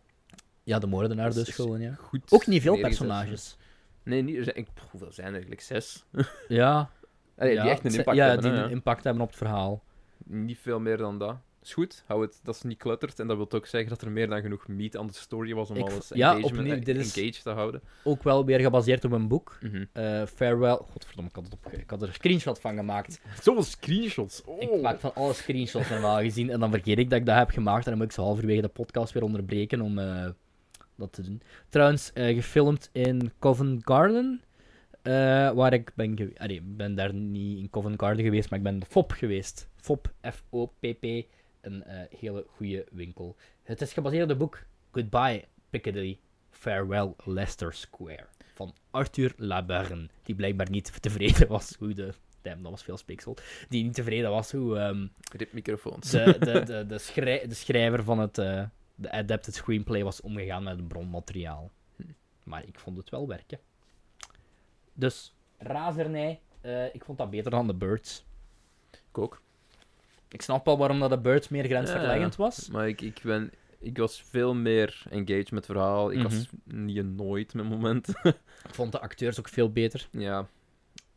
A: Ja, de moordenaar
B: dat is
A: dus
B: echt
A: gewoon, ja.
B: goed.
A: Ook niet veel
B: neergezet.
A: personages.
B: Nee, niet, er zijn, ik, pff, hoeveel zijn er eigenlijk? Zes?
A: Ja,
B: Allee,
A: ja,
B: die echt een
A: het-
B: impact
A: ja,
B: hebben.
A: die
B: hè,
A: een
B: ja.
A: impact hebben op het verhaal.
B: Niet veel meer dan dat. Is goed, hou het, dat is niet clutterd. En dat wil ook zeggen dat er meer dan genoeg meat aan de story was om
A: Ik
B: alles
A: vo- ja,
B: engagement,
A: opnieuw,
B: eh,
A: dit is-
B: engaged te houden.
A: Ook wel weer gebaseerd op een boek.
B: Mhm.
A: Eh, Farewell. Godverdomme, ik had, het op... ik had er een screenshot van gemaakt.
B: Zoveel screenshots. Oh.
A: Ik maak van alle screenshots normaal gezien en dan vergeet ik dat ik dat heb gemaakt en dan moet ik ze halverwege de podcast weer onderbreken om eh, dat te doen. Trouwens, eh, gefilmd in Covent Garden, eh, waar ik ben geweest. ben daar niet in Covent Garden geweest, maar ik ben de FOP geweest. FOP, F-O-P-P, een eh, hele goede winkel. Het is gebaseerd op het boek Goodbye Piccadilly, Farewell Leicester Square van Arthur Labern, die blijkbaar niet tevreden was hoe de... Damn, dat was veel speeksel die niet tevreden was hoe ehm,
B: Rip microfoons.
A: de, de, de, de, schrij- de schrijver van het eh, de adapted screenplay was omgegaan met het bronmateriaal. Hm. Maar ik vond het wel werken. Dus, razernij. eh, ik vond dat beter dan de Birds.
B: Ik ook.
A: Ik snap wel waarom dat de Birds meer grensverleggend was.
B: Maar ik, ik, ben, ik was veel meer engaged met het verhaal. Ik was
A: Mhm.
B: niet nooit met momenten.
A: Ik vond de acteurs ook veel beter.
B: ja.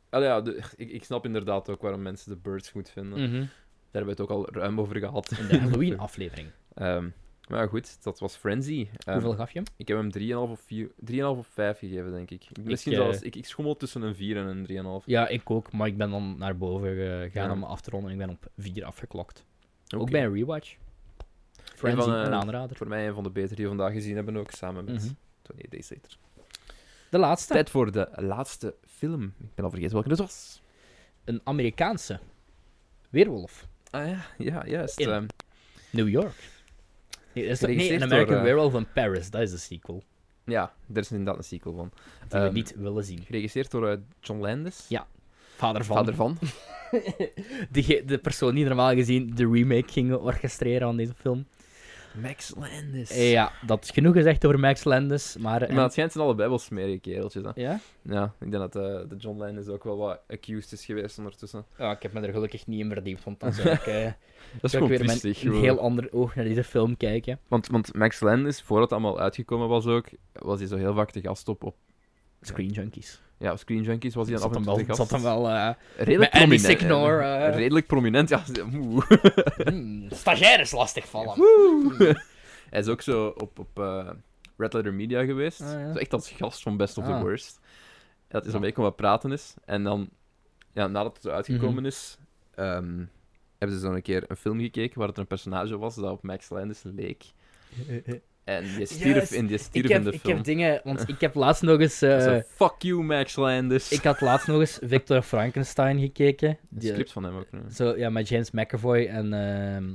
B: Allee, ja, de- ik, ik snap inderdaad ook waarom mensen de Birds goed vinden. Daar hebben we het ook al ruim over gehad.
A: Mm. In Mhm. de Halloween-aflevering.
B: Ehm, maar ja, goed, dat was Frenzy. Ehm,
A: Hoeveel gaf je hem?
B: Ik heb hem 3,5 of, vier- 3,5 of 5 gegeven, denk ik. Misschien
A: eh,
B: zelfs. Ik, ik schommel tussen een 4 en een 3,5.
A: Ja, ik ook, maar ik ben dan naar boven gegaan
B: Ja.
A: om me af te ronden en ik ben op 4 afgeklokt. Ook
B: Oké.
A: bij een rewatch. Frenzy,
B: van, eh,
A: een aanrader.
B: Voor mij een van de betere die we vandaag gezien hebben, ook samen met
A: Mhm.
B: 28 Days Later.
A: De laatste.
B: Tijd voor de laatste film. Ik ben al vergeten welke het was.
A: een Amerikaanse weerwolf.
B: Ah ja, ja juist.
A: In.
B: ehm,
A: New York. Nee, dat is nee
B: Geregisseerd
A: een American
B: door, eh,
A: Werewolf in Paris, dat is de sequel.
B: ja, er is inderdaad een sequel van.
A: Die we
B: Ehm,
A: niet willen zien.
B: Geregisseerd door eh, John Landis.
A: Ja, Vader van.
B: Vader van.
A: De, de persoon die normaal gezien de remake ging orchestreren van deze film.
B: Max Landis.
A: Ja, dat is genoeg gezegd over Max Landis, maar... eh,
B: Maar het schijnt zijn allebei wel smerige kereltjes. Hè.
A: Ja?
B: Ja, ik denk dat eh, de John Landis ook wel wat accused is geweest ondertussen.
A: Ja, Ah, ik heb me er gelukkig niet in verdiept, want dan zou ik, eh,
B: Dat
A: zou
B: is gewoon
A: ik weer met
B: triestig,
A: een
B: gewoon.
A: heel ander oog naar deze film kijken.
B: Want, want Max Landis, voordat het allemaal uitgekomen was ook, was hij zo heel vaak te gast op... op
A: Screen Junkies.
B: ja, op Screen Junkies was hij
A: Dat
B: dan af
A: zat hem
B: en toe te
A: wel...
B: gast.
A: Zat hem wel eh,
B: Redelijk
A: Met Andy
B: prominent.
A: Signor,
B: eh,
A: eh.
B: Redelijk prominent, ja. ze- oeh.
A: hmm, stagiaires lastig vallen.
B: Hij is ook zo op, op eh, Red Letter Media geweest.
A: Ah, ja.
B: Zo echt als gast van Best of
A: Ah.
B: the Worst. Dat is
A: Ja.
B: een week om wat praten is. En dan, ja, nadat het zo uitgekomen
A: Mhm.
B: is, ehm, hebben ze zo een keer een film gekeken waar het een personage was dat op Max Landis leek.
A: Eh,
B: En die stierf
A: Juist.
B: in, die
A: ik,
B: stierf in
A: heb,
B: de
A: ik
B: film.
A: heb dingen... Want ik heb laatst nog eens... eh,
B: Zo, fuck you, Max Landis.
A: ik had laatst nog eens Victor Frankenstein gekeken.
B: Het
A: Die-
B: script van hem ook. nu.
A: zo, ja, met James McAvoy en ehm,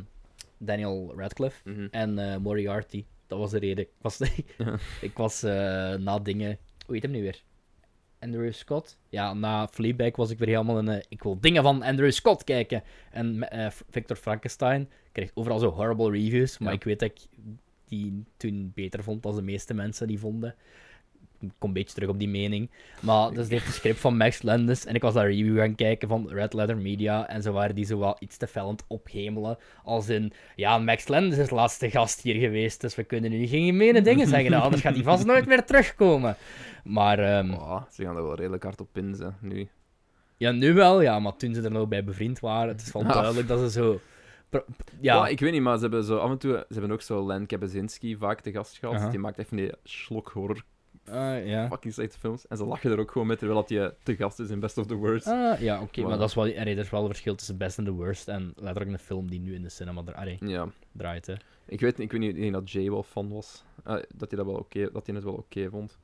A: Daniel Radcliffe.
B: Mhm.
A: En eh, Moriarty. Dat was de reden. Ik was,
B: Ja.
A: ik was eh, na dingen... Hoe heet hem nu weer? Andrew Scott? Ja, na Fleabag was ik weer helemaal in... eh, ik wil dingen van Andrew Scott kijken. En me- eh, F- Victor Frankenstein kreeg overal zo horrible reviews. Maar
B: Ja.
A: ik weet dat ik die toen beter vond dan de meeste mensen die vonden. Ik kom een beetje terug op die mening. Maar dus dit is het script van Max Landis. En ik was daar een review gaan kijken van Red Letter Media. En ze waren die zo wel iets te fel aan het ophemelen. Als in, ja, Max Landis is laatste gast hier geweest. Dus we kunnen nu geen gemene dingen zeggen. Nou, Anders gaat hij vast nooit meer terugkomen. Maar ehm,
B: Oh, ze gaan er wel redelijk hard op pinzen nu.
A: ja, nu wel. Ja, maar toen ze er nog bij bevriend waren. Het is wel
B: Ja.
A: duidelijk dat ze zo... pro-
B: Nou. Ja.
A: Ja,
B: ik weet niet, maar ze hebben zo af en toe... Ze hebben ook zo Len Kabazinski vaak te gast gehad.
A: Aha.
B: Die maakt echt van die slok horror
A: eh, ja.
B: fucking slechte films. En ze lachen er ook gewoon mee, terwijl dat je te gast is in Best of the Worst.
A: Ah, ja, oké, maar
B: Voilà.
A: dat is wel, allee, er is wel een verschil tussen best en the worst. En letterlijk een film die nu in de cinema dra- allee,
B: Ja.
A: draait. Hè.
B: Ik weet, ik weet niet ik denk dat Jay wel fan was. Eh, dat, hij dat, wel oké dat hij het wel oké vond.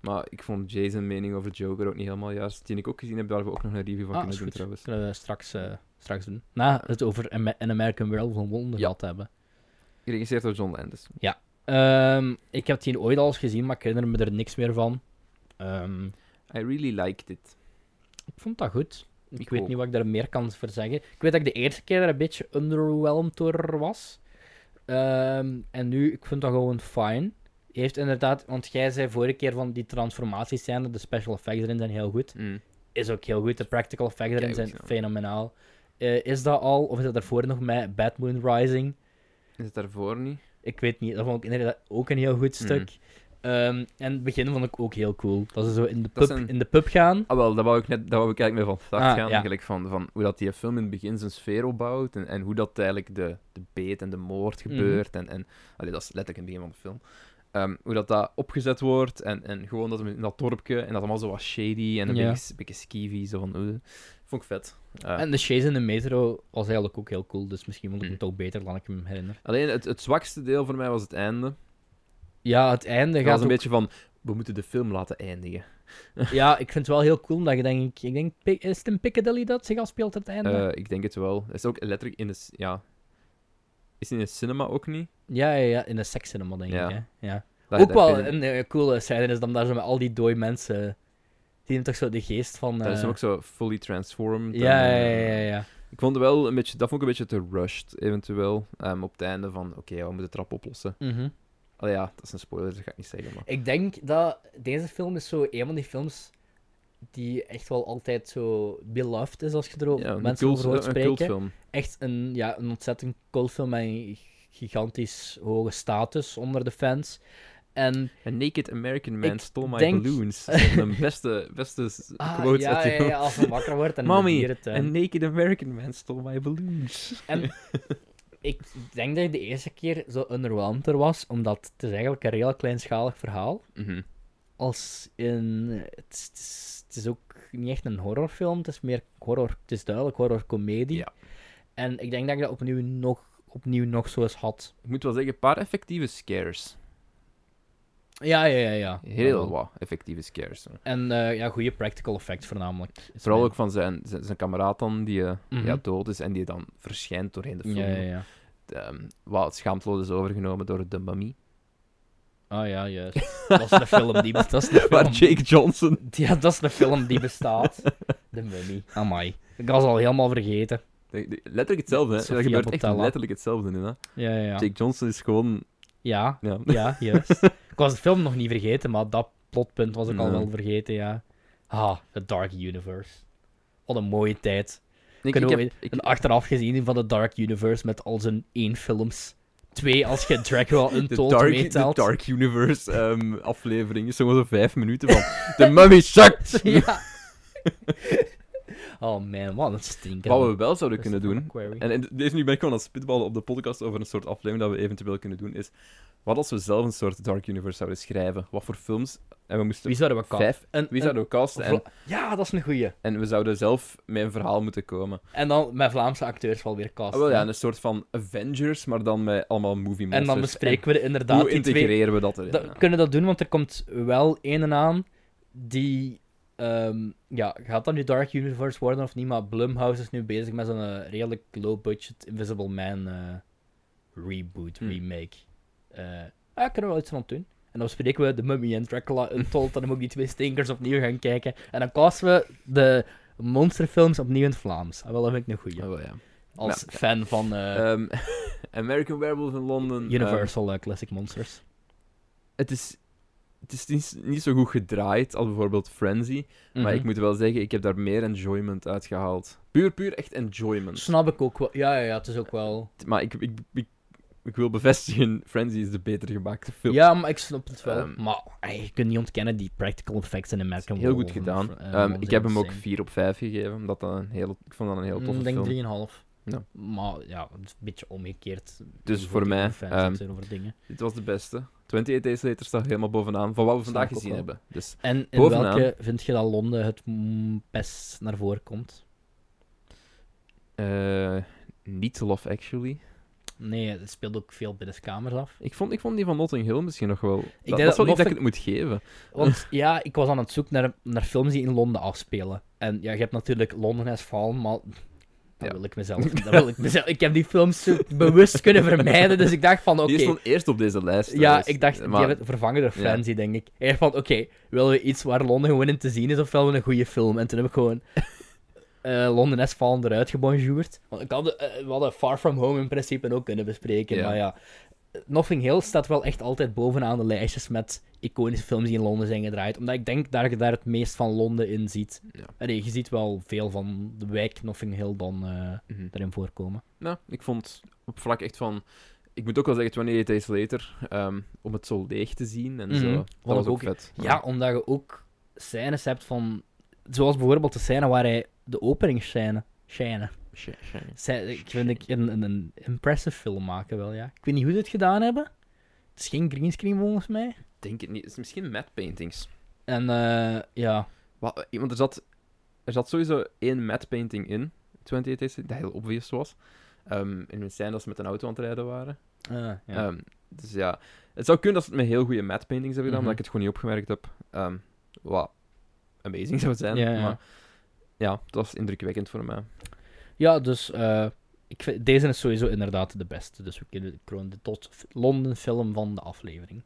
B: Maar ik vond Jay's mening over Joker ook niet helemaal juist. Die ik ook gezien heb, daar hebben we ook nog een review van
A: Ah,
B: kunnen
A: is
B: doen
A: goed.
B: trouwens.
A: Kunnen we straks, eh, straks doen. Na het over Am- An American Werewolf van Wonder
B: Ja.
A: gehad hebben.
B: Geregisseerd door John Landis.
A: Ehm, ik heb die ooit al eens gezien, maar ik herinner me er niks meer van. Ehm,
B: I really liked it.
A: ik vond dat goed. Ik,
B: Ik
A: weet
B: ook.
A: niet wat ik daar meer kan voor zeggen. Ik weet dat ik de eerste keer er een beetje underwhelmed door was. Ehm, en nu, ik vind dat gewoon fijn. Heeft inderdaad, want jij zei vorige keer van die transformatiescène, de special effects erin zijn heel goed.
B: Mm.
A: is ook heel goed. De practical effects erin
B: Keigoed,
A: zijn
B: ja.
A: fenomenaal. Eh, is dat al, of is dat daarvoor nog met Bad Moon Rising?
B: Is het daarvoor niet?
A: Ik weet niet, dat vond ik inderdaad ook een heel goed stuk. Ehm, en het begin vond ik ook heel cool. Dat ze zo in de
B: Mhm. Dat
A: pub,
B: zijn-
A: in de pub gaan.
B: Ah, wel, daar wou ik, net, daar wou ik eigenlijk mee van start
A: Ah,
B: gaan.
A: ja.
B: Eigenlijk van, van hoe dat die film in het begin zijn sfeer opbouwt. En, en hoe dat eigenlijk de, de beet en de
A: Mhm.
B: moord gebeurt. En, en allee, dat is letterlijk in het begin van de film. Ehm, hoe dat, dat opgezet wordt. En, en gewoon dat in dat dorpje. En dat allemaal zo wat shady. En een
A: Ja.
B: beetje, beetje skeevy. Zo van, oeh. vond ik vet. Eh,
A: En de Chase in de metro was eigenlijk ook heel cool. Dus misschien vond ik
B: Mm.
A: hem toch beter dan ik me herinner.
B: Alleen het, het zwakste deel voor mij was het einde.
A: Ja, het einde
B: Ik
A: gaat
B: was een
A: ook...
B: beetje van, we moeten de film laten eindigen.
A: Ja, ik vind het wel heel cool, omdat je denk ik... ik denk, Pi- is het in Piccadilly dat zich afspeelt het einde?
B: Eh, ik denk het wel. Het is ook letterlijk in de... c- Ja. Is het in de cinema ook niet?
A: Ja, ja, ja, in de sekscinema denk
B: Ja.
A: ik. Hè? Ja.
B: Daar-
A: ook
B: daar
A: wel
B: kun je-
A: een eh, coole scène is dan daar zo met al die dooi mensen. Die hebben toch zo de geest van.
B: Dat is
A: eh,
B: hem ook zo fully transformed.
A: ja, ja,
B: en,
A: ja,
B: eh,
A: ja, ja.
B: Ik vond het wel een beetje, dat vond ik een beetje te rushed, eventueel. Ehm, op het einde van, oké, ja, we moeten de trap oplossen.
A: Mhm.
B: Allee, ja, dat is een spoiler, dat ga ik niet zeggen, maar...
A: Ik denk dat deze film is zo een van die films die echt wel altijd zo beloved is als je er ook
B: Ja,
A: mensen
B: cult-
A: over hoort
B: een
A: spreken.
B: cultfilm.
A: Echt een, ja, een ontzettend cultfilm met een gigantisch hoge status onder de fans. En
B: A naked American man
A: Ik
B: stole my
A: denk-
B: balloons. Dat is een beste, beste s-
A: ah,
B: quote
A: ja,
B: uit
A: ja,
B: die
A: ja,
B: film.
A: als ze wakker wordt en
B: Mommy,
A: Mommy,
B: A naked American man stole my balloons.
A: Ik denk dat ik de eerste keer zo underwhelmed er was, omdat het is eigenlijk een heel kleinschalig verhaal.
B: Mhm.
A: Als in... Het is, het is- het is ook niet echt een horrorfilm, het is meer horror... Het is duidelijk horrorcomedie.
B: Ja.
A: En ik denk dat ik dat opnieuw nog, opnieuw nog zo eens had.
B: Ik moet wel zeggen, een paar effectieve scares.
A: Ja, ja, ja. ja.
B: Heel
A: Ja.
B: wat effectieve scares. hoor.
A: En eh, ja, goede practical effects voornamelijk. Is
B: Vooral
A: mijn-
B: ook van zijn, zijn, zijn kameraad dan, die eh,
A: Mhm.
B: ja, dood is en die dan verschijnt doorheen de film.
A: Ja, ja, ja.
B: ehm wat schaamteloos is overgenomen door de mummy.
A: Ah ja, juist. dat is een film die... Dat is een film.
B: Waar Jake Johnson...
A: Ja, dat is een film die bestaat. De Mummy. Amai. Ik was al helemaal vergeten.
B: Dat- die- Letterlijk hetzelfde, hè.
A: Sophia
B: dat gebeurt echt
A: Boutella.
B: letterlijk hetzelfde nu, hè.
A: Ja, ja, ja.
B: Jake Johnson is gewoon...
A: Ja,
B: Ja.
A: ja, juist. Ik was de film nog niet vergeten, maar dat plotpunt was ik al
B: Nee.
A: wel vergeten, ja. Ah, The Dark Universe. Wat een mooie tijd.
B: Ik,
A: Kunnen we
B: heb- ik-
A: een achteraf gezien van The Dark Universe met al zijn één films. Twee als je Dracula
B: de
A: Untold
B: Dark, de
A: meetelt.
B: Dark Universe ehm, aflevering is gewoon zo vijf minuten van... The Mummy Sucked!
A: ja. oh man, wat een stinker.
B: Wat we wel zouden kunnen doen,
A: Query.
B: En, en deze nu ben ik gewoon aan het spitballen op de podcast over een soort aflevering dat we eventueel kunnen doen, is wat als we zelf een soort Dark Universe zouden schrijven? Wat voor films? En we moesten
A: Wie eh, zouden we casten?
B: vijf...
A: Een-
B: Wie
A: een-
B: zouden we casten? En,
A: Vla- Ja, dat is een goeie.
B: en we zouden zelf met een verhaal moeten komen.
A: En dan met Vlaamse acteurs wel weer
B: Ah,
A: casten.
B: wel ja, een soort van Avengers, maar dan met allemaal movie monsters.
A: en dan bespreken we
B: En
A: inderdaad
B: Hoe
A: die twee
B: integreren we dat erin?
A: Dat-
B: ja?
A: Kunnen dat doen, want er komt wel een aan die. ehm, ja, gaat dat nu Dark Universe worden of niet? Maar Blumhouse is nu bezig met zo'n eh, redelijk low-budget Invisible Man eh, reboot,
B: Hmm.
A: remake. Eh ah, kunnen we wel iets van doen. En dan bespreken we de Mummy en Dracula Untold. en dan ook die twee stinkers opnieuw gaan kijken. En dan casten we de monsterfilms opnieuw in het Vlaams. En wel, dat vind ik een goeie.
B: Ah, wel, ja.
A: Als fan van eh,
B: Ehm, American Werewolf in London. ehm,
A: Universal eh, Classic Monsters.
B: het is, het is niet, niet zo goed gedraaid als bijvoorbeeld Frenzy. Maar
A: Mhm.
B: ik moet wel zeggen, ik heb daar meer enjoyment uit gehaald. Puur, puur echt enjoyment.
A: Snap ik ook wel. Ja, ja, ja, het is ook wel...
B: Maar ik, ik, ik, ik wil bevestigen, Frenzy is de beter gemaakte film.
A: Ja, maar ik snap het wel.
B: Ehm,
A: maar ey, je kunt niet ontkennen die practical effects in American
B: Heel goed
A: Werewolf en
B: gedaan.
A: Fr- eh,
B: Ehm,
A: Monsters
B: ik heb hem ook
A: Inc.
B: 4 op 5 gegeven, omdat dat een heel, ik vond dat een heel toffe
A: Mm, denk
B: film.
A: 3,5.
B: Ja.
A: Maar ja, het is een beetje omgekeerd.
B: Dus
A: Hoeveel
B: voor mij,
A: die fans
B: ehm,
A: zijn over dingen.
B: Dit was de beste. 28 Days Later staat helemaal bovenaan, van wat we
A: Snap
B: vandaag
A: ik ook
B: gezien
A: wel.
B: hebben. Dus
A: En in
B: bovenaan-
A: welke vind je dat Londen het mm, best naar voren komt?
B: eh, niet Love Actually.
A: Nee, het speelt ook veel binnenkamers af.
B: Ik vond, ik vond die van Notting Hill misschien nog wel... Ik
A: denk
B: dat,
A: dat
B: is wel iets dat ik
A: Notting-
B: het moet geven.
A: Want ja, ik was aan het zoeken naar, naar films die in Londen afspelen. En ja, je hebt natuurlijk London Has Fallen, maar dat
B: Ja.
A: wil ik mezelf. Dat wil ik mezelf. Ik heb die films zo bewust kunnen vermijden, dus ik dacht van oké.
B: Die stond eerst op deze lijst.
A: Ja,
B: dus-
A: ik dacht, die
B: maar-
A: hebben het vervangen door
B: ja.
A: Frenzy, denk ik. Echt van, oké, willen we iets waar Londen gewoon in te zien is, of willen we een goede film? En toen heb ik gewoon eh Londen S Fallen eruit gebonjourd. Want ik had, de- eh, we hadden Far From Home in principe ook kunnen bespreken,
B: Ja.
A: maar ja. Nothing Hill staat wel echt altijd bovenaan de lijstjes met iconische films die in Londen zijn gedraaid. Omdat ik denk dat je daar het meest van Londen in ziet.
B: Ja.
A: Allee, je ziet wel veel van de wijk Nothing Hill dan eh
B: Mhm.
A: erin voorkomen.
B: Nou, ik vond op vlak echt van. Ik moet ook wel zeggen, 28 Days Later, ehm, om het zo leeg te zien en
A: Mhm.
B: zo.
A: Vond
B: Dat
A: ik
B: was ook,
A: ook-
B: vet.
A: Ja, omdat je ook scènes hebt van... Zoals bijvoorbeeld de scène waar hij de openingsscène... Scène.
B: Shit, shit.
A: Zij- Ik vind ik een, een, een impressive film maken wel, ja. Ik weet niet hoe ze het gedaan hebben. Het is geen greenscreen volgens mij.
B: Ik denk het niet. Het is misschien matte paintings.
A: En eh, ja,
B: Wat, want er zat, er zat sowieso één matte painting in, E 28 Days Later, dat heel obvious was. Ehm, in een scène dat ze met een auto aan het rijden waren.
A: eh, ja.
B: Ehm, dus ja, het zou kunnen dat ze het met heel goede matte paintings hebben gedaan,
A: Mhm.
B: maar dat ik het gewoon niet opgemerkt heb. Ehm, wat amazing zou zijn.
A: Ja, ja.
B: Maar ja, het was indrukwekkend voor mij.
A: ja dus eh, ik vind, deze is sowieso inderdaad de beste. Dus we kunnen kronen de tot f- Londen film van de aflevering.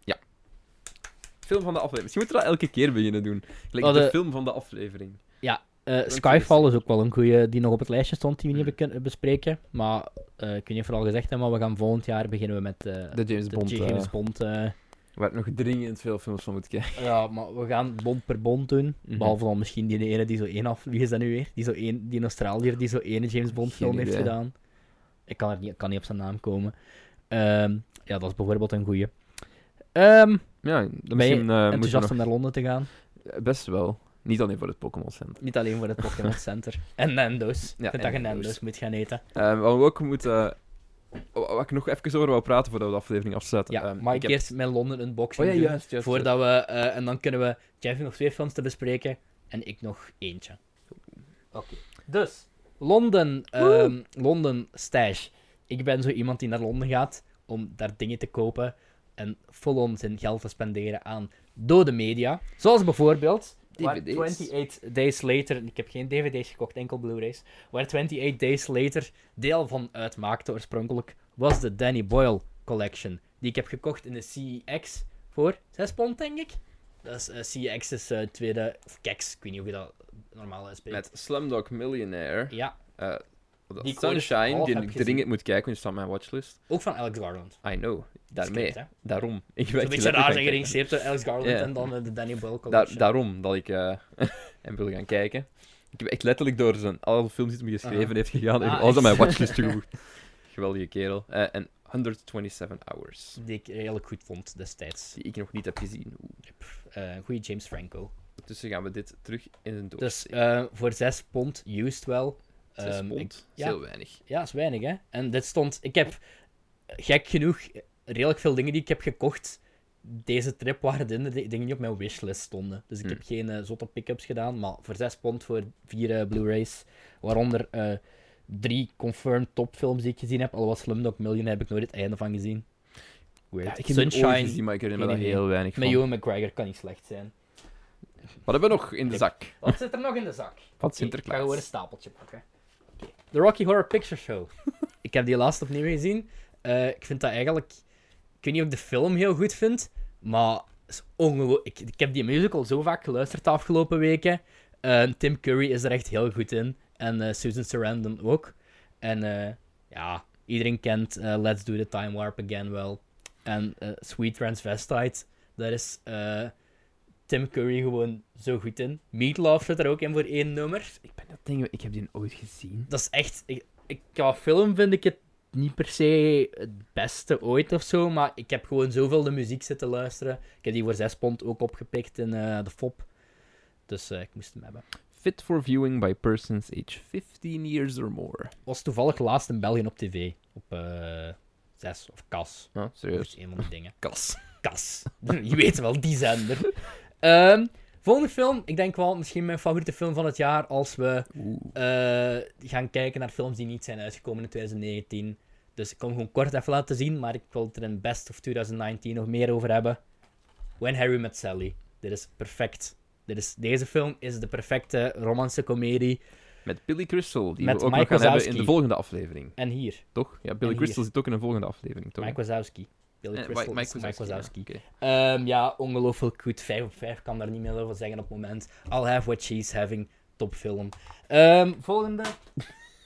B: Film van de aflevering. Misschien moeten we dat elke keer beginnen doen. Gelijk
A: Oh,
B: de...
A: de-
B: film van de aflevering.
A: Eh,
B: is
A: Skyfall is ook wel een goede die nog op het lijstje stond die we niet
B: Hmm.
A: hebben kunnen bespreken. Maar eh, ik weet niet of we het al gezegd hebben, maar we gaan volgend jaar beginnen we met eh,
B: De James
A: de
B: Bond.
A: James Bond. eh,
B: waar ik nog dringend veel films van moet kijken.
A: Ja, maar we gaan bond per bond doen.
B: Mhm.
A: Behalve dan misschien die ene die zo één af... Wie is dat nu weer? Die, zo één, die in Australiër die zo één James Bond
B: Geen
A: film heeft
B: idee.
A: gedaan. Ik kan, er niet, ik kan niet op zijn naam komen. Ehm, ja, dat is bijvoorbeeld een goeie. Ehm
B: Ja, dan
A: Ben je
B: misschien eh moeten
A: enthousiast
B: Eh, we
A: om naar Londen te gaan.
B: nog... Best wel. Niet alleen voor het Pokémon Center.
A: Niet alleen voor het Pokémon Center. En Nando's.
B: Ja,
A: ik vind
B: en
A: dat je
B: Nando's.
A: Nando's moet gaan eten.
B: Ehm, wat we ook moeten... wa- Wat ik nog even over wil praten voordat we de aflevering afsluiten.
A: Ja,
B: Ehm,
A: maar
B: ik
A: ik
B: heb-
A: eerst mijn Londen unboxing
B: Oh ja,
A: doen,
B: juist, juist. juist.
A: voordat we... eh, en dan kunnen we... Jij heeft nog twee films te bespreken. En ik nog eentje. Oké. Dus, Londen, ehm, Londen Stash. Ik ben zo iemand die naar Londen gaat om daar dingen te kopen en vol-on zijn geld te spenderen aan dode media. Zoals bijvoorbeeld waar
B: DVD's.
A: 28 Days Later, ik heb geen DVD's gekocht, enkel Blu-rays, waar 28 Days Later deel van uitmaakte oorspronkelijk, was de Danny Boyle Collection. Die ik heb gekocht in de CEX voor 6 pond, denk ik. Dat is, eh, CEX is eh, tweede, of KEX, ik weet niet hoe je dat normaal uitspreekt.
B: Met Slumdog Millionaire.
A: Ja,
B: eh, Dat
A: Die ik ooit
B: Sunshine,
A: half
B: die
A: heb
B: ik
A: gezien.
B: dringend moet kijken, want die staat op mijn watchlist.
A: Ook van Alex Garland.
B: I know. Daarmee.
A: Skip, hè?
B: Daarom. Ik
A: Zo'n
B: weet
A: beetje raar zijn
B: daar,
A: geregisseerd door Alex Garland
B: Ja.
A: en dan eh, de Danny Boyle
B: daar,
A: Collection.
B: Daarom dat ik eh, hem wil gaan kijken. Ik heb echt letterlijk door zijn alle films die hij me geschreven
A: Ah.
B: heeft gegaan.
A: Ah,
B: en alles aan mijn
A: echt?
B: watchlist toegevoegd. Geweldige kerel. Eh, en 127 Hours.
A: Die ik redelijk goed vond destijds.
B: Die ik nog niet heb gezien. Oeh.
A: Eh goede James Franco.
B: Ondertussen gaan we dit terug in een doos.
A: Dus eh, voor 6 pond, used wel.
B: Zes
A: Ehm,
B: pond.
A: ik-
B: is
A: ja.
B: heel weinig.
A: ja, is weinig hè. En dit stond, ik heb eh, gek genoeg eh, redelijk veel dingen die ik heb gekocht. Deze trip waren de dingen die op mijn wishlist stonden. Dus ik
B: Hmm.
A: heb geen eh, zotte pick-ups gedaan, maar voor 6 pond voor 4 Blu-rays. Waaronder eh drie confirmed topfilms die ik gezien heb. Alhoewel Slumdog Million heb ik nooit het einde van gezien. Weird.
B: Ja, ik heb Sunshine,
A: Sunshine
B: ooit gezien, maar ik herinner me
A: geen
B: daar
A: idee.
B: heel weinig
A: met
B: van.
A: Ewan McGregor kan niet slecht zijn.
B: Wat hebben we nog in de
A: Ik-
B: zak?
A: Wat zit er nog in de zak?
B: Van
A: Ik ga
B: Sinterklaas.
A: gewoon een stapeltje pakken. The Rocky Horror Picture Show. ik heb die laatst opnieuw gezien. Eh, ik vind dat eigenlijk... Ik weet niet of ik de film heel goed vind, maar het is ongelooflijk. Ik, ik heb die musical zo vaak geluisterd de afgelopen weken. Eh, Tim Curry is er echt heel goed in. En eh, Susan Sarandon ook. En eh, ja, iedereen kent eh, Let's Do the Time Warp Again wel. En eh, Sweet Transvestite. Daar is... eh, Tim Curry gewoon zo goed in. Meatloaf zit er ook in voor één nummer.
B: Ik ben dat ding, ik heb die ooit gezien.
A: Dat is echt... Ik, ik, qua film vind ik het niet per se het beste ooit of zo, maar ik heb gewoon zoveel de muziek zitten luisteren. Ik heb die voor 6 pond ook opgepikt in eh, de FOP. Dus eh, ik moest hem hebben.
B: Fit for viewing by persons age 15 years or more.
A: Was toevallig laatst in België op tv. Op eh 6 of KAS.
B: Huh?
A: Dat
B: Serieus?
A: is Dus een van die dingen.
B: Kas.
A: Kas. Je weet wel, die zender. Ehm, volgende film. Ik denk wel misschien mijn favoriete film van het jaar als we...
B: Oeh.
A: eh, gaan kijken naar films die niet zijn uitgekomen in 2019. Dus ik kom gewoon kort even laten zien, maar ik wil het er in Best of 2019 nog meer over hebben. When Harry Met Sally. Dit is perfect. Dit is, deze film is de perfecte romantische komedie.
B: Met Billy Crystal, die
A: Met
B: we ook
A: Mike
B: nog gaan hebben in
A: Wazowski.
B: de volgende aflevering.
A: En hier,
B: Toch? Ja,
A: En
B: Billy
A: hier.
B: Crystal zit ook in de volgende aflevering, toch?
A: Mike Wazowski. Billy
B: Eh,
A: Crystal
B: Mike-
A: is Mike Wazowski.
B: ja, oké.
A: Ehm, ja, ongelooflijk goed. 5 op 5 kan daar niet meer over zeggen op het moment. I'll have what she's having. Topfilm. Ehm, volgende.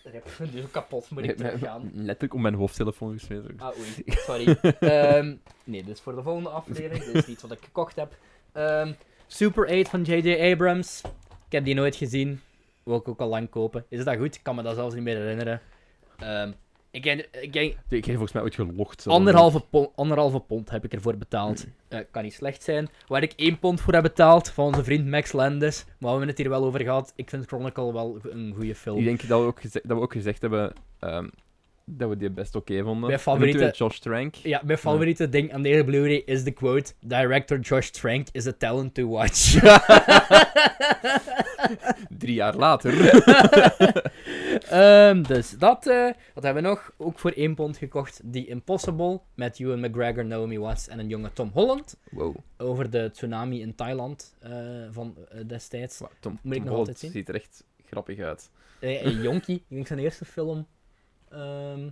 A: Ik heb het nu zo kapot, moet ik
B: Nee,
A: terug
B: nee,
A: gaan.
B: Letterlijk om mijn hoofdtelefoon gesmeten.
A: Ah, oei. Sorry. Ehm, nee, dit is voor de volgende aflevering. Dit is niet wat ik gekocht heb. Ehm, Super 8 van J.J. Abrams. Ik heb die nooit gezien. Wil ik ook al lang kopen. Is dat goed? Ik kan me dat zelfs niet meer herinneren. Ehm, ik, heb- ik, heb-
B: Ik heb volgens mij ooit gelogd. zelfs.
A: anderhalve, pond, anderhalve pond heb ik ervoor betaald. Eh, kan niet slecht zijn. Waar ik één pond voor heb betaald, van onze vriend Max Landis. Maar we hebben het hier wel over gehad. Ik vind Chronicle wel een goede film.
B: Ik denk dat we ook, gezegd, dat we ook gezegd hebben ehm, dat we die best oké vonden.
A: Mijn
B: En natuurlijk
A: favoriete-
B: Josh Trank.
A: Ja, mijn favoriete ding aan deze Blu-ray is de quote: Director Josh Trank is a talent to watch.
B: Drie jaar later.
A: Ehm, dus dat, eh, wat hebben we nog? Ook voor 1 pond gekocht: The Impossible met Ewan McGregor, Naomi Watts en een jonge Tom Holland.
B: wow.
A: Over de tsunami in Thailand eh, van eh, destijds.
B: Wow, Tom,
A: Moet ik
B: Tom
A: nog
B: Holland
A: altijd zien?
B: ziet er echt grappig uit.
A: Eh, eh, Jonkie, ik denk zijn eerste film. Ehm,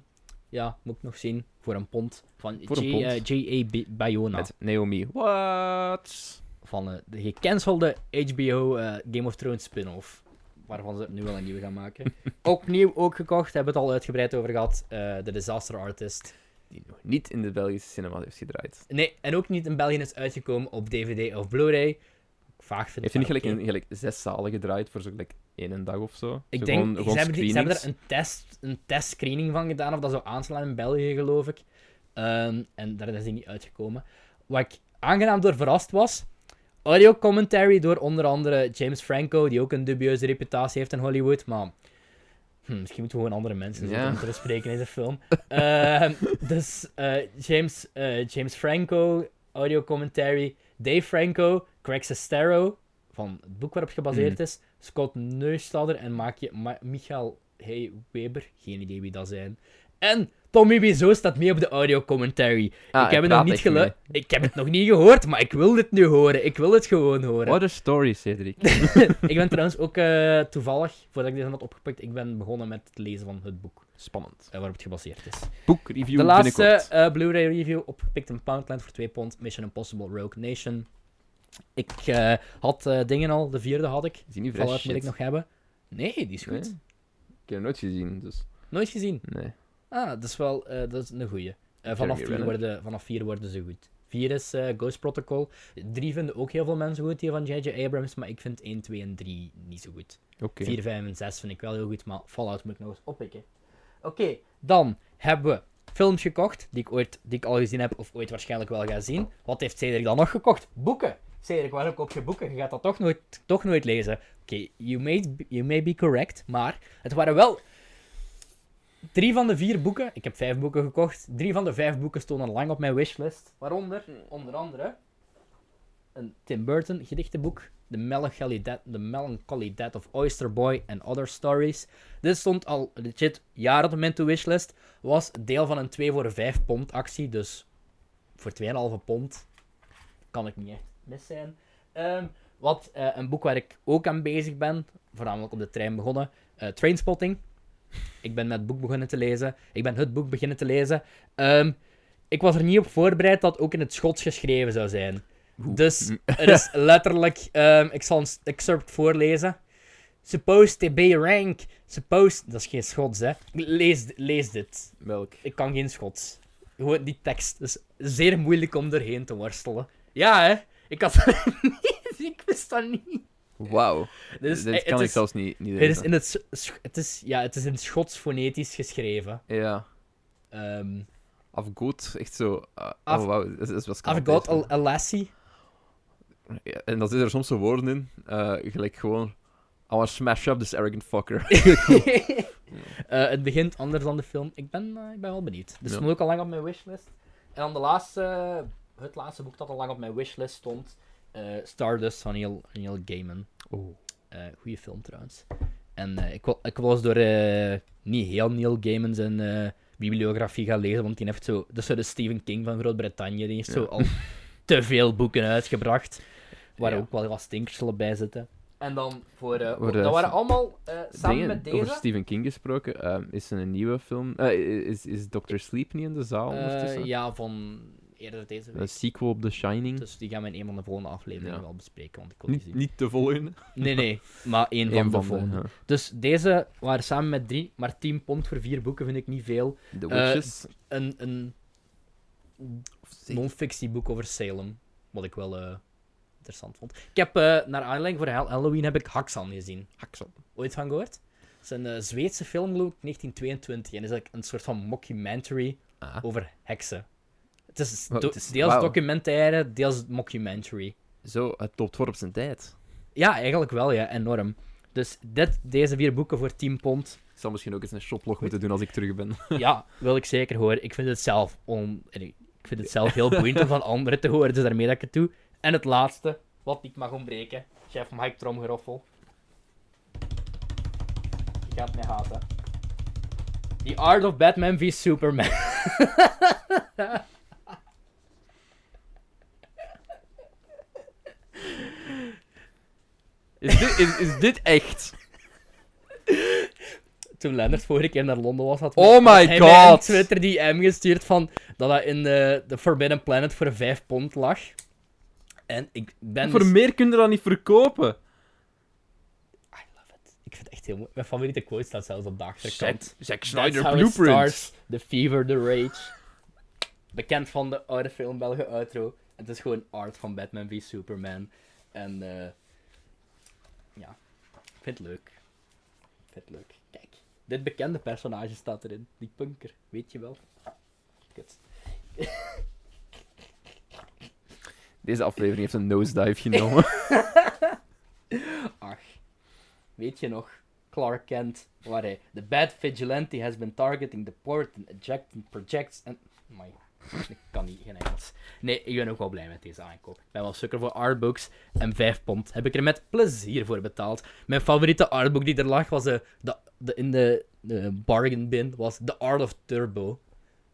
A: ja, moet ik nog zien. Voor een pond. Van
B: Voor een
A: J-
B: pond.
A: eh, J.A. B- Bayona.
B: Met Naomi Watts.
A: van eh, de gecancelde HBO eh, Game of Thrones spin-off. Waarvan ze nu wel een nieuwe gaan maken. Opnieuw ook gekocht, hebben we het al uitgebreid over gehad. eh The Disaster Artist.
B: Die nog niet in de Belgische cinema heeft gedraaid.
A: Nee, en ook niet in België is uitgekomen op DVD of Blu-ray. Vaag vind
B: Heeft
A: ik
B: hij niet
A: maar
B: gelijk
A: oké.
B: in gelijk zes zalen gedraaid voor zo'n gelijk één dag of zo?
A: Ik
B: Zo
A: denk,
B: gewoon- gewoon
A: ze, hebben, die- ze hebben
B: screenings.
A: er een, test, een testscreening van gedaan, of dat zou aanslaan in België, geloof ik. Ehm, en daar is hij niet uitgekomen. Wat ik aangenaam door verrast was, audio commentary door onder andere James Franco, die ook een dubieuze reputatie heeft in Hollywood, maar... hm, misschien moeten we gewoon andere mensen
B: Ja.
A: zitten om te bespreken in deze film. Ehm, dus eh, James, eh, James Franco, audio commentary, Dave Franco, Craig Sestero, van het boek waarop
B: Mhm.
A: gebaseerd is, Scott Neustadter en Maakje- Ma- Michael Hey Weber, geen idee wie dat zijn. En Tommy Wiseau staat mee op de audio commentary.
B: Ah,
A: ik heb
B: hij
A: het nog
B: praat
A: niet
B: echt
A: gelu- Ik heb het nog niet gehoord, maar ik wil dit nu horen. Ik wil het gewoon horen.
B: What a story, Cedric.
A: ik ben trouwens ook eh, toevallig, voordat ik dit had opgepikt, ik ben begonnen met het lezen van het boek
B: Spannend.
A: eh, waarop het gebaseerd is.
B: Boekreview
A: De laatste
B: binnenkort.
A: eh, Blu-ray review opgepikt in Poundland voor 2 pond. Mission Impossible Rogue Nation. Ik eh, had eh, dingen al, de vierde had ik.
B: Is die niet fresh?
A: Fallout moet ik
B: Shit.
A: nog hebben. Nee, die is goed.
B: Nee? Ik heb hem nooit gezien, dus...
A: Nooit gezien.
B: Nee.
A: Ah, dat is wel eh, dat is een goeie. Eh,
B: Ik
A: vanaf,
B: heb
A: vier
B: geen
A: worden, vanaf vier worden ze goed. Vier is eh, Ghost Protocol. Drie vinden ook heel veel mensen goed, die van J.J. Abrams, maar ik vind 1, 2 en 3 niet zo goed.
B: Oké.
A: 4, 5 en 6 vind ik wel heel goed, maar Fallout moet ik nog eens oppikken. Oké, dan hebben we films gekocht die ik, ooit, die ik al gezien heb of ooit waarschijnlijk wel ga zien. Wat heeft Cedric dan nog gekocht? Boeken. Cedric, waarom koop je boeken? Je gaat dat toch nooit, toch nooit lezen. Oké, you, may, be- you may be correct, maar het waren wel... Drie van de vier boeken, ik heb vijf boeken gekocht, drie van de vijf boeken stonden lang op mijn wishlist. Waaronder, onder andere, een Tim Burton gedichtenboek. The Melancholy, Death, The Melancholy Death of Oyster Boy and Other Stories. Dit stond al legit jaren op mijn to-wishlist. Was deel van een 2 voor 5 pond actie. Dus voor 2,5 pond kan ik niet echt mis zijn. Ehm, wat eh, een boek waar ik ook aan bezig ben. Voornamelijk op de trein begonnen. eh, Trainspotting. Ik ben met het boek begonnen te lezen. Ik ben het boek beginnen te lezen. Ehm, ik was er niet op voorbereid dat het ook in het Schots geschreven zou zijn. Dus het is letterlijk, ehm, ik zal een s- excerpt voorlezen. Supposed to be rank. Supposed. Dat is geen Schots, hè? Lees, lees dit.
B: Welk?
A: Ik kan geen Schots. Gewoon die tekst. Het is zeer moeilijk om erheen te worstelen. Ja, hè? Ik had niet. Ik wist dat niet.
B: Wauw.
A: Dit is-
B: Dit
A: Dus eh, het
B: kan ik
A: is-
B: zelfs niet, niet
A: Het is
B: lezen.
A: in het, s- sch- het is, ja, het is in het Schots fonetisch geschreven.
B: Ja.
A: Ehm
B: I've got echt zo... ah,
A: I've-
B: oh, wauw. Dat is, dat is wat
A: I've got a, a lassie.
B: Ja, en dan zitten er soms zo woorden in, eh, gelijk gewoon... I want smash up this arrogant fucker.
A: Eh, het begint anders dan de film. Ik ben, eh, ik ben wel benieuwd. Dus
B: Ja.
A: stond ook al lang op mijn wishlist. En dan de laatste, eh, het laatste boek dat al lang op mijn wishlist stond: eh, Stardust van Neil, Neil Gaiman.
B: oh.
A: Eh goede film trouwens. En eh, ik, wil, ik was door eh, niet heel Neil Gaiman zijn eh, bibliografie gaan lezen, want die heeft zo. Dat is zo de Stephen King van Groot-Brittannië. Die heeft zo
B: Ja.
A: al te veel boeken uitgebracht. Waar
B: Ja.
A: ook wel wat stinkers zullen bij zitten. En dan voor. eh,
B: Voor, eh,
A: dat waren allemaal eh, samen
B: Dingen,
A: met deze.
B: Over Stephen King gesproken, ehm, is er een nieuwe film... eh, is, is Dr. Sleep niet in de zaal
A: Eh,
B: ondertussen?
A: ja, van eerder deze week.
B: Een sequel op The Shining.
A: Dus die gaan we in een van de volgende afleveringen
B: Ja.
A: wel bespreken, want ik wil die
B: niet,
A: zien.
B: niet te volgen.
A: Nee, nee, maar één van,
B: Eén
A: de volgende.
B: ja.
A: Dus deze waren samen met drie, maar 10 pond voor vier boeken vind ik niet veel.
B: The
A: Eh,
B: Witches.
A: Een, een
B: Of zeven.
A: non-fictieboek over Salem, wat ik wel eh, interessant vond. Ik heb, eh, naar aanleiding voor Hall- Halloween, heb ik Haxan gezien.
B: Haksel.
A: Ooit van gehoord? Het is een eh, Zweedse film, geloof ik, 1922. En is eigenlijk een soort van mockumentary
B: Ah.
A: over heksen. Het is,
B: Wow,
A: do-
B: het is-
A: deels
B: wauw.
A: documentaire, deels mockumentary.
B: Zo, het loopt voor op zijn tijd.
A: Ja, eigenlijk wel, ja, enorm. Dus dit, deze vier boeken voor 10 pond,
B: Ik zal misschien ook eens een shoplog moeten doen als ik terug ben.
A: ja, wil ik zeker horen. Ik vind het zelf, on... en ik ik vind het zelf heel boeiend om van anderen te horen, dus daarmee dat ik het doe. En het laatste, wat niet mag ontbreken, chef Mike Tromgeroffel. Je gaat mij haten. The Art of Batman v Superman.
B: Is dit, is, is dit echt?
A: toen Lennart vorige keer naar Londen was, had,
B: Oh my
A: had hij mij
B: God.
A: op Twitter die M gestuurd van dat hij in de, de Forbidden Planet voor 5 pond lag. En ik ben...
B: Voor
A: dus-
B: meer kun je dat niet verkopen.
A: I love it. Ik vind het echt heel mooi. Mijn favoriete quote staat zelfs op de achterkant.
B: Zack, Zack
A: That's
B: Snyder
A: how it
B: Blueprint.
A: starts. The fever, the rage. Bekend van de oude film Belge Outro. Het is gewoon art van Batman v Superman. En eh, ja, ik vind het leuk. Ik vind het leuk. Kijk, dit bekende personage staat erin. Die punker, weet je wel. Kut.
B: Deze aflevering heeft een nosedive genomen.
A: Ach, weet je nog? Clark Kent, waar hij The bad vigilante has been targeting the port and ejecting projects and... Amai, ik kan niet, geen Engels. Nee, ik ben ook wel blij met deze aankoop. Ik ben wel sukker voor artbooks en 5 pond heb ik er met plezier voor betaald. Mijn favoriete artbook die er lag was eh, de, de, in de, de bargain bin, was The Art of Turbo.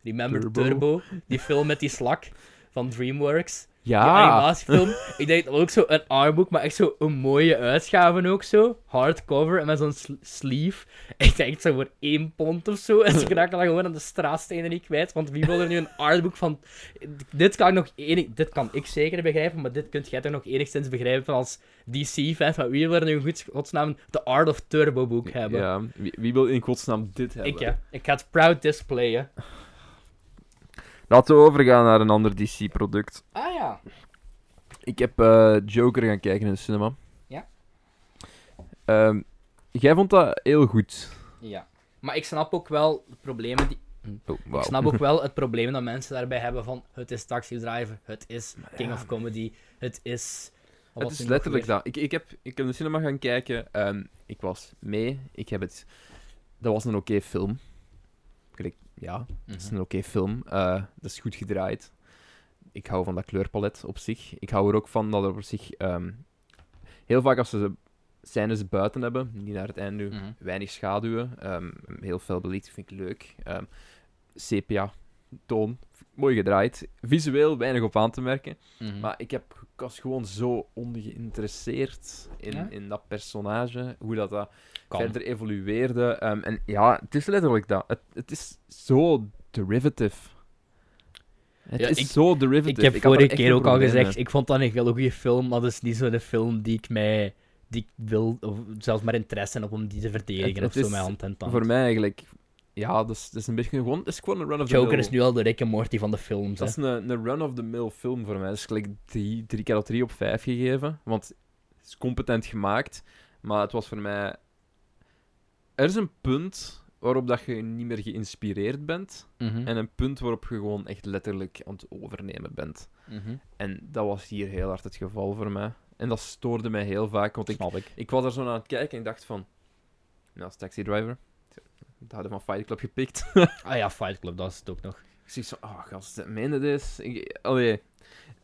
A: Remember
B: Turbo.
A: Turbo? Die film met die slak van DreamWorks. Die
B: Ja.
A: animatiefilm. ik denk dat ook zo een armboek, maar echt zo een mooie uitgave ook zo. Hardcover en met zo'n sl- sleeve. Ik denk zo voor één pond of zo. En ze raken dan gewoon aan de straatstenen niet kwijt. Want wie wil er nu een artboek van... Dit kan ik nog enig... Dit kan ik zeker begrijpen, maar dit kunt jij toch nog enigszins begrijpen als DC-fan. Maar wie wil er nu in gods- godsnaam de Art of Turbo boek hebben?
B: ja. Wie, wie wil in godsnaam dit hebben?
A: Ik, ja. ik ga het proud displayen.
B: Laten we overgaan naar een ander DC-product.
A: Ah ja.
B: Ik heb eh, Joker gaan kijken in de cinema.
A: Ja.
B: Ehm, jij vond dat heel goed.
A: Ja. Maar ik snap ook wel de problemen die...
B: Oh,
A: Ik snap ook wel het probleem dat mensen daarbij hebben van het is Taxi Driver, het is King
B: ja,
A: of Comedy, het is... wat
B: Het
A: was
B: is
A: er nog
B: letterlijk
A: meer?
B: dat. Ik, ik, heb, ik heb de cinema gaan kijken. ehm, ik was mee. Ik heb het... Dat was een oké film. Gelijk, ja,
A: Mhm.
B: het is een oké film. Eh, dat is goed gedraaid. Ik hou van dat kleurpalet op zich. Ik hou er ook van dat er op zich... ehm, heel vaak als ze de scènes buiten hebben, die naar het einde
A: Mhm.
B: weinig schaduwen, ehm, heel veel belicht, vind ik leuk. Ehm, sepia, toon, mooi gedraaid. Visueel weinig op aan te merken.
A: Mhm.
B: Maar ik, heb, ik was gewoon zo ongeïnteresseerd in,
A: Ja?
B: in dat personage, hoe dat, dat
A: Kan.
B: verder evolueerde. Ehm, en ja, het is letterlijk dat. Het, het is zo derivative. Het
A: Ja,
B: is
A: ik-
B: zo derivative.
A: Ik heb
B: had daar
A: vorige
B: echt
A: keer
B: een
A: ook al
B: probleem mee.
A: gezegd, ik vond dat een heel goede film, maar dat is niet zo'n film die ik mij... Die ik wil, of zelfs maar interesse heb om die te verdedigen
B: Het- het
A: of zo,
B: is
A: met hand en tand.
B: Voor mij eigenlijk, ja, dat is, dat is een beetje gewoon, dat is gewoon een run of the
A: Joker
B: mill.
A: is nu al de Rick en Morty van de films.
B: Dat
A: hè.
B: is een, een run-of-the-mill film voor mij. Dat is gelijk 3 keer op 3 op 5 gegeven. Want het is competent gemaakt. Maar het was voor mij. Er is een punt waarop dat je niet meer geïnspireerd bent.
A: Mhm.
B: En een punt waarop je gewoon echt letterlijk aan het overnemen bent.
A: Mhm.
B: En dat was hier heel hard het geval voor mij. En dat stoorde mij heel vaak. Want ik,
A: Snap ik.
B: ik was daar zo naar aan het kijken en ik dacht van. Nou, als taxi driver. Dat hadden van Fight Club gepikt.
A: Ah ja, Fight Club, dat is het ook nog.
B: Ik zie zo, oh gast, meende dit? Ik, allee.
A: Ik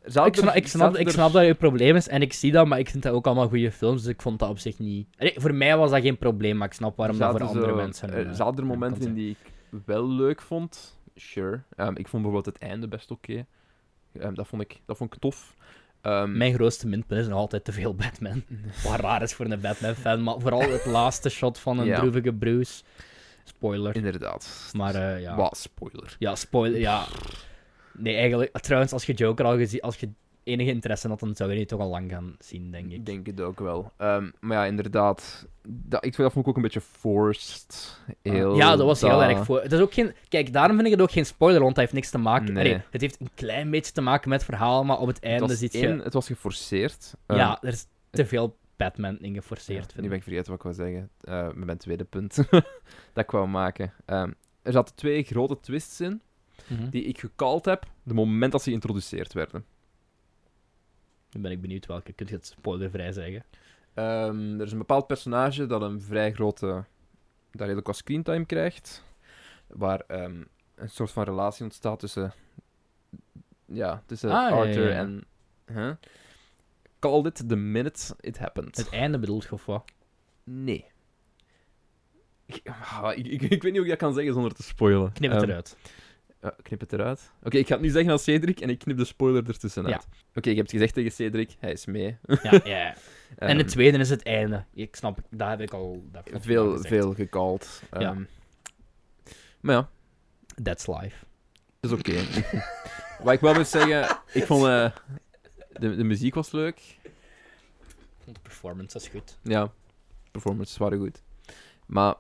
A: snap, ik, snap, ik snap dat je probleem is en ik zie dat, maar ik vind dat ook allemaal goede films, dus ik vond dat op zich niet... Allee, voor mij was dat geen probleem, maar ik snap
B: Dus
A: waarom dat voor andere mensen...
B: Er
A: eh,
B: zaten er
A: een
B: momenten in
A: concept-
B: die ik wel leuk vond. Sure. Ehm, ik vond bijvoorbeeld het einde best oké. Ehm, dat, vond ik, dat vond ik tof. Ehm,
A: Mijn grootste minpunt is nog altijd te veel Batman. Wat raar is voor een Batman-fan, maar vooral het laatste shot van een
B: Ja.
A: droevige Bruce. Spoiler.
B: Inderdaad.
A: Maar eh, ja.
B: Wat, spoiler.
A: Ja, spoiler, ja. Nee, eigenlijk... Trouwens, als je Joker al gezien... Als je enige interesse had, dan zou je die toch al lang gaan zien, denk ik.
B: Ik denk het ook wel. Ehm, maar ja, inderdaad. Dat, ik, dat vond ik ook een beetje forced. Heel
A: Ah, ja, dat was heel
B: dat-
A: erg voor. Het is ook geen... Kijk, daarom vind ik het ook geen spoiler, want dat heeft niks te maken.
B: Nee.
A: Allee, het heeft een klein beetje te maken met het verhaal, maar op het
B: Het
A: einde
B: was,
A: zit je.
B: één, het was geforceerd. Ehm,
A: Ja, er is te veel Batman in geforceerd.
B: Ja,
A: vind
B: nu
A: ik.
B: ben ik vergeten wat ik wou zeggen. Eh, met mijn tweede punt dat ik wou maken. Ehm, er zaten twee grote twists in
A: Mhm.
B: die ik gekald heb de moment dat ze geïntroduceerd werden.
A: Nu ben ik benieuwd welke. Kun je het spoilervrij zeggen?
B: Ehm, er is een bepaald personage dat een vrij grote. dat redelijk wat screentime krijgt. Waar ehm, een soort van relatie ontstaat tussen. Ja, tussen
A: Ah, ja, ja,
B: Arthur
A: ja.
B: en. Huh? Called it the minute it happened.
A: Het einde bedoelt je of wat?
B: Nee. Ik, ah, ik, ik, ik weet niet hoe ik dat kan zeggen zonder te spoilen.
A: Knip het
B: Ehm,
A: eruit.
B: Ja, knip het eruit. Oké, ik ga het nu zeggen als Cedric en ik knip de spoiler ertussenuit. Oké, ik heb het gezegd tegen Cedric, hij is mee.
A: Ja, ja. ja. En
B: Ehm,
A: het tweede is het einde. Ik snap, daar heb ik al. dat heb ik al
B: veel,
A: gezegd.
B: veel gecalled.
A: Ja.
B: Ehm, Maar ja,
A: That's life.
B: het is oké. Wat ik wel moet zeggen, ik vond eh, de, de muziek was leuk.
A: De performance is goed.
B: Ja, performances waren goed. Maar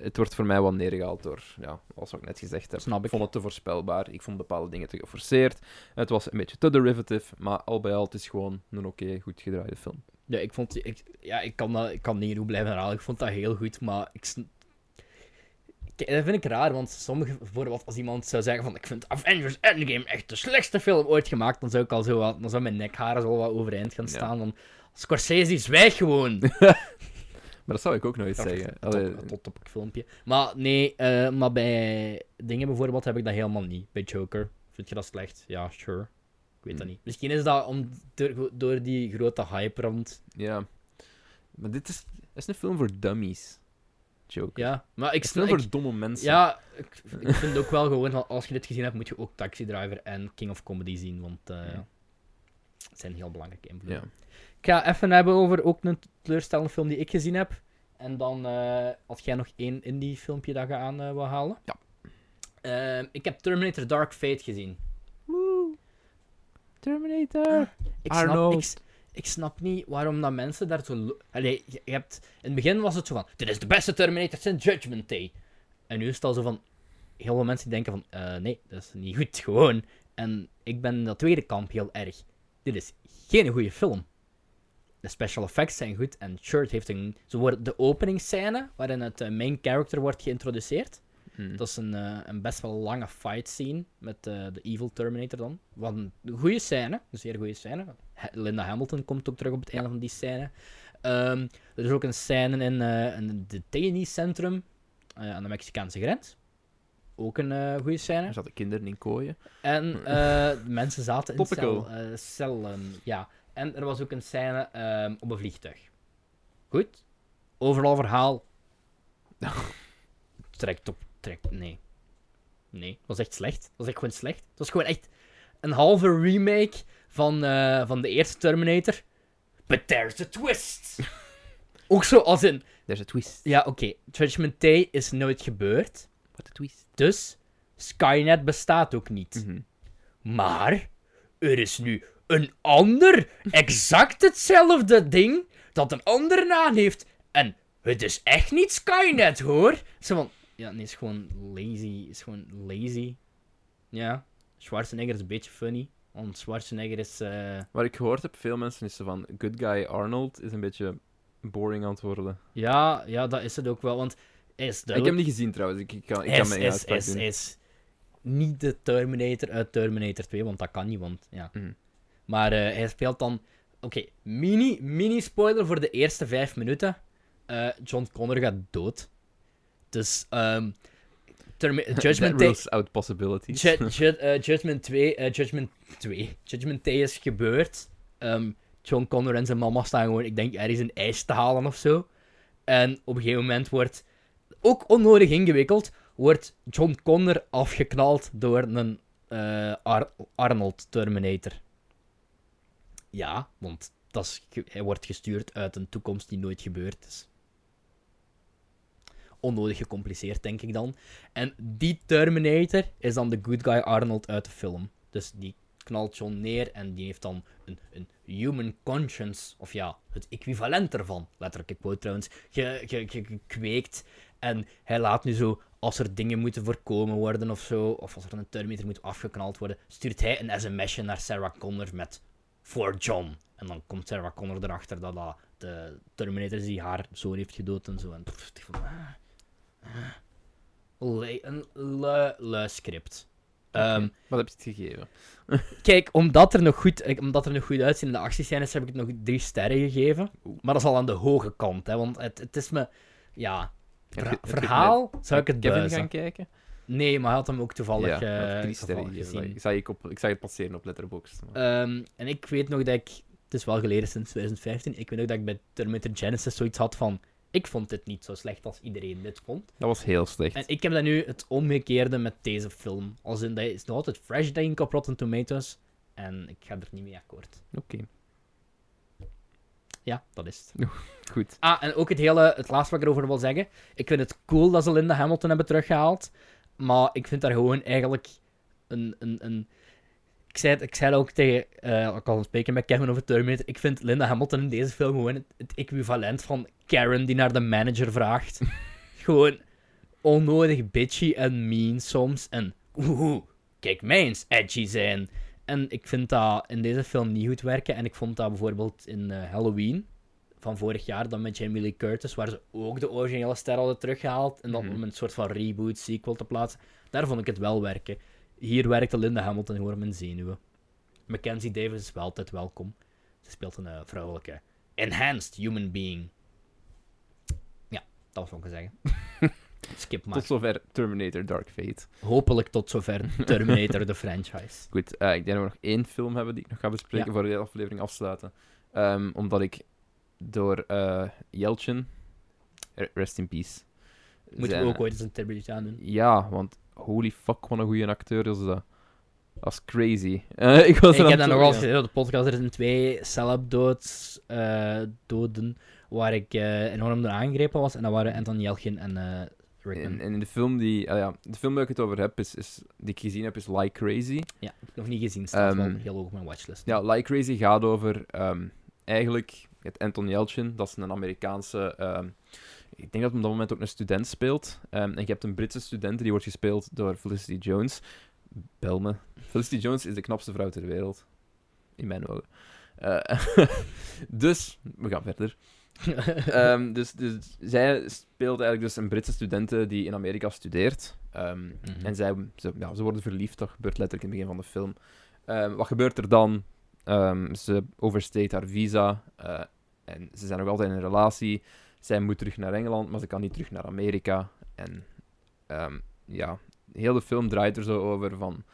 B: het wordt voor mij wel neergehaald door, ja, als ik net gezegd heb.
A: Snap ik.
B: Ik vond het te voorspelbaar. Ik vond bepaalde dingen te geforceerd. Het was een beetje te derivative, maar al bij al, het is gewoon een oké, goed gedraaide film.
A: Ja, ik vond... Ik, ja, ik kan, dat, ik kan niet genoeg blijven herhalen. Ik vond dat heel goed, maar ik... sn- Kijk, dat vind ik raar, want sommige... Bijvoorbeeld als iemand zou zeggen van... Ik vind Avengers Endgame echt de slechtste film ooit gemaakt, dan zou ik al zo wat... Dan zou mijn nekharen zo wat overeind gaan
B: Ja.
A: staan. Dan, Scorsese, zwijg gewoon! eh,
B: Maar dat zou ik ook nooit zeggen.
A: Tot,
B: Allee,
A: tot, op het filmpje. Maar nee, eh, maar bij dingen bijvoorbeeld heb ik dat helemaal niet. Bij Joker. Vind je dat slecht? Ja, sure. Ik weet dat
B: Hmm.
A: niet. Misschien is dat om, door, door die grote hype rond
B: ja. Maar dit is, dit is een film voor dummies. Joke.
A: Ja, maar ik
B: Het is een
A: snap.
B: film
A: Ik,
B: voor domme mensen.
A: ja, ik, ik vind ook wel gewoon van als je dit gezien hebt, moet je ook Taxi Driver en King of Comedy zien. Want eh,
B: Ja.
A: Het zijn heel belangrijke invloeden.
B: Ja.
A: Ik ga even hebben over ook een teleurstellende film die ik gezien heb. En dan eh had jij nog één indie filmpje dat je aan eh, wil halen.
B: Ja.
A: Ehm, ik heb Terminator Dark Fate gezien.
B: Terminator.
A: Ik snap,
B: Arnold.
A: ik, s- ik snap niet waarom dat mensen daar zo... lo- Allee, je, je hebt... In het begin was het zo van... Dit is de beste Terminator sinds Judgment Day. En nu is het al zo van... Heel veel mensen die denken van... eh, nee, dat is niet goed, gewoon. En ik ben in dat tweede kamp heel erg. Dit is geen goede film. De special effects zijn goed. En Shirt heeft een... Zo wordt de openingsscène, waarin het eh, main character wordt geïntroduceerd.
B: Hmm. Mhm.
A: Dat is een, eh, een best wel lange fight scene met eh, de Evil Terminator dan. Wat een goede scène, een zeer goede scène. Ha- Linda Hamilton komt ook terug op het einde van die scène. Ehm, er is ook een scène in, eh in het detaineecentrum eh, aan de Mexicaanse grens. Ook een eh, goede scène.
B: Er zaten kinderen in kooien.
A: En eh, de mensen zaten in
B: Topical.
A: cel, eh, cellen. Ja. En er was ook een scène ehm, op een vliegtuig. Goed. Overal verhaal. Trekt op. Trekt. Nee. Nee. Het was echt slecht. Het was echt gewoon slecht. Het was gewoon echt een halve remake van, eh, van de eerste Terminator. But there's a twist. ook zo als in.
B: There's a twist.
A: Ja, oké. Judgment Day is nooit gebeurd.
B: What a twist.
A: Dus Skynet bestaat ook niet. Maar er is nu een ander, exact hetzelfde ding, dat een andere naam heeft. En het is echt niet Skynet hoor. Zo van, ja, nee, is gewoon lazy. Is gewoon lazy. Ja, Schwarzenegger is een beetje funny. Want Schwarzenegger is. eh,
B: Wat ik gehoord heb, veel mensen is zo van... Good guy Arnold is een beetje boring aan het worden.
A: Ja, ja, dat is het ook wel. Want hij is
B: Ik heb
A: duidelijk.
B: hem niet gezien trouwens. Ik, ik kan, ik kan
A: is,
B: mijn
A: is,
B: uitspraak
A: is,
B: doen.
A: is niet de Terminator uit Terminator 2, want dat kan niet, want ja.
B: Mhm.
A: Maar eh, hij speelt dan... Oké, mini, mini spoiler voor de eerste vijf minuten. Eh, John Connor gaat dood. Dus, ehm Termi- Judgment
B: That
A: Day...
B: rules out possibilities.
A: Ju- ju- eh, Judgment 2... eh, Judgment 2. Judgment Day is gebeurd. Ehm, John Connor en zijn mama staan gewoon, ik denk, ergens een ijs te halen of zo. En op een gegeven moment wordt, ook onnodig ingewikkeld, wordt John Connor afgeknald door een eh, Ar- Arnold Terminator. Ja, want dat is ge- hij wordt gestuurd uit een toekomst die nooit gebeurd is. Onnodig gecompliceerd, denk ik dan. En die Terminator is dan de good guy Arnold uit de film. Dus die knalt John neer en die heeft dan een, een human conscience, of ja, het equivalent ervan, letterlijk, ik quote trouwens, ge- ge- ge- gekweekt. En hij laat nu zo, als er dingen moeten voorkomen worden of zo, of als er een Terminator moet afgeknald worden, stuurt hij een sms'je naar Sarah Connor met voor John. En dan komt Sarah Connor erachter dat dat de Terminator is die haar zoon heeft gedood en zo. En pff, ik vond, ah, ah. Le- een lui- lui script. Ehm,
B: Oké. Wat heb je het gegeven?
A: Kijk, omdat er nog goed, eh, omdat er nog goed uitzien in de actiescènes, heb ik het nog drie sterren gegeven.
B: Oeh.
A: Maar dat is al aan de hoge kant, hè, want het, het is me... Ja,
B: Heb je-
A: verha-
B: heb je het
A: verhaal zou ik het
B: Kevin
A: buizen.
B: gaan kijken?
A: Nee, maar hij had hem ook toevallig,
B: ja,
A: eh,
B: ik heb
A: toevallig
B: drie sterren gegeven.
A: gezien.
B: Ik zag, ik, op, ik zag het passeren op Letterboxd. maar-
A: Ehm, en ik weet nog dat ik... Het is wel geleden sinds 2015. Ik weet nog dat ik bij Terminator Genesis zoiets had van... Ik vond dit niet zo slecht als iedereen dit vond.
B: Dat was heel slecht.
A: En ik heb dan nu het omgekeerde met deze film. Als in, dat is nog altijd fresh, denk ik, op Rotten Tomatoes. En ik ga er niet mee akkoord.
B: Oké,
A: Ja, dat is het.
B: goed.
A: Ah, en ook het hele, het laatste wat ik erover wil zeggen. Ik vind het cool dat ze Linda Hamilton hebben teruggehaald. Maar ik vind daar gewoon eigenlijk een. een, een ik zei, het- ik zei het ook tegen. eh ik al spreken met Kevin over Terminator. Ik vind Linda Hamilton in deze film gewoon het, het equivalent van Karen die naar de manager vraagt. gewoon onnodig bitchy en mean soms. En oeh, kijk mij eens edgy zijn. En ik vind dat in deze film niet goed werken. En ik vond dat bijvoorbeeld in eh, Halloween van vorig jaar, dan met Jamie Lee Curtis, waar ze ook de originele ster hadden teruggehaald. En dan
B: Mhm.
A: om een soort van reboot, sequel te plaatsen. Daar vond ik het wel werken. Hier werkte Linda Hamilton gewoon op mijn zenuwen. Mackenzie Davis is wel altijd welkom. Ze speelt een eh, vrouwelijke, enhanced human being. Ja, dat was ik zeggen. Skip maar.
B: Tot zover Terminator Dark Fate.
A: Hopelijk tot zover Terminator de franchise.
B: Goed, eh, ik denk dat we nog één film hebben die ik nog ga bespreken
A: Ja.
B: voor we de aflevering afsluiten. Ehm, omdat ik door eh, Jeltsin, r- rest in peace.
A: Moeten
B: zijn- eh,
A: we ook ooit eens een tribute aan doen.
B: Ja, want holy fuck, wat een goede acteur is dat. Dat is crazy. Eh, ik was
A: Ik
B: er
A: heb dat
B: aan toe-
A: nogal
B: ja.
A: gezien op de podcast. Er zijn twee celebdoods eh doden waar ik eh, enorm door aangegrepen was. En dat waren Anton Jelgin en eh Rickman.
B: En, en in de film die... ah ja, de film waar ik het over heb, is, is, die ik gezien heb, is Like Crazy.
A: Ja, heb ik nog niet gezien. Staat wel
B: Ehm,
A: heel hoog op mijn watchlist.
B: Ja, Like Crazy gaat over ehm, eigenlijk het Anton Yelchin. Dat is een Amerikaanse. ehm, ik denk dat hij op dat moment ook een student speelt. Ehm, en je hebt een Britse student die wordt gespeeld door Felicity Jones. Bel me. Felicity Jones is de knapste vrouw ter wereld. In mijn ogen. Eh, dus, we gaan verder. Ehm, dus, dus zij speelt eigenlijk dus een Britse studente die in Amerika studeert. Ehm,
A: Mhm.
B: En zij, ze, ja, ze worden verliefd, dat gebeurt letterlijk in het begin van de film. Ehm, wat gebeurt er dan? Ehm, ze oversteekt haar visa eh, en ze zijn nog altijd in een relatie. Zij moet terug naar Engeland, maar ze kan niet terug naar Amerika. En ehm, ja, heel de film draait er zo over van...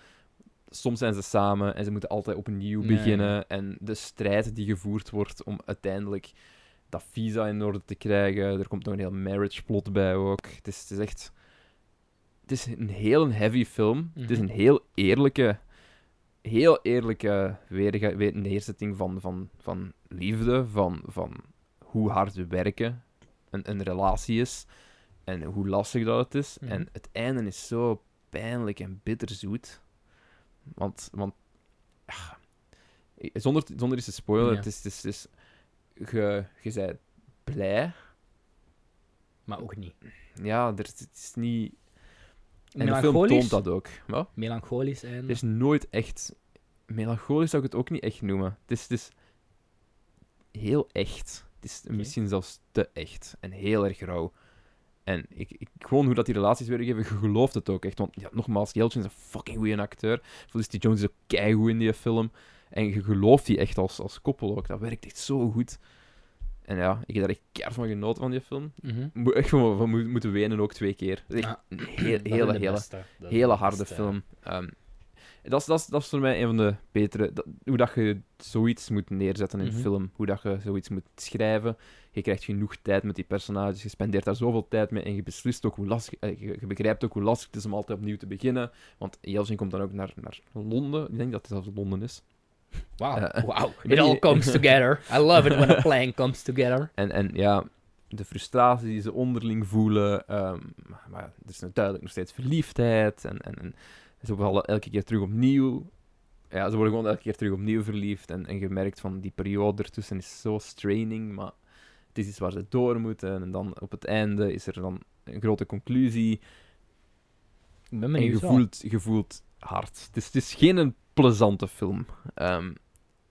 B: Soms zijn ze samen en ze moeten altijd opnieuw
A: Ja,
B: beginnen. En de strijd die gevoerd wordt om uiteindelijk dat visa in orde te krijgen. Er komt nog een heel marriage plot bij ook. Het is, het is echt... Het is een heel een heavy film. Het is
A: Mhm.
B: een heel eerlijke... Heel eerlijke weerga- we- neerzetting van, van, van liefde, van, van hoe hard we werken, een, een relatie is en hoe lastig dat het is.
A: Mhm.
B: En het einde is zo pijnlijk en bitterzoet. Want, want ah, ik- zonder, zonder iets te spoilen,
A: Ja.
B: het is, het is, het is je, je bent blij.
A: Maar ook niet.
B: Ja, er, is- het is niet... En de film
A: Melancholisch?
B: toont dat ook. Wat?
A: Melancholisch eh. en...
B: Het is nooit echt... Melancholisch zou ik het ook niet echt noemen. Het is, het is heel echt. Het is
A: Oké.
B: misschien zelfs te echt. En heel erg rauw. En ik, ik, gewoon hoe dat die relaties weer geven, je gelooft het ook echt. Want ja, nogmaals, Jeltsin is een fucking goede acteur. Felicity Jones is ook keigoed in die film. En je gelooft die echt als, als koppel ook. Dat werkt echt zo goed. En ja, ik heb daar echt keihard van genoten van die film.
A: Mhm.
B: Moet echt gewoon van mo- moeten wenen ook twee keer. Dat is echt
A: Ah,
B: een heel,
A: dat
B: hele,
A: is de
B: hele,
A: beste. Dat is de
B: hele harde
A: beste.
B: film. Ehm, dat, is, dat, is, dat is voor mij een van de betere. dat- hoe dat je zoiets moet neerzetten in
A: Mhm.
B: film. Hoe dat je zoiets moet schrijven. Je krijgt genoeg tijd met die personages. Je spendeert daar zoveel tijd mee. En je beslist ook hoe lastig. eh, je, je begrijpt ook hoe lastig het is om altijd opnieuw te beginnen. Want Jelzin komt dan ook naar, naar Londen. Ik denk dat het zelfs Londen is.
A: Wauw,
B: Eh,
A: wauw.
B: weet
A: It all
B: je-
A: comes together. I love it when a plan comes together.
B: En, en ja, de frustratie die ze onderling voelen. ehm, maar ja, er is duidelijk nog steeds verliefdheid. En, en, en ze vallen elke keer terug opnieuw. Ja, ze worden gewoon elke keer terug opnieuw verliefd. En, en je merkt van die periode ertussen is zo straining. Maar het is iets waar ze door moeten. En dan op het einde is er dan een grote conclusie.
A: Ik ben
B: En je
A: benieuwd wel.
B: voelt, je voelt hard. Het is, het is geen een plezante film. Ehm,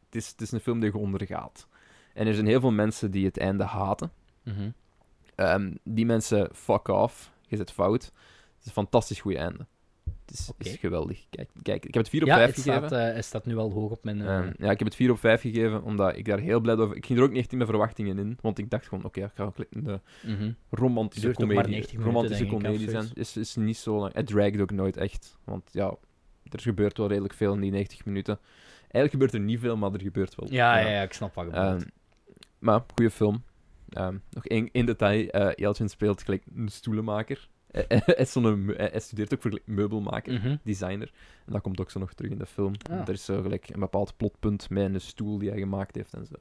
B: het, is, het is een film die je ondergaat. En er zijn heel veel mensen die het einde haten.
A: Mhm.
B: Ehm, die mensen, fuck off. Je zit fout. Het is een fantastisch goede einde. Het is,
A: Oké.
B: is geweldig. Kijk, kijk, ik heb het 4 op
A: Ja,
B: 5
A: het
B: gegeven.
A: staat, eh, het staat nu al hoog op mijn... eh,
B: Ehm, ja, ik heb het 4 op 5 gegeven, omdat ik daar heel blij over... Ik ging er ook niet echt in mijn verwachtingen in, want ik dacht gewoon, oké, ik ga ook een eh,
A: mhm.
B: romantische
A: Duurt ook maar
B: comedie,
A: 90 minuten,
B: romantische
A: denk ik,
B: comedie
A: of
B: zijn.
A: zoiets.
B: Is, is niet zo lang. Het dragged ook nooit echt, want ja, er gebeurt wel redelijk veel in die 90 minuten. Eigenlijk gebeurt er niet veel, maar er gebeurt wel.
A: Ja, ja, ja, ik snap wat je
B: oh, Ehm,
A: bedoelt.
B: maar, goede film. Ehm, nog één één detail. eh Jeltsin speelt gelijk een stoelenmaker. Eh, eh, hij, is zo'n meu- hij hij studeert ook voor gelijk meubelmaker,
A: Mhm.
B: designer. En dat komt ook zo nog terug in de film.
A: Ah.
B: Er is zo gelijk een bepaald plotpunt met een stoel die hij gemaakt heeft en zo.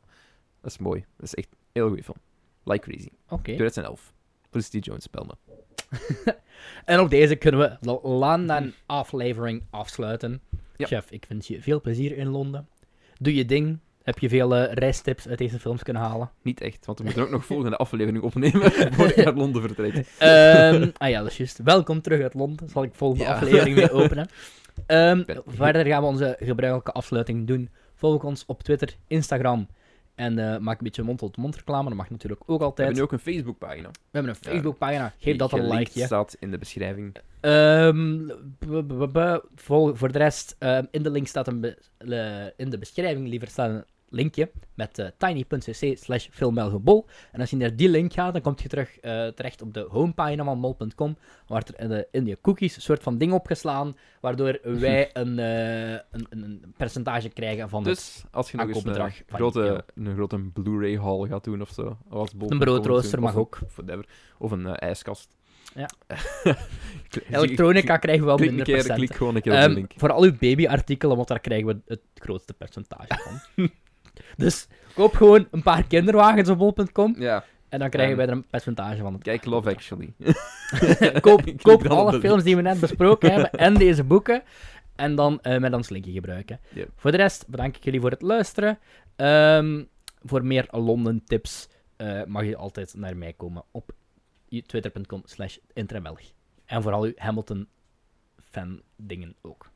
B: Dat is mooi. Dat is echt een heel goede film. Like Crazy.
A: Oké.
B: 2011. Felicity Jones, spel me.
A: En op deze kunnen we de London aflevering afsluiten.
B: Mhm. Ja.
A: Chef, ik wens je veel plezier in Londen. Doe je ding. Heb je veel eh, reistips uit deze films kunnen halen?
B: Niet echt, want we moeten ook nog volgende aflevering opnemen voor ik naar Londen vertrekt.
A: Ehm, ah ja, dat is juist. Welkom terug uit Londen. Zal ik volgende
B: Ja.
A: aflevering weer openen. Ehm,
B: ben-
A: verder gaan we onze gebruikelijke afsluiting doen. Volg ons op Twitter, Instagram. En eh, maak een beetje mond-tot-mond reclame. Dat mag natuurlijk ook
B: We
A: altijd.
B: hebben nu ook een Facebookpagina.
A: We hebben een
B: Ja.
A: Facebookpagina. Geef
B: Die
A: dat een
B: gelinkt
A: likeje.
B: staat in de beschrijving.
A: Ehm, b- b- b- b- vol- voor de rest, ehm, in de link staat een be- le- in de beschrijving liever staat een linkje met eh, tiny.cc slash filmmelgebol. En als je naar die link gaat, dan kom je terug eh, terecht op de homepagina van mol.com, waar er in, de, in je cookies een soort van ding opgeslaan, waardoor wij een, eh, een, een, een percentage krijgen van het-
B: Dus als je nog eens een
A: aankoopbedrag
B: eh,
A: van
B: grote, een grote Blu-ray haul gaat doen of zo, of als bol-
A: een broodrooster,
B: of
A: mag
B: een-
A: ook.
B: Of, whatever, of een eh, ijskast.
A: Ja.
B: Klik-
A: Elektronica krijgen we wel
B: Klik
A: minder
B: een keer,
A: procenten.
B: klik gewoon een keer op
A: Ehm,
B: de link.
A: Voor al uw babyartikelen, want daar krijgen we het grootste percentage van. dus koop gewoon een paar kinderwagens op bol.com
B: Ja,
A: en dan krijgen
B: Ehm,
A: wij er een percentage van.
B: kijk Love Actually.
A: Koop,
B: Klik
A: koop
B: dan op
A: alle
B: de
A: films die we net besproken hebben en deze boeken. En dan eh, met ons linkje gebruiken.
B: Yep.
A: Voor de rest bedank ik jullie voor het luisteren. Ehm, voor meer Londen tips eh, mag je altijd naar mij komen op twitter.com slash intramelg. En vooral uw Hamilton fan dingen ook.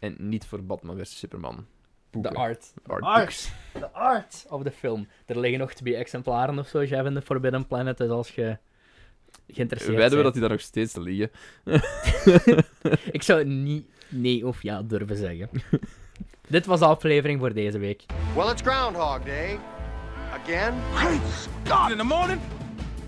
B: En niet voor Batman vs Superman.
A: De
B: Boeken.
A: art.
B: Art
A: art.
B: books.
A: De art of de film. Er liggen nog twee exemplaren of zo, Jeff, in de Forbidden Planet. Dus als je geïnteresseerd
B: Wijden we
A: bent.
B: dat die daar nog steeds liggen.
A: Ik zou niet nee of ja durven zeggen. Dit was de aflevering voor deze week.
C: Well, it's Groundhog Day. Again.
D: God, in the morning,